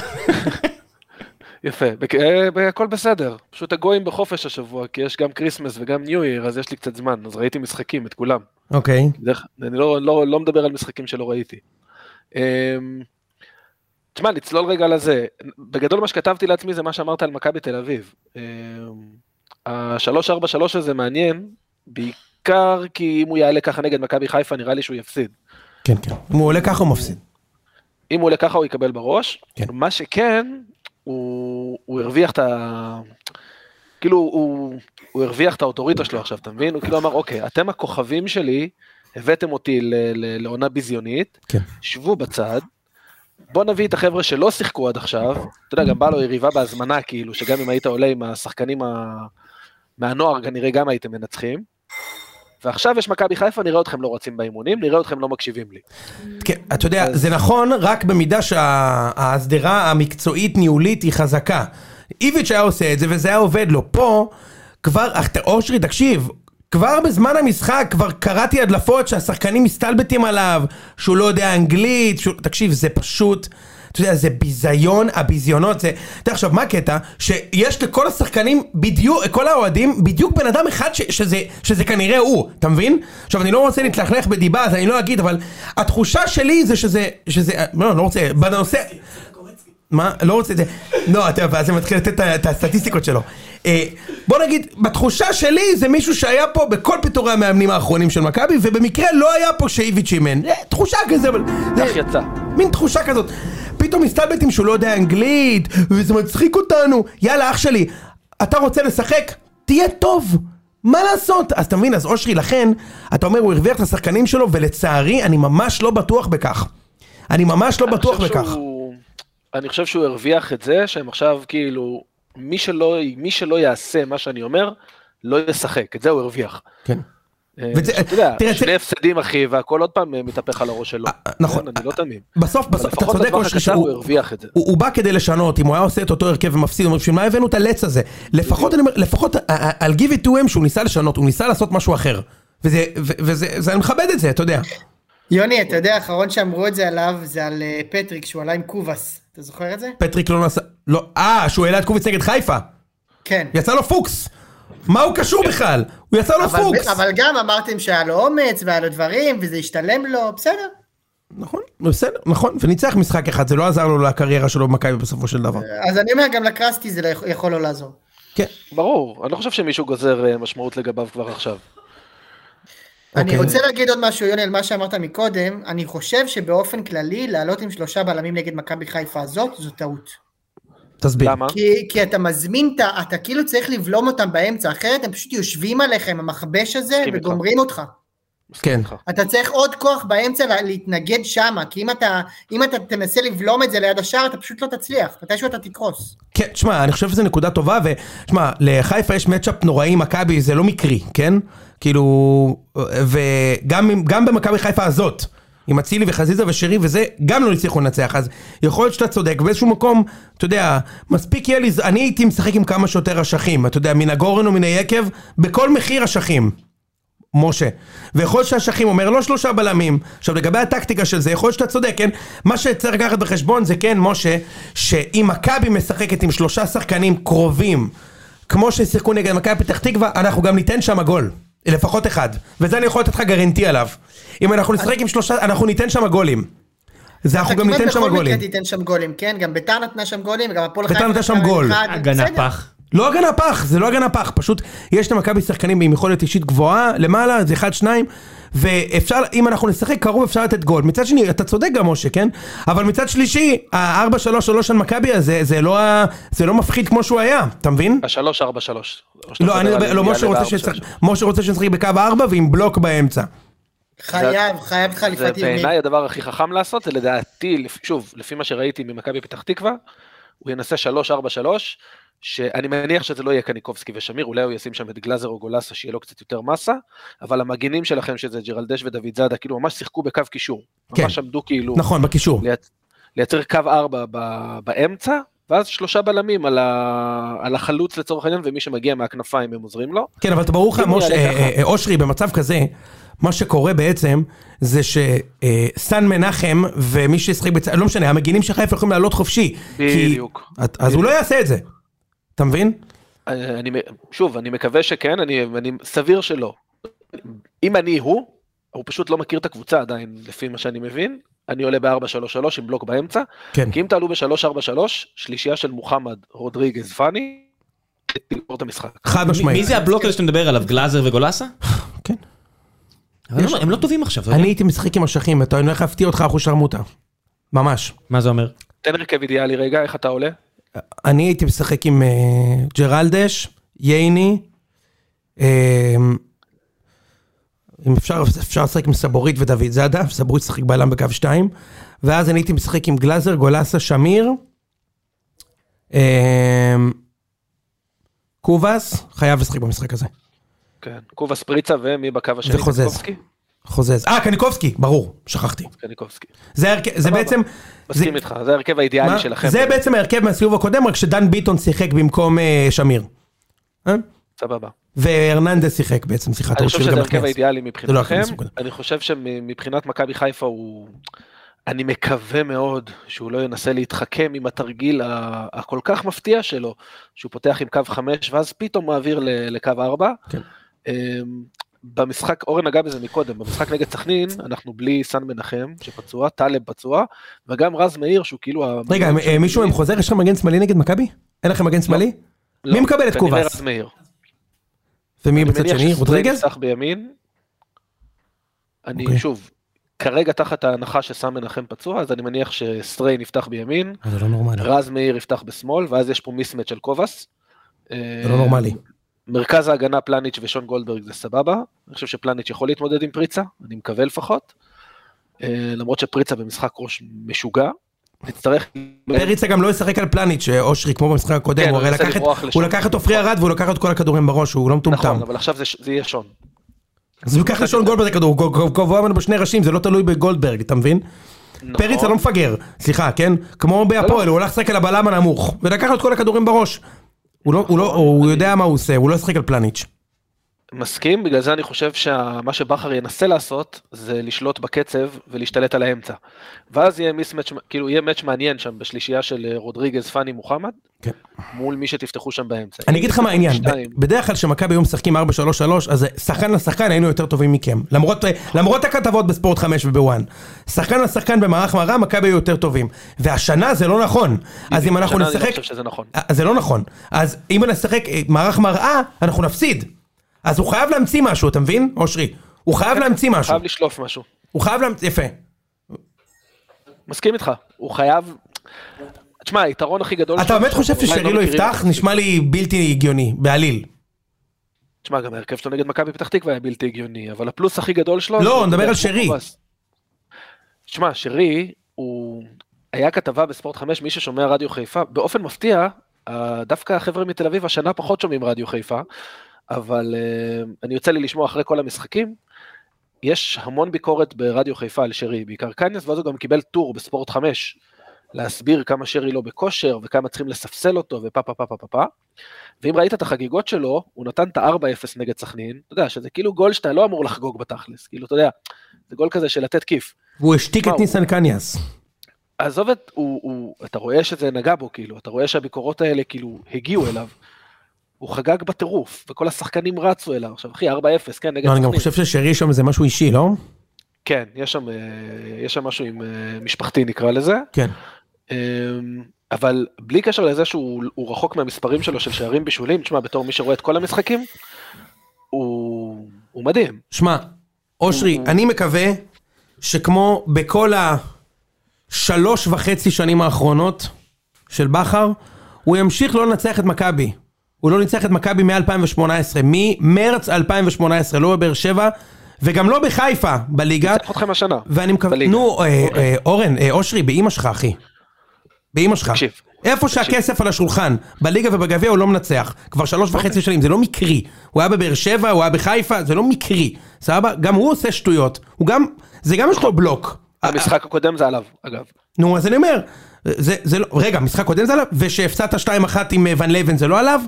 S6: יפה, בק- אה, ב- הכל בסדר, פשוט הגויים בחופש השבוע, כי יש גם כריסמס וגם ניו ייר, אז יש לי קצת זמן, אז ראיתי משחקים, את כולם.
S4: אוקיי.
S6: בדרך- אני לא, לא, לא מדבר על משחקים שלא ראיתי. אמ, תשמע, נצלול רגע לזה. בגדול מה שכתבתי לעצמי זה מה שאמרת על מכבי תל אביב. אמ, ה-3-4-3 הזה מעניין, בעיקר כי אם הוא יעלה ככה נגד מכבי חיפה, נראה לי שהוא יפסיד.
S4: כן, כן. אם הוא עולה ככה הוא מפסיד.
S6: אם הוא עולה ככה הוא יקבל בראש.
S4: כן.
S6: מה שכן, הוא, הוא הרוויח את ה... כאילו, הוא, הוא הרוויח את האוטוריטה שלו עכשיו, אתה מבין? הוא כאילו אמר, אוקיי, אתם הכוכבים שלי, הבאתם אותי ל, ל, לעונה ביזיונית,
S4: כן.
S6: שבו בצד, בוא נביא את החבר'ה שלא שיחקו עד עכשיו, אתה יודע, גם בא לו יריבה בהזמנה, כאילו, שגם אם היית עולה עם השחקנים ה... מהנוער, כנראה גם הייתם מנצחים. ועכשיו יש מכבי חיפה, נראה אתכם לא רצים באימונים, נראה אתכם לא מקשיבים לי.
S4: כן, אתה יודע, זה נכון רק במידה שההסדרה המקצועית-ניהולית היא חזקה. איביץ' היה עושה את זה וזה היה עובד לו. פה, כבר, אך, ת- אושרי, תקשיב, כבר בזמן המשחק כבר קראתי הדלפות שהשחקנים מסתלבטים עליו, שהוא לא יודע אנגלית, שהוא... תקשיב, זה פשוט... אתה יודע, זה ביזיון, הביזיונות זה... אתה יודע, עכשיו, מה הקטע? שיש לכל השחקנים בדיוק, כל האוהדים, בדיוק בן אדם אחד ש, שזה, שזה כנראה הוא, אתה מבין? עכשיו, אני לא רוצה להתלכלך בדיבה, אה, אז אני לא אגיד, אבל התחושה שלי זה שזה... שזה לא, אני לא רוצה... בנושא... מה? לא רוצה את זה. לא, אתה יודע, ואז הוא מתחיל לתת את ה- את הסטטיסטיקות שלו. אה, בוא נגיד, בתחושה שלי זה מישהו שהיה פה בכל פיטורי המאמנים האחרונים של מכבי, ובמקרה לא היה פה שאיביץ' אימן. אה, תחושה כזה, אבל... זה-
S6: כך יצא.
S4: מין תחושה כזאת. פתאום מסתלבטים שהוא לא יודע אנגלית, וזה מצחיק אותנו. יאללה, אח שלי, אתה רוצה לשחק? תהיה טוב. מה לעשות? אז אתה מבין, אז אושרי, לכן, אתה אומר, הוא הרוויח את השחקנים שלו, ולצערי, אני ממש לא בטוח בכך. אני ממש לא
S6: אני
S4: בטוח
S6: חושב
S4: בכך.
S6: שהוא- אני חושב שהוא הרוויח את זה שהם עכשיו כאילו, מי שלא, מי שלא יעשה מה שאני אומר, לא ישחק, את זה הוא הרוויח.
S4: כן.
S6: אה,
S4: וזה-
S6: שאתה יודע,
S4: תראה,
S6: שני
S4: תראה-
S6: הפסדים אחי, והכל עוד פעם אה, מתהפך על הראש שלו.
S4: אה, נכון.
S6: כן, אני לא תמים.
S4: בסוף,
S6: אבל
S4: בסוף, אתה
S6: לפחות
S4: צודק,
S6: בטווח
S4: אושרי,
S6: הקצר הוא
S4: שהוא...
S6: הרוויח את זה.
S4: הוא, הוא בא כדי לשנות, אם הוא היה עושה את אותו הרכב ומפסיד, הוא אומר, בשביל מה הבאנו את הלץ הזה? לפחות, אני אומר, לפחות, ה- ה- על give it to him שהוא ניסה לשנות, הוא ניסה לעשות משהו אחר. וזה, ו- וזה, זה- אני מכבד את זה, אתה יודע.
S3: יוני, אתה יודע, האחרון שאמרו את זה עליו, זה על אה, פטריק, שהוא עלה עם קובאס. אתה זוכר את זה?
S4: פטריק לא נסע... לא, אה, שהוא העלה את קוביץ נגד חיפה.
S3: כן.
S4: יצא לו פוקס. מה הוא קשור
S6: כן.
S4: בכלל? הוא יצא לו
S3: אבל-
S4: פוקס.
S3: אבל גם אמרתם שהיה לו אומץ והיה לו דברים, וזה השתלם לו, בסדר.
S4: נכון, בסדר, נכון. וניצח משחק אחד, זה לא עזר לו לקריירה שלו במכבי בסופו של דבר.
S6: אה,
S3: אז אני אומר, גם לקרסטי זה לא יכול- יכול לא לעזור.
S4: כן.
S6: ברור, אני לא חושב שמישהו גוזר אה, משמעות לגביו כבר עכשיו.
S3: אני
S4: אוקיי.
S3: רוצה להגיד עוד משהו, יוני, על מה שאמרת מקודם. אני חושב שבאופן כללי, לעלות עם שלושה בלמים נגד מכבי חיפה הזאת, זו טעות.
S4: תסביר.
S6: למה?
S3: כי, כי אתה מזמין, את ה- אתה כאילו צריך לבלום אותם באמצע, אחרת הם פשוט יושבים עליכם, המכבש הזה,
S6: מסכים איתך.
S3: וגומרים אותך.
S4: כן.
S6: איתך.
S3: אתה צריך עוד כוח באמצע לה- להתנגד שמה, כי אם אתה, אם אתה תנסה לבלום את זה ליד השער, אתה פשוט לא תצליח, מתישהו אתה תקרוס.
S4: כן, שמע, אני חושב שזו נקודה טובה, ושמע, לחיפה יש מצ'אפ נוראי עם מכבי, זה לא מקרי, כן? כאילו, וגם עם- גם במכבי חיפה הזאת, עם אצילי וחזיזה ושירי וזה, גם לא הצליחו לנצח, אז יכול להיות שאתה צודק, באיזשהו מקום, אתה יודע, מספיק יהיה לי, ז- אני הייתי משחק עם כמה שיותר אשכים, אתה יודע, מן הגורן ומן היקב, בכל מחיר אשכים. משה. ויכול להיות שהשכים אומר לא שלושה בלמים. עכשיו לגבי הטקטיקה של זה, יכול להיות שאתה צודק, כן? מה שצריך לקחת בחשבון זה כן, משה, שאם מכבי משחקת עם שלושה שחקנים קרובים, כמו ששיחקו נגד מכבי פתח תקווה, אנחנו גם ניתן שם גול. לפחות אחד. וזה אני יכול לתת לך גרנטי עליו. אם אנחנו נשחק עם שלושה, אנחנו ניתן שם גולים. זה אנחנו
S3: אתה
S4: גם
S3: כמעט
S4: ניתן שם
S3: בכל מקרה
S4: גולים.
S3: תיתן שם גולים, כן? גם ביתר נתנה שם גולים, גם הפועל
S4: ביתר
S3: חיפה
S4: נתנה שם
S3: נתנה
S4: גול.
S3: אחד,
S1: הגנה
S3: בסדר.
S1: פח.
S4: לא הגנה פח, זה לא הגנה פח, פשוט יש למכבי שחקנים עם יכולת אישית גבוהה, למעלה זה אחד, שניים, ואפשר, אם אנחנו נשחק קרוב אפשר לתת גול. מצד שני, אתה צודק גם משה, כן? אבל מצד שלישי, ה-4-3-3 של מכבי הזה, זה לא, ה- זה לא מפחיד כמו שהוא היה, אתה מבין?
S6: השלוש, ארבע, שלוש. או שאתה
S4: לא, אני
S6: מדבר על
S4: מדבר, לא,
S6: יאללה
S4: משה רוצה
S6: בארבע,
S4: שצריך-
S6: שלוש.
S4: משה רוצה שנשחק בקו 4 ועם בלוק באמצע.
S3: חייב, חייב
S6: זה
S3: חליפת ימין.
S6: בעיניי הדבר הכי חכם לעשות, זה לדעתי, לפ- שוב, לפי מה שראיתי ממכבי פתח תקווה, הוא ינסה 3-4-3, שאני מניח שזה לא יהיה קניקובסקי ושמיר, אולי הוא ישים שם את גלאזר או גולסה שיהיה לו קצת יותר מסה, אבל המגינים שלכם, שזה ג'רלדש ודוד זאדה, כאילו ממש שיחקו בקו קישור.
S4: כן.
S6: ממש עמדו כאילו,
S4: נכון, בקישור.
S6: לייצ- לייצר קו 4 ב- באמצע, ואז שלושה בלמים על ה- על החלוץ לצורך העניין, ומי שמגיע מהכנפיים הם עוזרים לו.
S4: כן, אבל אתה ברור לך,
S6: אם הוא
S4: משה,
S6: יעלה
S4: אה,
S6: ככה.
S4: אה, אה, אושרי, במצב כזה, מה שקורה בעצם, זה שסן מנחם, ומי שישחק בצד, לא משנה, המגינים של חיפה יכולים לעלות חופשי. כי-
S6: בדיוק.
S4: את- אז הוא לא יעשה את זה. אתה מבין?
S6: אני, אני- שוב, אני מקווה שכן, אני, אני סביר שלא. אם אני הוא, הוא פשוט לא מכיר את הקבוצה עדיין, לפי מה שאני מבין. אני עולה ב-4-3-3 עם בלוק באמצע,
S4: כן.
S6: כי אם תעלו ב-3-4-3, שלישייה של מוחמד, רודריגז, פאני, תגמור את המשחק.
S4: חד
S1: מי- מי
S4: משמעית.
S1: זה הבלוק הזה שאתה מדבר עליו? גלאזר וגולסה?
S4: כן.
S1: אבל הם לא- הם לא טובים עכשיו. אתה יודע.
S4: אני הייתי משחק עם אשכים, אתה- אני הולך להפתיע אותך אחוז שרמוטה. ממש.
S1: מה זה אומר?
S6: תן הרכב אידיאלי רגע, איך אתה עולה?
S4: אני הייתי משחק עם אה, ג'רלדש, ייני, אה, אם אפשר, אפשר לשחק עם סבורית ודוד זאדה, סבורית שיחק בלם בקו 2, ואז אני הייתי משחק עם גלאזר, גולסה, שמיר, אה, קובאס, חייב לשחק במשחק הזה,
S6: כן. קובה ספריצה ומי בקו השני?
S4: וחוזז.
S6: קניקובסקי?
S4: חוזז. אה, קניקובסקי, ברור, שכחתי.
S6: קניקובסקי.
S4: זה, ההרכב- זה
S6: סבבה.
S4: בעצם...
S6: מסכים איתך, זה ההרכב האידיאלי
S4: מה?
S6: שלכם.
S4: זה בעצם ההרכב מהסיבוב הקודם, רק שדן ביטון שיחק במקום אה, שמיר. אה?
S6: סבבה.
S4: והרננדס שיחק בעצם, סליחה,
S6: אני
S4: טעות
S6: חושב
S4: שהוא
S6: שזה
S4: גם
S6: ההרכב
S4: נכנס.
S6: האידיאלי
S4: לא
S6: מבחינתכם,
S4: הכניס, נקודה.
S6: אני חושב שמבחינת מכבי חיפה הוא, אני מקווה מאוד שהוא לא ינסה להתחכם עם התרגיל ה- הכל כך מפתיע שלו, שהוא פותח עם קו 5 ואז פתאום מעביר ל- לקו 4.
S4: כן.
S6: אמ, במשחק, אורן נגע בזה מקודם, במשחק נגד סכנין, אנחנו בלי סן מנחם שפצוע, טלב פצוע, וגם רז מאיר שהוא כאילו... ה-
S4: רגע, הם- אה, מישהו עם חוזר? יש לכם מגן שמאלי נגד מכבי? אין לכם מגן שמאלי?
S6: לא,
S4: מי מקבל את
S6: כנראה
S4: קובס?
S6: רז מאיר.
S4: ומי
S6: אני
S4: בצד
S6: מניח
S4: שני?
S6: שסטרייק
S4: רודריגז?
S6: יפתח בימין. אני
S4: אוקיי.
S6: שוב, כרגע תחת ההנחה שסם מנחם פצוע, אז אני מניח שסטריי נפתח בימין,
S4: אה, זה לא נורמלי.
S6: רז מאיר יפתח בשמאל, ואז יש פה מיסמץ' של קובס.
S4: זה לא נורמלי.
S6: מרכז ההגנה פלניץ' ושון גולדברג זה סבבה, אני חושב שפלניץ' יכול להתמודד עם פריצה, אני מקווה לפחות. אה, למרות שפריצה במשחק ראש משוגע, נצטרך...
S4: פריצה גם לא ישחק על פלניץ', אושרי, כמו במשחק הקודם,
S6: כן,
S4: הוא
S6: הוא
S4: הרי
S6: מנסה
S4: לקח את-
S6: לברוח לשם.
S4: הוא לקח את עופרי ארד והוא לקח את כל הכדורים בראש, הוא לא מטומטם.
S6: נכון, אבל עכשיו זה ש- זה יהיה שון.
S4: אז הוא לקח לשון גולדברג את הכדור, הוא גו- גו- גבוה ממנו בשני ראשים, זה לא תלוי בגולדברג, אתה מבין? פריצה
S6: נכון. לא.
S4: לא מפגר, סליחה, כן? כמו בהפועל, הוא הלך לשחק על הבלם הנמוך, ולקח לו את כל הכדורים בראש. הוא לא, הוא לא, הוא יודע מה הוא עושה, הוא לא ישחק על פלניץ'.
S6: מסכים, בגלל זה אני חושב שמה שבכר ינסה לעשות זה לשלוט בקצב ולהשתלט על האמצע. ואז יהיה מיסמץ', כאילו יהיה מאץ' מעניין שם בשלישייה של אה, רודריגז, פאני, מוחמד,
S4: כן.
S6: מול מי שתפתחו שם באמצע.
S4: אני אגיד לך מה העניין, ב-
S6: שתיים. אוקיי.
S4: בדרך כלל כשמכבי היו משחקים 4-3-3, אז אה, שחקן לשחקן היינו יותר טובים מכם. למרות, אה, למרות הכתבות בספורט 5 ובוואן. שחקן לשחקן במערך מרה, מכבי היו יותר טובים. והשנה זה לא נכון. אז אם אנחנו
S6: השנה אני לא
S4: נשחק...
S6: חושב שזה נכון.
S4: אה, זה לא נכון. אז אם נשחק אה, מערך מראה, אנחנו נפסיד. אז הוא חייב להמציא משהו, אתה מבין, אושרי? הוא חייב להמציא משהו.
S6: כן. חייב לשלוף משהו.
S4: הוא חייב להמציא... יפה.
S6: מסכים איתך, הוא חייב... תשמע, היתרון הכי גדול...
S4: אתה
S6: שלו
S4: באמת
S6: עכשיו,
S4: חושב
S6: אולי
S4: ששרי לא
S6: מכירים
S4: יפתח?
S6: את-
S4: נשמע לי בלתי הגיוני, בעליל.
S6: תשמע, גם ההרכב שלו נגד מכבי פתח תקווה היה בלתי הגיוני, אבל הפלוס הכי גדול שלו...
S4: לא,
S6: זה שהוא
S4: נדבר
S6: פותח
S4: על
S6: כמו
S4: שרי.
S6: קובס. תשמע, שרי, הוא... היה כתבה בספורט 5, מי ששומע רדיו חיפה, באופן מפתיע, אה, דווקא החבר'ה מתל אביב השנה פחות שומעים רדיו חיפה, אבל אה, אני יוצא לי לשמוע אחרי כל המשחקים, יש המון ביקורת ברדיו חיפה על שרי, בעיקר קניאס, ואז הוא גם קיבל טור בספורט 5, להסביר כמה שרי לא בכושר, וכמה צריכים לספסל אותו, ופה פה פה פה פה פה. ואם ראית את החגיגות שלו, הוא נתן את ה-4-0 נגד סכנין, אתה יודע, שזה כאילו גול שאתה לא אמור לחגוג בתכלס, כאילו, אתה יודע, זה גול כזה של לתת כיף.
S4: הוא השתיק את
S6: מה, הוא-
S4: ניסן קניאס.
S6: עזוב את, הוא, הוא, אתה רואה שזה נגע בו, כאילו, אתה רואה שהביקורות האלה, כאילו, הגיעו אליו. הוא חגג בטירוף, וכל השחקנים רצו אליו. עכשיו, אחי, 4-0, כן, נגד
S4: לא, אני
S6: סכנין.
S4: גם חושב ששרי שם זה משהו אישי, לא?
S6: כן, יש שם, אה, יש שם משהו עם אה, משפחתי, נקרא לזה.
S4: כן.
S6: אמ, אבל בלי קשר לזה שהוא הוא רחוק מהמספרים שלו של שערים בישולים, תשמע, בתור מי שרואה את כל המשחקים, הוא, הוא מדהים.
S4: שמע, אושרי, אני מקווה שכמו בכל השלוש וחצי שנים האחרונות של בכר, הוא ימשיך לא לנצח את מכבי. הוא לא ניצח את מכבי מ-2018, ממרץ 2018, לא בבאר שבע, וגם לא בחיפה, בליגה.
S6: צריך אתכם השנה.
S4: ואני מקווה...
S6: לא. בליגה. אוקיי.
S4: נו, אה, אה, אורן, אה, אושרי, באימא שלך, אחי. באימא שלך.
S6: תקשיב,
S4: איפה שהכסף על השולחן, בליגה ובגביע הוא לא מנצח. כבר שלוש
S6: אוקיי.
S4: וחצי שנים, זה לא מקרי. הוא היה בבאר שבע, הוא היה בחיפה, זה לא מקרי. סבבה? גם הוא עושה שטויות. הוא גם... זה גם יש לו בלוק.
S6: המשחק הקודם זה עליו, אגב.
S4: נו, אז אני אומר, זה, זה לא... רגע, משחק קודם זה עליו? ושהפסדת 2-1 עם אה, ון לבן זה לא עליו?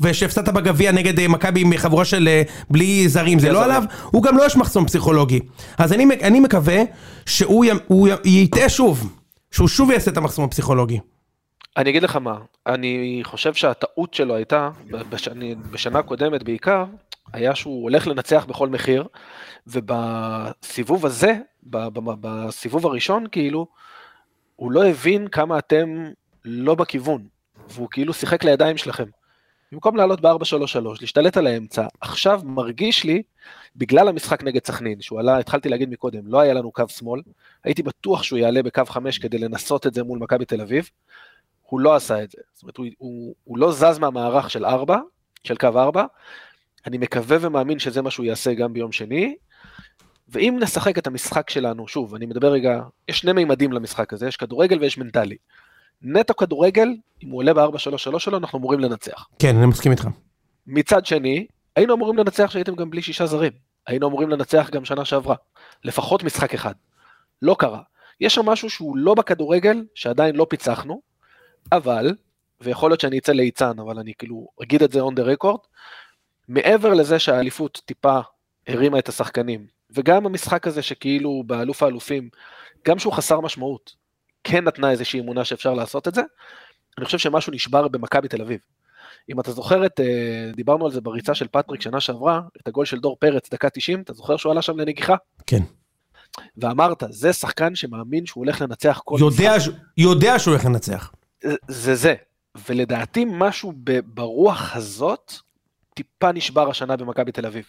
S4: ושהפסדת בגביע נגד אה, מכבי עם חבורה של אה, בלי זרים זה לא
S6: זרים.
S4: עליו? הוא גם לא יש מחסום פסיכולוגי. אז אני, מק- אני מקווה שהוא י, הוא י, יטעה שוב. שהוא שוב יעשה את המחסום הפסיכולוגי.
S6: אני אגיד לך מה, אני חושב שהטעות שלו הייתה, בשני, בשנה קודמת בעיקר, היה שהוא הולך לנצח בכל מחיר, ובסיבוב הזה, ב- ב- בסיבוב הראשון כאילו, הוא לא הבין כמה אתם לא בכיוון, והוא כאילו שיחק לידיים שלכם. במקום לעלות ב-4-3-3, להשתלט על האמצע, עכשיו מרגיש לי, בגלל המשחק נגד סכנין, שהוא עלה, התחלתי להגיד מקודם, לא היה לנו קו שמאל, הייתי בטוח שהוא יעלה בקו 5 כדי לנסות את זה מול מכבי תל אביב, הוא לא עשה את זה. זאת אומרת, הוא, הוא, הוא לא זז מהמערך של 4, של קו 4. אני מקווה ומאמין שזה מה שהוא יעשה גם ביום שני. ואם נשחק את המשחק שלנו, שוב, אני מדבר רגע, יש שני מימדים למשחק הזה, יש כדורגל ויש מנטלי. נטו כדורגל, אם הוא עולה ב-4-3-3 שלו, אנחנו אמורים לנצח.
S4: כן, אני מסכים איתך.
S6: מצד שני, היינו אמורים לנצח שהייתם גם בלי שישה זרים. היינו אמורים לנצח גם שנה שעברה. לפחות משחק אחד. לא קרה. יש שם משהו שהוא לא בכדורגל, שעדיין לא פיצחנו, אבל, ויכול להיות שאני אצא ליצן, אבל אני כאילו אגיד את זה on the record, מעבר לזה שהאליפות טיפה הרימה את השחקנים, וגם המשחק הזה שכאילו באלוף האלופים, גם שהוא חסר משמעות, כן נתנה איזושהי אמונה שאפשר לעשות את זה, אני חושב שמשהו נשבר במכבי תל אביב. אם אתה זוכר את, אה, דיברנו על זה בריצה של פטריק שנה שעברה, את הגול של דור פרץ, דקה 90, אתה זוכר שהוא עלה שם לנגיחה?
S4: כן.
S6: ואמרת, זה שחקן שמאמין שהוא הולך לנצח כל
S4: יודע ש- יודע שהוא הולך לנצח.
S6: זה זה. ולדעתי משהו ב- ברוח הזאת טיפה נשבר השנה במכבי תל אביב.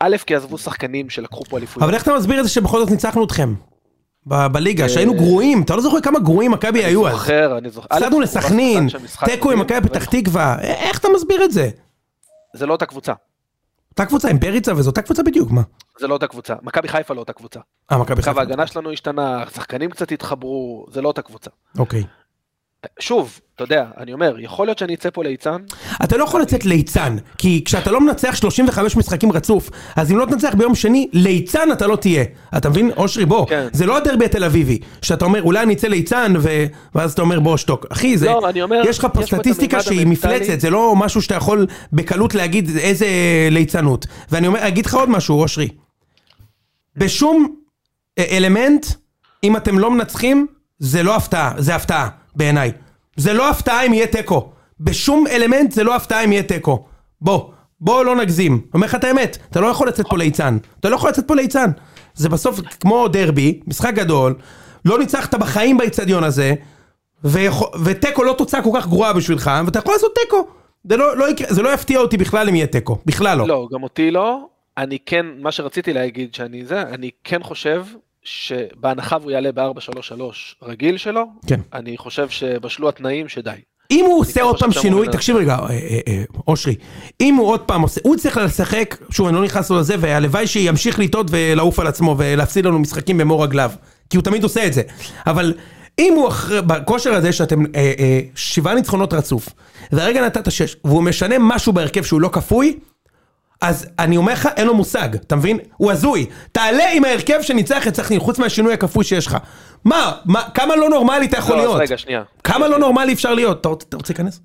S6: א', כי עזבו שחקנים שלקחו פה אליפויות.
S4: אבל איך אתה מסביר את זה שבכל זאת ניצחנו אתכם? ב- בליגה,
S6: אה,
S4: שהיינו גרועים, אתה לא זוכר כמה גרועים מכבי היו
S6: אני
S4: אז.
S6: זוכר, אני זוכר. א',
S4: הפסדנו
S6: הוא
S4: לסכנין,
S6: שחקן שהמשחק
S4: תיקו עם מכבי
S6: אבל
S4: פתח תקווה, א- איך אתה מסביר את זה?
S6: זה לא אותה קבוצה.
S4: אותה קבוצה עם פריצה וזו אותה קבוצה בדיוק, מה?
S6: זה לא אותה קבוצה. מכבי חיפה לא אותה קבוצה.
S4: אה, מכבי
S6: קו
S4: חיפה.
S6: ההגנה שלנו השתנה, השחקנים קצת התחברו, זה לא אותה קבוצה.
S4: אוקיי.
S6: שוב, אתה יודע, אני אומר, יכול להיות שאני אצא פה ליצן,
S4: אתה לא יכול לצאת ליצן, כי כשאתה לא מנצח 35 משחקים רצוף, אז אם לא תנצח ביום שני, ליצן אתה לא תהיה. אתה מבין? אושרי, בוא.
S6: כן.
S4: זה לא הדרבי התל אביבי, שאתה אומר, אולי אני אצא ליצן, ו... ואז אתה אומר, בוא, שתוק. אחי, זה...
S6: לא, אני אומר,
S4: יש לך פה
S6: יש פה את
S4: סטטיסטיקה
S6: המימד
S4: שהיא
S6: המנטלי.
S4: מפלצת, זה לא משהו שאתה יכול בקלות להגיד איזה ליצנות. ואני אומר, אגיד לך עוד משהו, אושרי. בשום אה, אלמנט, אם אתם לא מנצחים, זה לא הפתעה, זה הפתעה, בעיניי. זה לא הפתעה אם יהיה תיקו. בשום אלמנט זה לא הפתעה אם יהיה תיקו. בוא, בוא לא נגזים. אומר לך את האמת, אתה לא יכול לצאת פה ליצן. אתה לא יכול לצאת פה ליצן. זה בסוף כמו דרבי, משחק גדול, לא ניצחת בחיים באיצטדיון הזה, ויכול- ותיקו לא תוצאה כל כך גרועה בשבילך, ואתה יכול לעשות תיקו. זה לא, לא יקרה, זה לא יפתיע אותי בכלל אם יהיה תיקו, בכלל לא.
S6: לא, גם אותי לא. אני כן, מה שרציתי להגיד שאני זה, אני כן חושב שבהנחה והוא יעלה ב-433 רגיל שלו,
S4: כן.
S6: אני חושב שבשלו התנאים שדי.
S4: אם הוא
S6: כן
S4: עושה עוד
S6: חושב
S4: פעם
S6: שאתה נכון.
S4: שינוי,
S6: מוריד את
S4: תקשיב רגע, אה, אה, אה, אושרי, אם הוא עוד פעם עושה, הוא צריך לשחק, שוב, אני לא נכנס לו לזה, והלוואי שימשיך לטעות ולעוף על עצמו ולהפסיד לנו משחקים במו רגליו, כי הוא תמיד עושה את זה. אבל אם הוא אחרי, בכושר הזה שאתם, אה, אה, שבעה ניצחונות רצוף, והרגע נתת שש, והוא משנה משהו בהרכב שהוא לא כפוי, אז אני אומר לך, אין לו מושג, אתה מבין? הוא הזוי. תעלה עם ההרכב שניצח את סכנין, חוץ מהשינוי הכפוי שיש לך. מה, מה, כמה לא נורמלי אתה יכול
S6: לא, אז
S4: להיות?
S6: רגע, שנייה.
S4: כמה לא נורמלי אפשר להיות? אתה רוצה אתה רוצה להיכנס?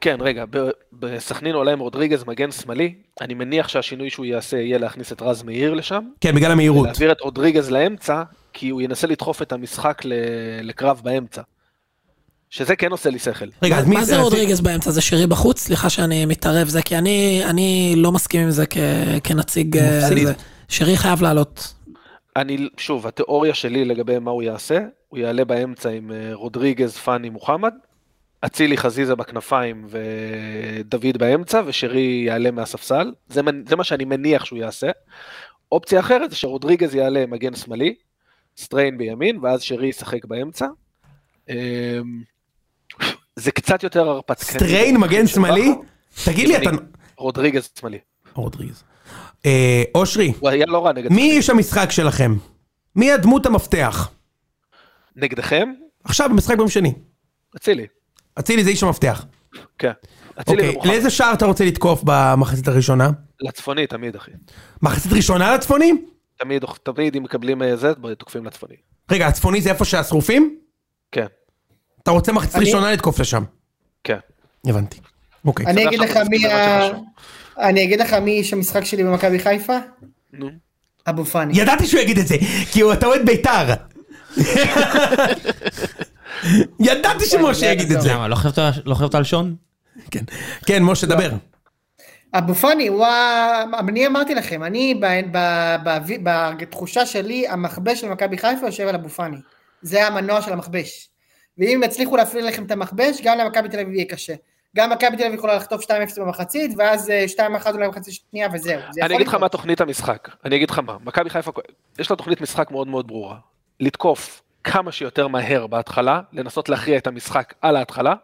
S6: כן, רגע, ב- בסכנין עולה עם רודריגז מגן שמאלי, אני מניח שהשינוי שהוא יעשה יהיה להכניס את רז מאיר לשם,
S4: כן, בגלל המהירות.
S6: להעביר את רודריגז לאמצע, כי הוא ינסה לדחוף את המשחק ל- לקרב באמצע. שזה כן עושה לי שכל.
S4: רגע, אז מי... אה,
S2: מה זה רודריגז באמצע? זה שירי בחוץ? סליחה שאני מתערב זה, כי אני, אני לא מסכים עם זה כ, כנציג... אה,
S4: מפסיד.
S2: זה. שירי חייב לעלות.
S6: אני, שוב, התיאוריה שלי לגבי מה הוא יעשה, הוא יעלה באמצע עם אה, רודריגז, פאני, מוחמד, אצילי חזיזה בכנפיים ודוד באמצע, ושרי יעלה מהספסל, זה, מנ- זה מה שאני מניח שהוא יעשה. אופציה אחרת זה שרודריגז יעלה מגן שמאלי, סטריין בימין, ואז שרי ישחק באמצע. אמ, זה קצת יותר הרפתקני.
S4: סטריין מגן שמאלי? תגיד לי, אתה...
S6: ימני. רודריגז שמאלי.
S4: רודריגז. אה, אושרי,
S6: הוא היה לא רע נגד...
S4: מי איש המשחק שלכם? מי הדמות המפתח?
S6: נגדכם?
S4: עכשיו במשחק ביום שני.
S6: אצילי.
S4: אצילי זה איש המפתח.
S6: כן. אצילי
S4: אוקיי,
S6: ומוחמד.
S4: לאיזה שער אתה רוצה לתקוף במחצית הראשונה?
S6: לצפוני תמיד, אחי.
S4: מחצית ראשונה לצפוני?
S6: תמיד, תמיד אם מקבלים אה, זה, ב- תוקפים לצפוני.
S4: רגע, הצפוני זה איפה שהשרופים?
S6: כן,
S4: אתה רוצה מחצית ראשונה לתקוף לשם.
S6: כן.
S4: הבנתי. אוקיי.
S3: אני אגיד לך
S6: עכשיו
S3: מי
S6: מסכים למה
S3: ה...
S6: שחשוב.
S3: אני אגיד לך מי איש המשחק שלי במכבי חיפה?
S6: נו.
S3: אבו פאני.
S4: ידעתי שהוא יגיד את זה, כי הוא- אתה אוהד בית"ר. ידעתי שמשה יגיד את זה.
S1: למה, לא חשבת- לא חשבת על שון?
S4: כן, כן, משה, דבר.
S3: אבו פאני הוא ה... אני אמרתי לכם, אני ב... ב... ב... ב... בתחושה שלי, המכבש של מכבי חיפה יושב על אבו פאני. זה המנוע של המכבש. ואם הם יצליחו להפעיל לכם את המכבש, גם למכבי תל אביב יהיה קשה. גם מכבי תל אביב יכולה לחטוף 2-0 במחצית, ואז אה, 2-1 אולי במחצית שנייה וזהו. זה
S6: אני
S3: יכול
S6: אגיד לך
S3: לקרות.
S6: מה תוכנית המשחק. אני אגיד לך מה. מכבי חיפה, יש לה תוכנית משחק מאוד מאוד ברורה. לתקוף כמה שיותר מהר בהתחלה, לנסות להכריע את המשחק על ההתחלה,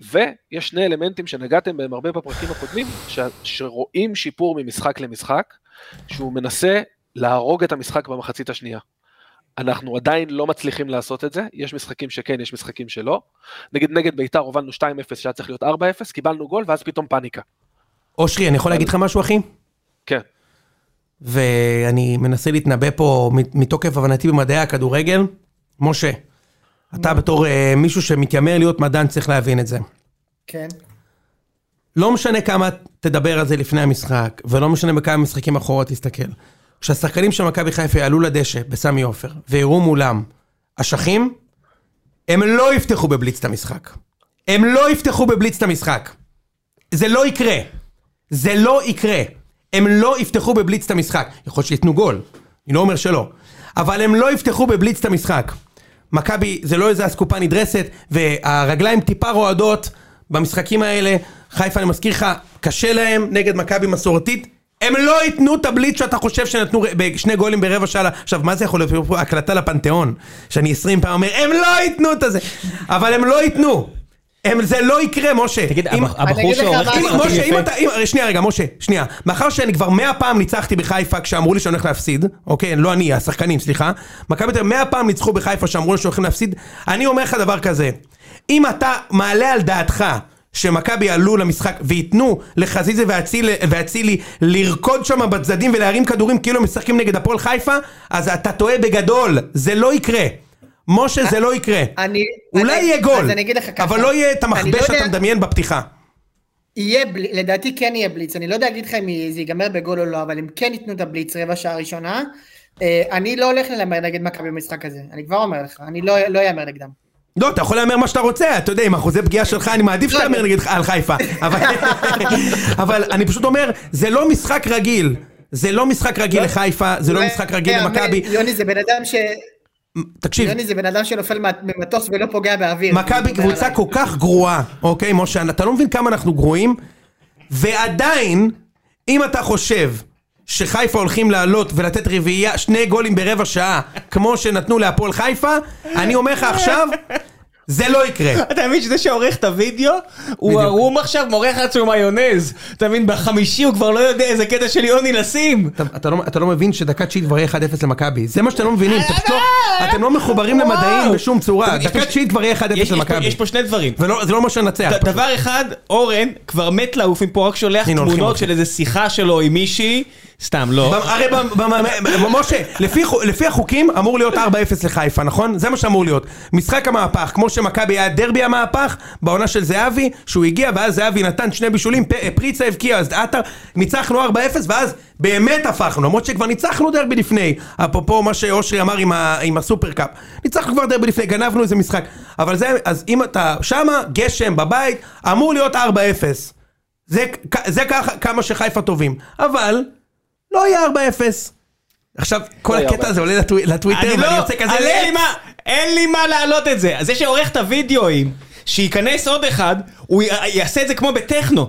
S6: ויש שני אלמנטים שנגעתם בהם הרבה בפרקים הקודמים, ש... שרואים שיפור ממשחק למשחק, שהוא מנסה להרוג את המשחק במחצית השנייה. אנחנו עדיין לא מצליחים לעשות את זה, יש משחקים שכן, יש משחקים שלא. נגיד נגד ביתר הובלנו 2-0 שהיה צריך להיות 4-0, קיבלנו גול ואז פתאום פאניקה.
S4: אושרי, אני יכול להגיד לך משהו, אחי?
S6: כן.
S4: ואני מנסה להתנבא פה מ- מתוקף הבנתי במדעי הכדורגל. משה, אתה בתור אה, מישהו שמתיימר להיות מדען צריך להבין את זה.
S3: כן.
S4: לא משנה כמה תדבר על זה לפני המשחק, ולא משנה בכמה משחקים אחורה תסתכל. כשהשחקנים של מכבי חיפה יעלו לדשא בסמי עופר, ויראו מולם אשכים, הם לא יפתחו בבליץ את המשחק. הם לא יפתחו בבליץ את המשחק. זה לא יקרה. זה לא יקרה. הם לא יפתחו בבליץ את המשחק. יכול להיות שייתנו גול, אני לא אומר שלא. אבל הם לא יפתחו בבליץ את המשחק. מכבי זה לא איזה אסקופה נדרסת, והרגליים טיפה רועדות במשחקים האלה. חיפה, אני מזכיר לך, קשה להם נגד מכבי מסורתית. הם לא ייתנו את הבליץ שאתה חושב שנתנו ר- בשני גולים ברבע שעה. עכשיו, מה זה יכול להיות? יש פה הקלטה לפנתיאון, שאני 20 פעם אומר, הם לא ייתנו את הזה. אבל הם לא ייתנו. הם, זה לא יקרה, משה.
S1: תגיד,
S4: אם-
S1: הבח- הבחור
S3: אגיד לך
S1: שעורך
S3: מה-
S1: את
S4: אם,
S1: הסרטים
S4: משה, אם
S1: יפה,
S4: אתה... אם, שנייה רגע, משה, שנייה. מאחר שאני כבר מאה פעם ניצחתי בחיפה כשאמרו לי שאני הולך להפסיד, אוקיי? לא אני, השחקנים, סליחה. מכבי תל אביב מאה פעם ניצחו בחיפה כשאמרו לי שהולכים להפסיד. אני אומר לך דבר כזה, אם אתה מעלה על דעתך שמכבי עלו למשחק וייתנו לחזיזה ואציל- ואצילי לרקוד שם בצדדים ולהרים כדורים כאילו הם משחקים נגד הפועל חיפה, אז אתה טועה בגדול, זה לא יקרה. משה, זה לא יקרה.
S3: אני...
S4: אולי
S3: אה, אני-
S4: יהיה גול,
S3: אז אני אגיד לך ככה.
S4: אבל לא יהיה את
S3: אני לא
S4: המכבש
S3: יודע-
S4: שאתה מדמיין בפתיחה.
S3: יהיה בליץ, לדעתי כן יהיה בליץ, אני לא יודע להגיד לך אם זה ייגמר בגול או לא, אבל הם כן ייתנו את הבליץ רבע שעה ראשונה. אה, אני לא הולך ללמר נגד מכבי במשחק הזה, אני כבר אומר לך, אני לא לא אהמר נגדם.
S4: לא, אתה יכול להמר מה שאתה רוצה, אתה יודע, עם אחוזי פגיעה שלך, לא, אני מעדיף שתהמר נגד על חיפה. *laughs* אבל, אבל אני פשוט אומר, זה לא משחק רגיל. זה לא משחק רגיל לחיפה, זה לא משחק רגיל
S3: אולי- כן,
S4: למכבי.
S3: יוני זה בן אדם ש...
S4: תקשיב,
S3: יוני זה בן אדם שנופל מה- ממטוס ולא פוגע באוויר.
S4: מכבי
S3: זה
S4: קבוצה
S3: עליי.
S4: כל כך גרועה, אוקיי, משה, אתה לא מבין כמה אנחנו גרועים, ועדיין, אם אתה חושב שחיפה הולכים לעלות ולתת רביעייה, שני גולים ברבע שעה, כמו שנתנו להפועל חיפה, אני אומר לך עכשיו, זה לא יקרה.
S1: אתה מבין שזה שעורך את הוידאו, הוא
S4: בדיוק.
S1: ערום עכשיו, מורח לעצמו מיונז. אתה מבין, בחמישי הוא כבר לא יודע איזה קטע של יוני לשים.
S4: אתה, אתה, לא, אתה לא מבין שדקה תשיעית כבר יהיה 1-0 למכבי. זה מה שאתם לא מבינים, אתם פתאום, אתם לא מחוברים
S1: וואו.
S4: למדעים בשום צורה.
S1: אתה- יש
S4: דקה
S1: פה-
S4: תשיעית כבר יהיה 1-0
S1: יש- יש פה-
S4: למכבי.
S1: יש פה שני דברים.
S4: ולא- זה לא מה שננצח.
S1: ד- דבר אחד, אורן כבר מת לעוף מפה, רק שולח
S4: הנה, הולכים,
S1: תמונות
S4: הולכים.
S1: של איזה שיחה שלו עם מישהי, סתם לא.
S4: הרי ב- ב- ב- משה, לפי חו- לפי החוקים אמור להיות 4-0 לחיפה, נכון? זה מה שאמור להיות. משחק המהפך, כמו שמכבי היה דרבי המהפך, בעונה של זהבי, שהוא הגיע, ואז זהבי נתן שני בישולים, פ- אה, פריצה הבקיע, אז עטר, ניצחנו 4-0, ואז באמת הפכנו, למרות שכבר ניצחנו דרבי לפני, אפרופו מה שאושרי אמר עם ה- עם הסופרקאפ. ניצחנו כבר דרבי לפני, גנבנו איזה משחק. אבל זה, אז אם אתה שמה, גשם, בבית, אמור להיות 4-0. זה, זה ככה כמה שחיפה טובים, אבל לא יהיה 4-0. עכשיו, כל
S6: לא יהיה
S4: הקטע הזה עולה לטו- לטוויטר,
S1: אני לא,
S4: ואני יוצא כזה "אה,
S1: אני אין לי
S4: לב.
S1: מה, אין לי מה להעלות את זה. אז זה שעורך את הוידאוים, שייכנס עוד אחד, הוא י- יעשה את זה כמו בטכנו.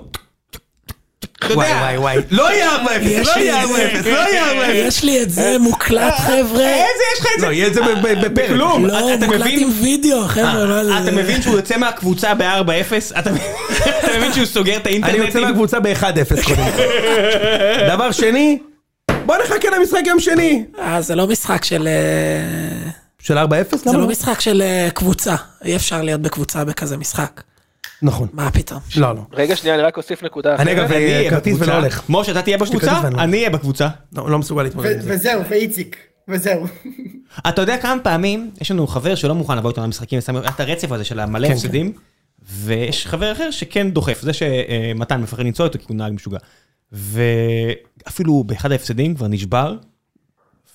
S1: אתה
S4: וואי
S1: יודע,
S4: וואי וואי.
S1: לא יהיה 4-0,
S2: יש
S1: לא
S2: לי
S1: יהיה 4-0,
S2: את זה.
S1: לא יהיה
S4: אה,
S1: 4-0.
S2: יש לי את זה מוקלט, חבר'ה.
S1: איזה יש לך את זה?
S4: לא, יהיה את זה ב- ב- בפרק.
S1: בכלום.
S2: לא,
S1: אה, אתה
S2: מוקלט
S1: מבין? אה,
S2: עם וידאו, חבר'ה. לא-
S1: אתה מבין שהוא יוצא מהקבוצה ב-4-0? אתה אתה מבין שהוא סוגר את
S4: אני
S1: האינטרנטים?
S4: יוצא מהקבוצה ב-1-0 קודם *laughs* כל. דבר שני, בוא נחכה למשחק יום שני.
S2: אה, זה לא משחק של... אה,
S4: של 4-0?
S2: זה
S4: למה
S2: לא משחק של אה, קבוצה. אי אפשר להיות בקבוצה בכזה משחק.
S4: נכון.
S2: מה פתאום?
S4: לא, לא.
S6: רגע שנייה, אני רק אוסיף נקודה אחת.
S4: אני אגב
S1: אני אהיה
S4: אה, כרטיס
S1: בקבוצה.
S4: ולא הולך.
S1: משה, אתה תהיה בקבוצה?
S4: כרטיס ואני לא
S1: אני אהיה בקבוצה.
S4: לא לא מסוגל להתמודד עם
S3: ו-
S4: זה.
S3: וזהו, ואיציק, וזהו.
S1: אתה יודע כמה פעמים, יש לנו חבר שלא מוכן לבוא איתנו למשחקים, ושם את הרצף הזה של המלא
S4: כן,
S1: הפסדים, ויש חבר אחר שכן דוחף, זה שמתן מפחד לנסוע איתו כי הוא נהג משוגע. ואפילו באחד ההפסדים כבר נשבר,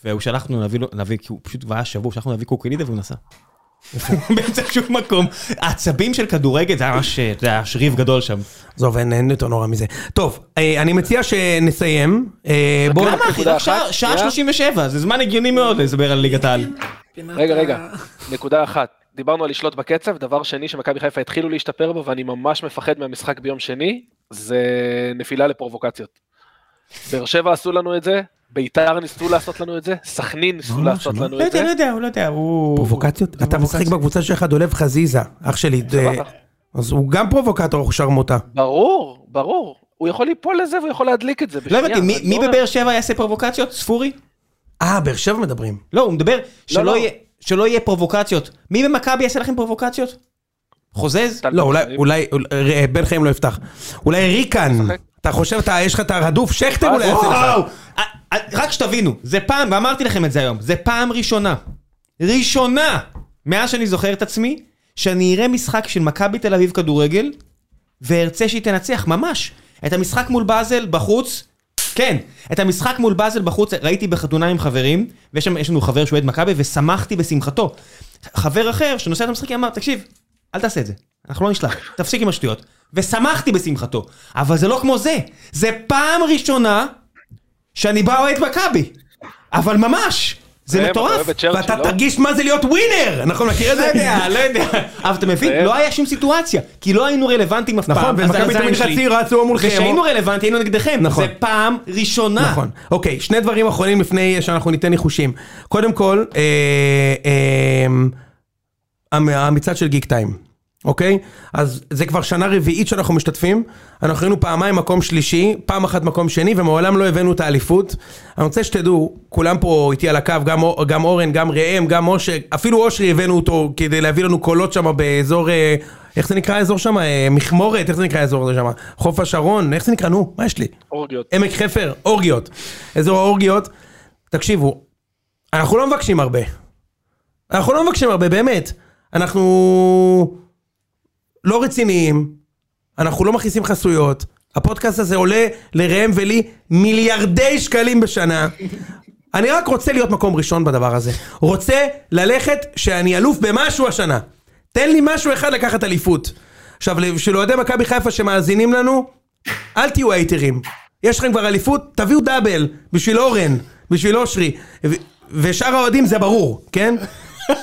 S1: והוא שלח לנו להביא לו, להביא, כי הוא פשוט כבר היה שבוע, שלחנו להביא קוקילידה והוא נסע. *laughs* באמצע שום מקום. העצבים של כדורגל, זה היה ממש, אתה יודע, היה ריב גדול שם.
S4: עזוב, אין אין יותר נורא מזה. טוב, אה, אני מציע שנסיים. אה, בואו...
S1: למה אחי?
S6: נקודה
S1: רק שעה-
S6: אחת,
S1: לא שעה
S6: שנייה.
S1: 37, זה זמן הגיוני מאוד לדבר על ליגת העל.
S2: פינת
S6: רגע,
S2: ה-
S6: רגע, נקודה אחת. דיברנו על לשלוט בקצב, דבר שני שמכבי חיפה התחילו להשתפר בו ואני ממש מפחד מהמשחק ביום שני, זה נפילה לפרובוקציות. באר שבע עשו לנו את זה, ביתר ניסו לעשות לנו את זה, סכנין ניסו לעשות לנו
S1: לא
S6: את
S1: יודע,
S6: זה.
S1: לא יודע, הוא לא יודע, הוא...
S4: פרובוקציות? אתה משחק בקבוצה שלך דולב חזיזה, אח שלי.
S1: לא
S4: אה,
S6: סבבה.
S4: אז הוא גם פרובוקטור שרמוטה.
S6: ברור, ברור. הוא יכול ליפול לזה והוא יכול להדליק את זה.
S1: לא
S6: בשנייה,
S1: הבנתי, מי-
S6: אני
S1: מי
S6: אומר,
S1: בבאר שבע יעשה פרובוקציות? ספורי?
S4: אה, באר שבע מדברים.
S1: לא, הוא מדבר שלא
S6: לא.
S1: יהיה- שלא יהיה פרובוקציות. מי במכבי יעשה לכם פרובוקציות? חוזז?
S6: טל
S4: לא,
S6: בן
S4: אולי,
S6: חיים.
S4: אולי, אולי- בן חיים לא יפתח. אולי ריקן. אתה חושב, אתה, יש לך את הרדוף, שכטר אולי יעשה לך.
S1: וואו! אה, אה, רק שתבינו, זה פעם, ואמרתי לכם את זה היום, זה פעם ראשונה. ראשונה! מאז שאני זוכר את עצמי, שאני אראה משחק של מכבי תל אביב כדורגל, וארצה שהיא תנצח, ממש. את המשחק מול באזל בחוץ, כן. את המשחק מול באזל בחוץ ראיתי בחתונה עם חברים, ויש שם- יש לנו חבר שהוא אוהד מכבי, ושמחתי בשמחתו. חבר אחר שנוסע את המשחקים אמר, תקשיב, אל תעשה את זה, אנחנו לא נשלח, תפסיק עם השטויות. ושמחתי בשמחתו. אבל זה לא כמו זה. זה פעם ראשונה שאני בא אוהד מכבי. אבל ממש! זה
S6: ראם, אתה
S1: מטורף.
S6: אוהב את צ'רצ'יל,
S4: ואתה
S6: לא?
S4: תרגיש מה זה להיות ווינר! אנחנו מכירים את
S1: לא
S4: זה?
S1: יודע, לא יודע. אבל אתה מבין?
S6: ראם.
S1: לא היה שום סיטואציה. כי לא היינו רלוונטיים אף פעם.
S4: נכון,
S1: אז
S4: ומכבי
S1: הזין
S4: תמיד
S1: שלי.
S4: חצי רצו מולכם.
S1: וכשהיינו רלוונטיים היינו נגדכם.
S4: נכון.
S1: זה פעם ראשונה.
S4: נכון. אוקיי, שני דברים אחרונים לפני שאנחנו ניתן ניחושים. קודם כל, אה, אה, המ- המצעד של גיק טיים, אוקיי? אז זה כבר שנה רביעית שאנחנו משתתפים. אנחנו היינו פעמיים מקום שלישי, פעם אחת מקום שני, ומעולם לא הבאנו את האליפות. אני רוצה שתדעו, כולם פה איתי על הקו, גם, אור- גם אורן, גם ראם, גם אושר, אפילו אושרי הבאנו אותו כדי להביא לנו קולות שם באזור... אה, איך זה נקרא האזור שם? אה, מכמורת, איך זה נקרא האזור הזה שם? חוף השרון, איך זה נקרא? נו, מה יש לי?
S6: אורגיות.
S4: עמק חפר, אורגיות. אזור האורגיות. תקשיבו, אנחנו לא מבקשים הרבה. אנחנו לא מבקשים הרבה, באמת. אנחנו לא רציניים, אנחנו לא מכניסים חסויות. הפודקאסט הזה עולה לראם ולי מיליארדי שקלים בשנה. אני רק רוצה להיות מקום ראשון בדבר הזה. רוצה ללכת שאני אלוף במשהו השנה. תן לי משהו אחד לקחת אליפות. עכשיו, בשביל אוהדי מכבי חיפה שמאזינים לנו, אל תהיו הייטרים. יש לכם כבר אליפות, תביאו דאבל, בשביל אורן, בשביל אושרי. ו- ושאר האוהדים זה ברור, כן?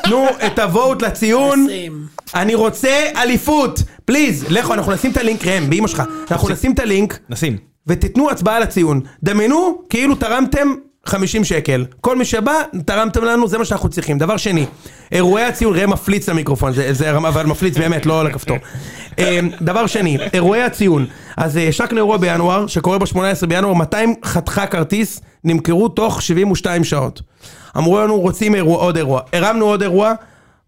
S4: תנו את הוואט לציון.
S2: עשרים.
S4: אני רוצה אליפות, פליז, לכו, אנחנו נשים את הלינק, ראם, באמא שלך, אנחנו נשים את הלינק
S1: נשים.
S4: ותיתנו הצבעה על הציון. דמיינו כאילו תרמתם 50 שקל. כל מי שבא, תרמתם לנו, זה מה שאנחנו צריכים. דבר שני, אירועי הציון, ראם מפליץ למיקרופון, זה, זה הרמה, אבל מפליץ באמת, לא לכפתור. אה, דבר שני, אירועי הציון, אז אה, השקנו אירוע בינואר, שקורה ב-18 בינואר, 200 חתכה כרטיס, נמכרו תוך 72 שעות. אמרו לנו, רוצים אירוע, עוד אירוע. הרמנו עוד אירוע,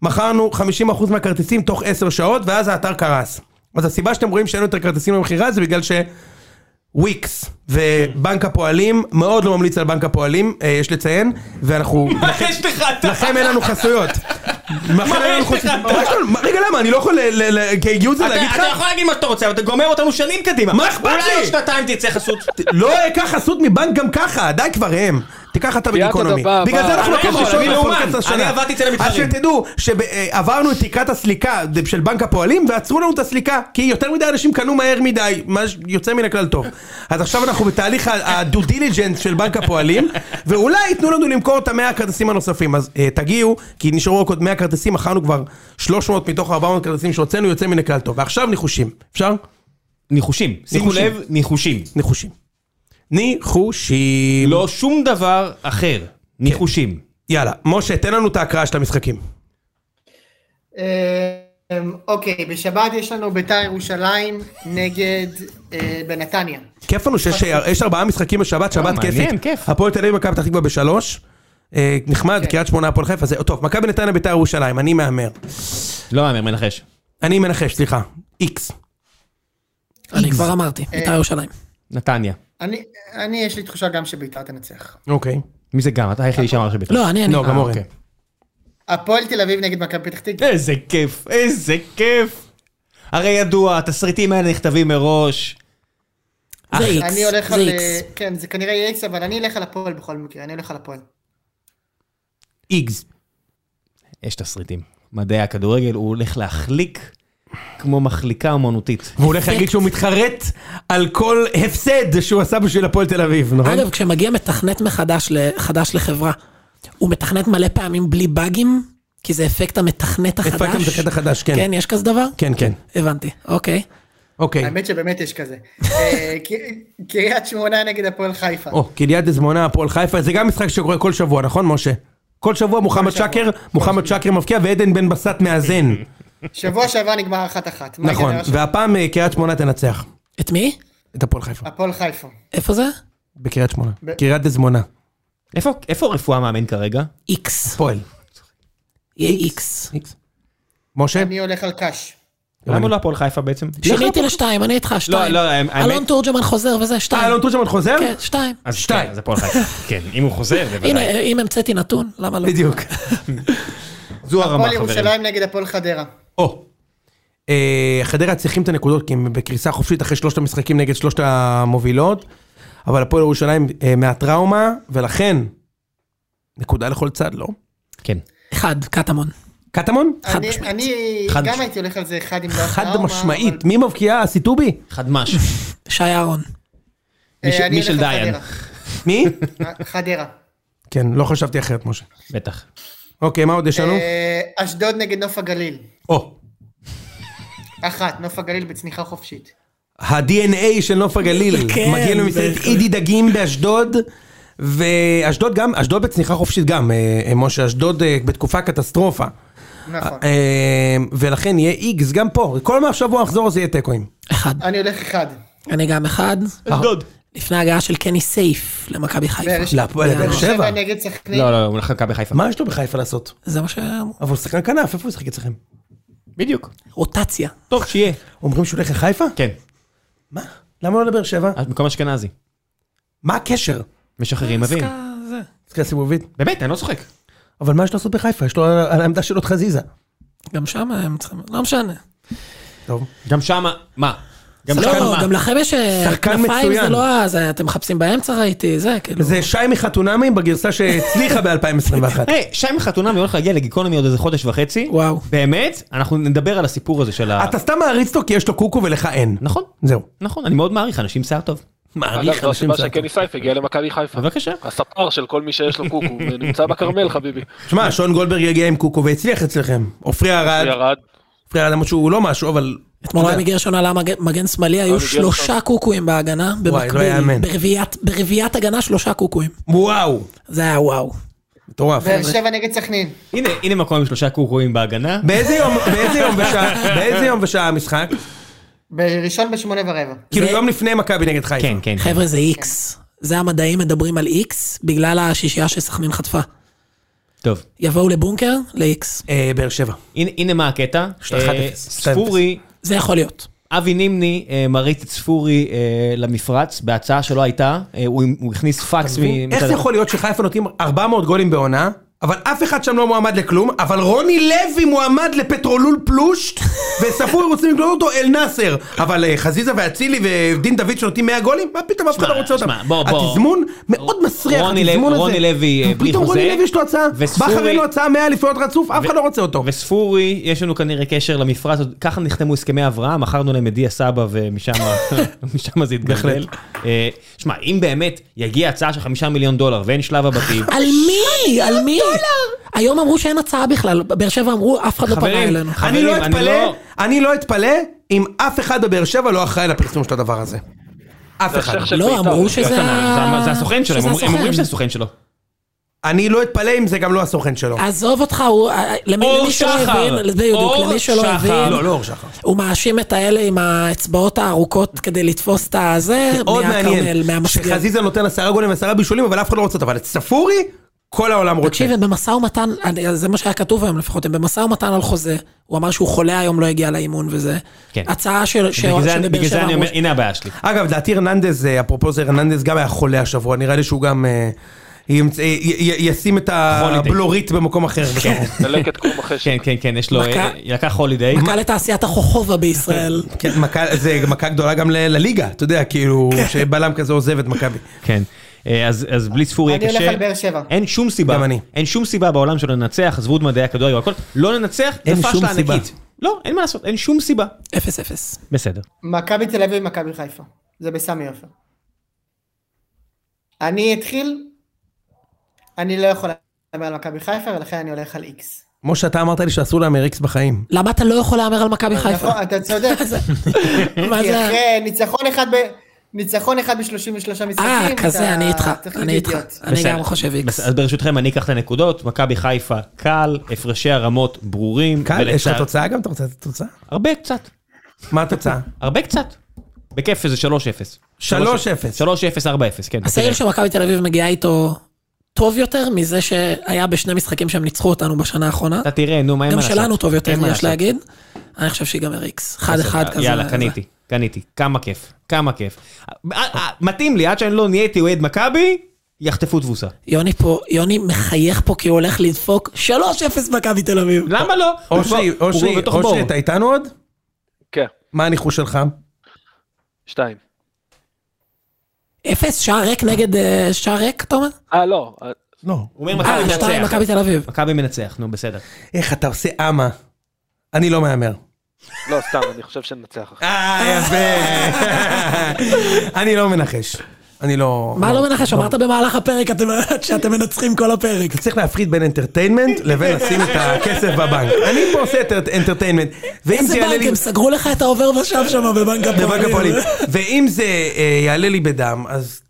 S4: מכרנו 50% מהכרטיסים תוך 10 שעות, ואז האתר קרס. אז הסיבה שאתם רואים שאין יותר כרטיסים למכירה זה בגלל ש... וויקס ובנק הפועלים, מאוד לא ממליץ על בנק הפועלים, אה, יש לציין, ואנחנו...
S1: *laughs* מה יש לך נכון. אתה?
S4: לכם אין לנו חסויות. לכם אין לנו
S1: יש לך?
S4: חסויות. מה יש לנו? מה- רגע, למה? אני לא יכול ל- ל- ל- כהגיוטה
S1: אתה
S4: להגיד לך?
S1: אתה יכול להגיד מה שאתה רוצה, אבל אתה גומר אותנו שנים קדימה.
S4: מה אכפת
S1: אולי
S4: לי?
S1: עוד שנתיים תצא חסות.
S4: לא אקח חסות מבנק גם ככה, די כבר הם. תיקח אתה
S6: תהיה אתה
S4: בגיקונומי.
S6: בבא,
S4: בגלל זה
S6: בא.
S4: אנחנו לא
S1: אני
S4: לוקחים
S1: יכול,
S4: ראשון
S1: אני לאומן.
S4: בפודקאסט השנה.
S1: אני עבדתי אצל המתחרים.
S4: אז שתדעו שעברנו את תקרת הסליקה של בנק הפועלים ועצרו לנו את הסליקה, כי יותר מדי אנשים קנו מהר מדי, מה שיוצא מן הכלל טוב. אז עכשיו אנחנו בתהליך הדו דיליג'נס של בנק
S1: *laughs*
S4: הפועלים, ואולי ייתנו לנו למכור את המאה הכרטיסים הנוספים. אז אה, תגיעו, כי נשארו רק עוד 100 כרטיסים, מכרנו כבר 300 מתוך 400 כרטיסים שהוצאנו, יוצא מן הכלל טוב. ועכשיו ניחושים, אפשר?
S1: ניחושים. שימו
S4: ניחושים.
S1: לב, ניחושים.
S4: ניחושים. ניחושים. כן.
S1: לא שום דבר אחר. ניחושים.
S4: יאללה, משה, תן לנו את ההקראה של המשחקים.
S3: אה, אוקיי, בשבת יש לנו ביתר ירושלים נגד אה, בנתניה.
S4: כיף לנו שיש יש ארבעה משחקים בשבת, שבת כיפית.
S1: אה, מעניין, כיף.
S4: הפועל תל אביב, מכבי פתח תקווה בשלוש. אה,
S2: כן.
S4: נחמד, קריית שמונה, הפועל חיפה. זה טוב, מכבי נתניה, ביתר ירושלים, אני מהמר.
S1: לא מהמר, מנחש.
S4: אני מנחש, סליחה. איקס.
S2: אני כבר אמרתי, בית"ר ירושלים.
S1: נתניה.
S3: אני, אני, יש לי תחושה גם שביתר תנצח.
S4: אוקיי.
S1: מי זה גם? אתה היחידי שאמר שביתר.
S2: לא, אני, אני.
S4: לא, גם אורן.
S1: אוקיי.
S3: הפועל תל אביב נגד מכבי פתח תקווה.
S1: איזה כיף, איזה כיף. הרי ידוע, התסריטים האלה נכתבים מראש.
S2: זה
S4: אה.
S2: איקס,
S3: אני הולך
S2: זה
S3: על...
S2: איקס.
S3: כן, זה כנראה יהיה איקס, אבל אני אלך על הפועל בכל מקרה, אני הולך על הפועל.
S4: איגז.
S1: יש תסריטים. מדעי הכדורגל, הוא הולך להחליק כמו מחליקה אומנותית.
S4: והוא הולך להגיד שהוא מתחרט על כל הפסד שהוא עשה בשביל הפועל תל אביב, נכון?
S2: אגב, כשמגיע מתכנת מחדש ל- חדש לחברה, הוא מתכנת מלא פעמים בלי באגים, כי זה אפקט המתכנת החדש.
S4: אפקט המתכנת החדש, כן.
S2: כן, יש כזה דבר?
S4: כן, כן.
S2: הבנתי, אוקיי.
S4: אוקיי.
S3: האמת שבאמת יש כזה. אה, ק- קריית שמונה נגד הפועל חיפה.
S4: או, קהיליית דזמונה, הפועל חיפה, זה גם משחק שקורה כל שבוע, נכון, משה? כל שבוע מוחמד שקר, מוחמד שקר מבקיע ועדן בן בסט מאזן.
S3: שבוע שעבר נגמר אחת אחת. מה
S4: נכון,
S3: ייגמר השבוע?
S4: והפעם אה, קריית שמונה תנצח
S2: את מי?
S4: את הפועל חיפה.
S3: הפועל חיפה.
S2: איפה זה?
S4: בקריית שמונה.
S3: ב-
S4: קריית דזמונה.
S1: איפה- איפה רפואה מאמן כרגע?
S2: איקס.
S4: פועל.
S2: יהיה איקס.
S4: איקס. משה?
S3: אני הולך על קאש.
S1: למה לא הפועל חיפה בעצם?
S2: שיניתי
S4: לא.
S2: לשתיים, אני איתך, שתיים.
S1: לא, האמת-
S2: אלון תורג'מן חוזר וזה,
S4: אה,
S2: שתיים.
S4: אלון תורג'מן אוקיי. חוזר?
S2: כן, שתיים.
S1: אז
S4: שתיים.
S1: כן, אז הפועל חיפה. כן, אם הוא חוזר,
S2: הנה,
S1: בוודאי.
S2: אם המצאתי נתון, למה לא?
S4: בדיוק.
S1: זו הרמה,
S3: הפועל
S1: חברים.
S3: ירושלים נגד הפועל חדרה.
S4: או. אה, חדרה צריכים את הנקודות כי הם בקריסה חופשית אחרי שלושת המשחקים נגד שלושת המובילות, אבל הפועל ירושלים אה, מהטראומה, ולכן, נקודה לכל צד, לא?
S1: כן.
S2: אחד, קטמון.
S4: קטמון?
S1: חד
S3: אני-
S1: משמעית.
S3: אני
S1: חד
S3: גם
S1: משמעית.
S3: הייתי הולך על זה אחד עם דעת
S4: חד
S3: נאומה,
S4: משמעית.
S3: לא אבל,
S4: מי מבקיעה? סיטובי?
S1: חד מש.
S2: שי אהרון.
S3: אה,
S1: מיש-
S3: אני הולך
S1: מישל
S3: על
S1: דיין.
S4: מי?
S3: חדרה. אה, חדרה.
S4: *laughs* כן, לא חשבתי אחרת, משה.
S1: בטח.
S4: אוקיי, מה עוד יש לנו?
S3: אה, אשדוד נגד נוף הגליל.
S4: או,
S3: אחת, נוף הגליל בצניחה חופשית.
S4: ה-DNA של
S3: *laughs*
S4: נוף הגליל.
S2: כן,
S4: מגיע למסעדת
S2: בהחלט.
S4: אידי דגים באשדוד. ואשדוד גם, אשדוד בצניחה חופשית גם, אה, אה, משה, אשדוד אה, בתקופה קטסטרופה.
S3: נכון.
S4: אה, ולכן יהיה איקס גם פה, כל מה השבוע נחזור זה יהיה תיקואים.
S2: אחד.
S3: אני הולך אחד.
S2: אני גם אחד.
S1: אשדוד.
S2: לפני הגעה של קני סייף למכבי חיפה.
S3: באר
S4: להפועל באר שבע.
S3: שבע נגד סכנין.
S1: לא, לא, הוא הולך למכבי חיפה.
S4: מה יש לו בחיפה לעשות?
S2: זה מה שאמרו.
S4: אבל הוא שחקן כנף, איפה הוא ישחק אצלכם?
S1: בדיוק.
S2: רוטציה.
S1: טוב, שיהיה.
S4: אומרים שהוא הולך לחיפה?
S1: כן.
S4: מה? למה לא לבאר שבע?
S1: אז במקום אשכנזי.
S4: מה הקשר?
S1: משחררים, מבין.
S4: עסקה סיבובית.
S1: באמת, אני לא צוחק.
S4: אבל מה יש לו לעשות בחיפה? יש לו על- על העמדה שלו את חזיזה.
S2: גם שם הם צריכים... לא משנה.
S4: טוב.
S1: גם שמה, מה? גם שמה,
S2: לא,
S1: מה?
S2: גם לכם יש...
S4: שחקן
S2: כנפיים זה
S4: מצוין.
S2: לא ה... זה- אתם מחפשים באמצע ראיתי, זה כאילו...
S4: זה שי מחתונמי בגרסה שהצליחה ב-2021.
S1: היי, שי מחתונמי הולך להגיע לגיקונומי עוד איזה חודש וחצי.
S2: וואו.
S1: באמת, אנחנו נדבר על הסיפור הזה של ה...
S4: אתה סתם מעריץ אותו כי יש לו קוקו ולך אין.
S1: נכון,
S4: זהו.
S1: נכון, אני מאוד מעריך, אנשים שיער טוב.
S6: אגב,
S4: מעריך
S6: זו
S4: אנשים
S6: הסיבה
S4: שאתה...
S6: שקני סייף הגיע למכבי חיפה.
S1: בבקשה.
S6: הספר של כל מי שיש
S1: *laughs*
S6: לו קוקו, נמצא בכרמל חביבי.
S4: שמע, שון גולדברג הגיע עם קוקו והצליח אצלכם. עופרי ארד,
S6: ירד.
S4: עופרי ארד למרות שהוא לא משהו, אבל...
S2: אתמול רמי גרשון עלה מג- מגן שמאלי, היו
S6: רמי
S2: שלושה קוקויים בהגנה. במקביל.
S4: לא יאמן.
S2: ברביעיית- ברביעיית הגנה שלושה קוקויים.
S4: וואו.
S2: זה היה וואו.
S4: מטורף.
S3: באר שבע נגד סכנין.
S1: הנה, הנה מקום עם שלושה קורקויים בהגנה.
S4: באיזה יום- באיזה יום ושעה- באיזה יום ושעה המשחק?
S3: בראשון בשמונה ורבע.
S4: כאילו
S2: זה-
S4: יום לפני מכבי נגד חיפה.
S1: כן, כן.
S2: חבר'ה זה איקס. זה המדעים מדברים על איקס בגלל השישייה שסכנין חטפה.
S1: טוב.
S2: יבואו לבונקר, לאיקס.
S4: אה, באר שבע.
S1: הנה הנה מה הקטע.
S4: יש לה 1-0.
S1: אה, ספורי,
S2: זה יכול להיות.
S1: אבי נימני אה, מריץ את ספורי אה, למפרץ בהצעה שלא הייתה. אה, הוא הוא הכניס פקס מ...
S4: איך זה יכול להיות שחיפה נותנים 400 גולים בעונה, אבל אף אחד שם לא מועמד לכלום, אבל רוני לוי מועמד לפטרולול
S1: *laughs*
S4: פלושט, וספורי רוצים לקלוט אותו אל נאסר. אבל אה, חזיזה ואצילי ודין דוד שנותנים 100 גולים, מה פתאום אף אחד לא רוצה אותם?
S1: שמע, בוא, בוא.
S4: התזמון מאוד מסריח,
S1: רוני לוי-
S4: התזמון הזה.
S1: רוני לוי, אה, בלי
S4: פתאום
S1: חוזה.
S4: רוני לוי יש לו הצעה,
S1: וספורי-
S4: בכר אין לו הצעה 100 אליפויות רצוף, אף אחד לא רוצה אותו.
S1: וספורי, יש לנו כנראה קשר למפרץ, עוד- ככה נחתמו הסכמי אברהם, מכרנו להם את דיה סבא ומשם
S4: *laughs*
S1: משם זה התגלגל. אה, שמע, אם באמת יגיע הצעה של חמישה מיליון דולר ואין שלב הבתים,
S2: על מי? על מי? היום אמרו שאין הצעה בכלל. באר שבע אמרו, אף אחד לא פנה
S1: חברים,
S2: אלינו.
S1: חברים,
S4: אני לא
S1: אני
S4: אתפלא,
S1: לא-
S4: אני לא אתפלא אם אף אחד בבאר שבע לא אחראי לפרסום של הדבר הזה. אף
S6: זה
S4: אחד.
S6: השייח של
S2: לא,
S6: בית"ר.
S2: אמרו שזה...
S1: זה
S2: ה-
S1: ה- זה הסוכן שלו,
S2: שזה
S1: הם אומרים- הם
S2: הסוכן.
S1: אומרים שזה הסוכן שלו.
S4: אני לא אתפלא אם זה גם לא הסוכן שלו.
S2: עזוב אותך, הוא... אה, למי
S1: אור
S2: למי שלא
S1: שחר.
S2: הבין, בדיוק,
S1: אור
S2: למי שלא
S1: שחר.
S2: הבין,
S4: לא, לא אור שחר.
S2: הוא מאשים את האלה עם האצבעות הארוכות כדי לתפוס את הזה,
S4: עוד
S2: מהכרמל,
S4: מעניין,
S2: מהמסגרת.
S4: שחזיזה נותן עשרה גולים ועשרה בישולים, אבל אף אחד לא רוצה אותו, אבל את ספורי, כל העולם רוצה.
S2: תקשיב, הם במשא ומתן, אני- זה מה שהיה כתוב היום לפחות, הם במשא ומתן על חוזה. הוא אמר שהוא חולה היום, לא הגיע לאימון וזה.
S1: כן.
S2: הצעה של... ש-
S1: בגלל זה-
S2: שבבאר
S1: בגלל
S2: שבע
S1: זה אני
S2: אמרו
S1: אומר, הנה הבעיה שלי.
S4: אגב, לדעתי הרננדז, אה, אפרופו זה, הרננדז גם היה חולה השבוע, נראה לי שהוא גם אה, ימצ- אה, י- י- ישים את הבלורית במקום אחר. כן, בקרוב.
S6: דלקת קרום החשק.
S1: כן, כן, כן, יש לו,
S2: מכה-
S1: אה, לקח הולידיי.
S2: מכה לתעשיית החוכובה
S1: *laughs*
S2: בישראל.
S4: כן, מכה- זה מכה גדולה גם ל- לליגה, אתה יודע, כאילו,
S2: כן.
S4: שבלם כזה עוזב את מכבי.
S1: כן. אה, אז, אז בלי ספורי יהיה
S3: אני
S1: קשה.
S3: הולך על באר שבע.
S1: אין שום סיבה.
S4: גם אני.
S1: אין שום סיבה בעולם שלא ננצח, עזבו את מדעי הכדורגל והכל. לא ננצח,
S4: אין
S1: זה
S4: שום
S1: פשלה
S4: סיבה.
S1: ענקית. לא, אין מה לעשות, אין שום סיבה.
S2: אפס אפס.
S1: בסדר.
S3: מכבי תל אביב ומכבי חיפה. זה בסמי עופר. אני אתחיל, אני לא יכול לדבר על מכבי חיפה ולכן אני הולך על איקס.
S4: משה, אתה אמרת לי שאסור להמר איקס בחיים.
S2: למה אתה לא יכול להמר על מכבי חיפה?
S3: נכון, אתה
S2: *laughs*
S3: צודק.
S2: מה
S3: כי
S2: זה?
S3: אחרי ניצחון אחד ב... ניצחון אחד ב-33 משחקים.
S2: אה, כזה,
S3: אתה
S2: אני איתך,
S3: צריך
S2: אני
S3: להיות
S2: איתך.
S3: אידיוט.
S2: אני
S1: בסדר.
S2: גם חושב איקס.
S1: בסדר, אז ברשותכם אני אקח את הנקודות, מכבי חיפה קל, הפרשי הרמות ברורים.
S4: קל, יש לך
S1: ולצער-
S4: תוצאה גם? אתה רוצה לתת תוצאה?
S1: הרבה קצת, *laughs*
S4: מה התוצאה?
S1: הרבה קצת. בכיף איזה 3-0.
S4: 3-0.
S1: 3-0, 4-0, כן.
S2: הסגל שמכבי תל אביב מגיעה איתו טוב יותר מזה שהיה בשני משחקים שהם ניצחו אותנו בשנה האחרונה.
S1: אתה תראה, נו, מה אין
S2: גם
S1: מה לעשות.
S2: שלנו טוב יותר,
S1: אין מה
S2: יש
S1: לעשות.
S2: להגיד. אני חושב שיגמר איקס. אחד אחד כזה.
S1: יאללה, קניתי, קניתי. כמה כיף, כמה כיף. אה, אה, מתאים לי, עד שאני לא נהייתי אוהד מכבי, יחטפו תבוסה.
S2: יוני פה, יוני מחייך פה כי הוא הולך לדפוק 3-0 מכבי תל אביב.
S1: למה לא?
S4: אושרי,
S1: הוא כבר- הוא
S4: אושרי,
S1: בתוך בור.
S4: אושרי, אתה איתנו עוד?
S6: כן,
S4: מה הניחוש שלך?
S6: שתיים.
S2: אפס, שער ריק נגד אה, שער ריק, אתה אומר?
S6: אה, לא, אה,
S4: לא.
S1: הוא אומר
S2: אה,
S1: מכבי
S2: שתיים,
S1: מנצח.
S2: מכבי תל אביב.
S1: מכבי מנצח, נו בסדר.
S4: איך אתה עושה אמה? אני לא מהמר.
S6: לא, סתם, אני חושב שננצח. אחי.
S4: אה, יפה. *laughs* אני לא מנחש. אני לא...
S2: מה לא מנחש? אמרת במהלך הפרק אתם- *laughs* שאתם מנצחים כל הפרק.
S4: אתה צריך להפריד בין אנטרטיינמנט לבין לשים את הכסף בבנק. אני פה עושה את אנטרטיינמנט. ואם
S2: איזה
S4: זה יעלה
S2: בנק,
S4: לי...
S2: הם סגרו לך את העובר ושב שם בבנק
S4: בבנק הפועלים.
S2: הפועלים.
S4: ואם זה אה, יעלה לי בדם, אז...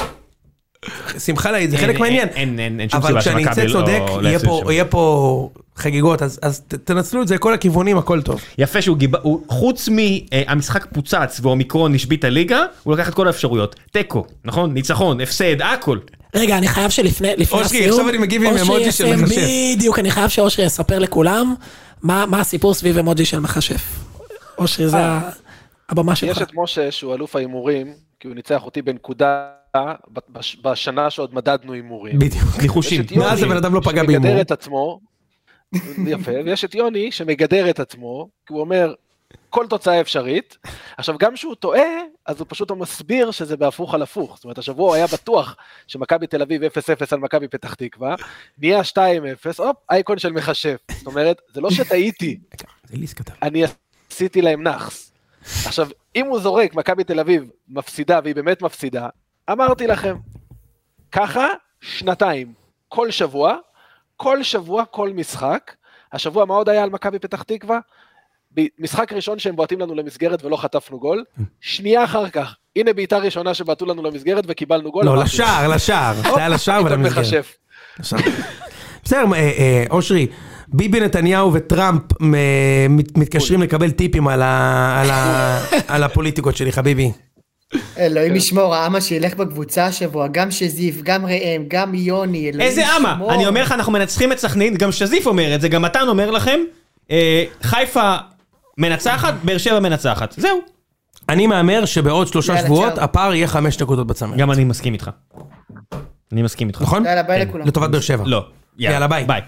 S4: שמחה לאיד, זה חלק
S1: אין-
S4: מהעניין.
S1: אין- אין- אין- אין שום
S4: אבל
S1: סיבה
S4: כשאני
S1: שמכבי
S4: אצא
S1: לא-
S4: צודק,
S1: לא
S4: יהיה
S1: יפסיד
S4: פה-
S1: שם.
S4: יהיה פה חגיגות, אז- אז ת- תנצלו את זה כל הכיוונים, הכל טוב.
S1: יפה שהוא גיבה, הוא- חוץ מהמשחק פוצץ ואומיקרון השבית הליגה, הוא לקח את כל האפשרויות. תיקו, נכון? ניצחון, הפסד, הכל.
S2: רגע, אני חייב שלפני לפני
S4: אושרי,
S2: הסיום...
S4: עכשיו אני מגיב עם
S2: אושרי
S4: אמוג'י של
S2: יסיים-
S4: מכשף.
S2: בדיוק, אני חייב שאושרי יספר לכולם מה מה הסיפור סביב אמוג'י של מכשף. אושרי,
S4: אה.
S2: זה ה- הבמה שלך.
S6: יש את משה, שהוא אלוף ההימורים, כי הוא ניצח אותי בנקודה ב- בש- בשנה שעוד מדדנו הימורים.
S4: בדיוק.
S6: יש
S1: ניחושים.
S6: את יוני,
S4: מאז הבן אדם לא פגע בהימור.
S6: שמגדר את עצמו, *laughs* יפה, ויש את יוני שמגדר את עצמו, כי הוא אומר, כל תוצאה אפשרית. עכשיו, גם שהוא טועה, אז הוא פשוט מסביר שזה בהפוך על הפוך. זאת אומרת, השבוע הוא היה בטוח שמכבי תל אביב 0-0 על מכבי פתח תקווה, נהיה 2-0, הופ, אייקון של מכשף. זאת אומרת, זה לא שטעיתי,
S4: זה ליס כתב.
S6: אני עשיתי להם נאחס. עכשיו, אם הוא זורק, מכבי תל אביב מפסידה, והיא באמת מפסידה, אמרתי לכם, ככה שנתיים, כל שבוע, כל שבוע, כל משחק. השבוע, מה עוד היה על מכבי פתח תקווה? ב- משחק ראשון שהם בועטים לנו למסגרת ולא חטפנו גול, שנייה אחר כך, הנה בעיטה ראשונה שבעטו לנו למסגרת וקיבלנו גול.
S4: לא,
S6: אמרתי,
S3: אוקיי.
S4: לשער, לשער. זה
S6: הופ,
S4: היה לשער
S6: עיתון
S4: ולמסגרת.
S6: מכשף.
S4: עכשיו. בסדר, אה, אה, אושרי, ביבי נתניהו וטראמפ מ- מת- מתקשרים לקבל טיפים על ה- על
S3: *laughs*
S4: ה- על הפוליטיקות שלי, חביבי.
S1: כן.
S3: אלוהים ישמור, האמה שילך בקבוצה השבוע, גם שזיף, גם ראם, גם יוני, אלוהים
S1: איזה אמה?
S3: ישמור.
S1: אני אומר לך, אנחנו מנצחים את סכנין, גם שזיף אומר את זה, גם מתן אומר לכם, אה, חיפה מנצחת, באר שבע מנצחת. זהו.
S4: אני מהמר שבעוד שלושה
S3: יאללה,
S4: שבועות
S3: צ'או.
S4: הפער יהיה חמש נקודות בצמרת.
S1: גם אני מסכים איתך. אני מסכים איתך.
S4: נכון?
S3: יאללה, ביי
S1: כן.
S3: לכולם.
S4: לטובת באר שבע.
S1: לא.
S4: יאללה, ביי.
S1: ביי.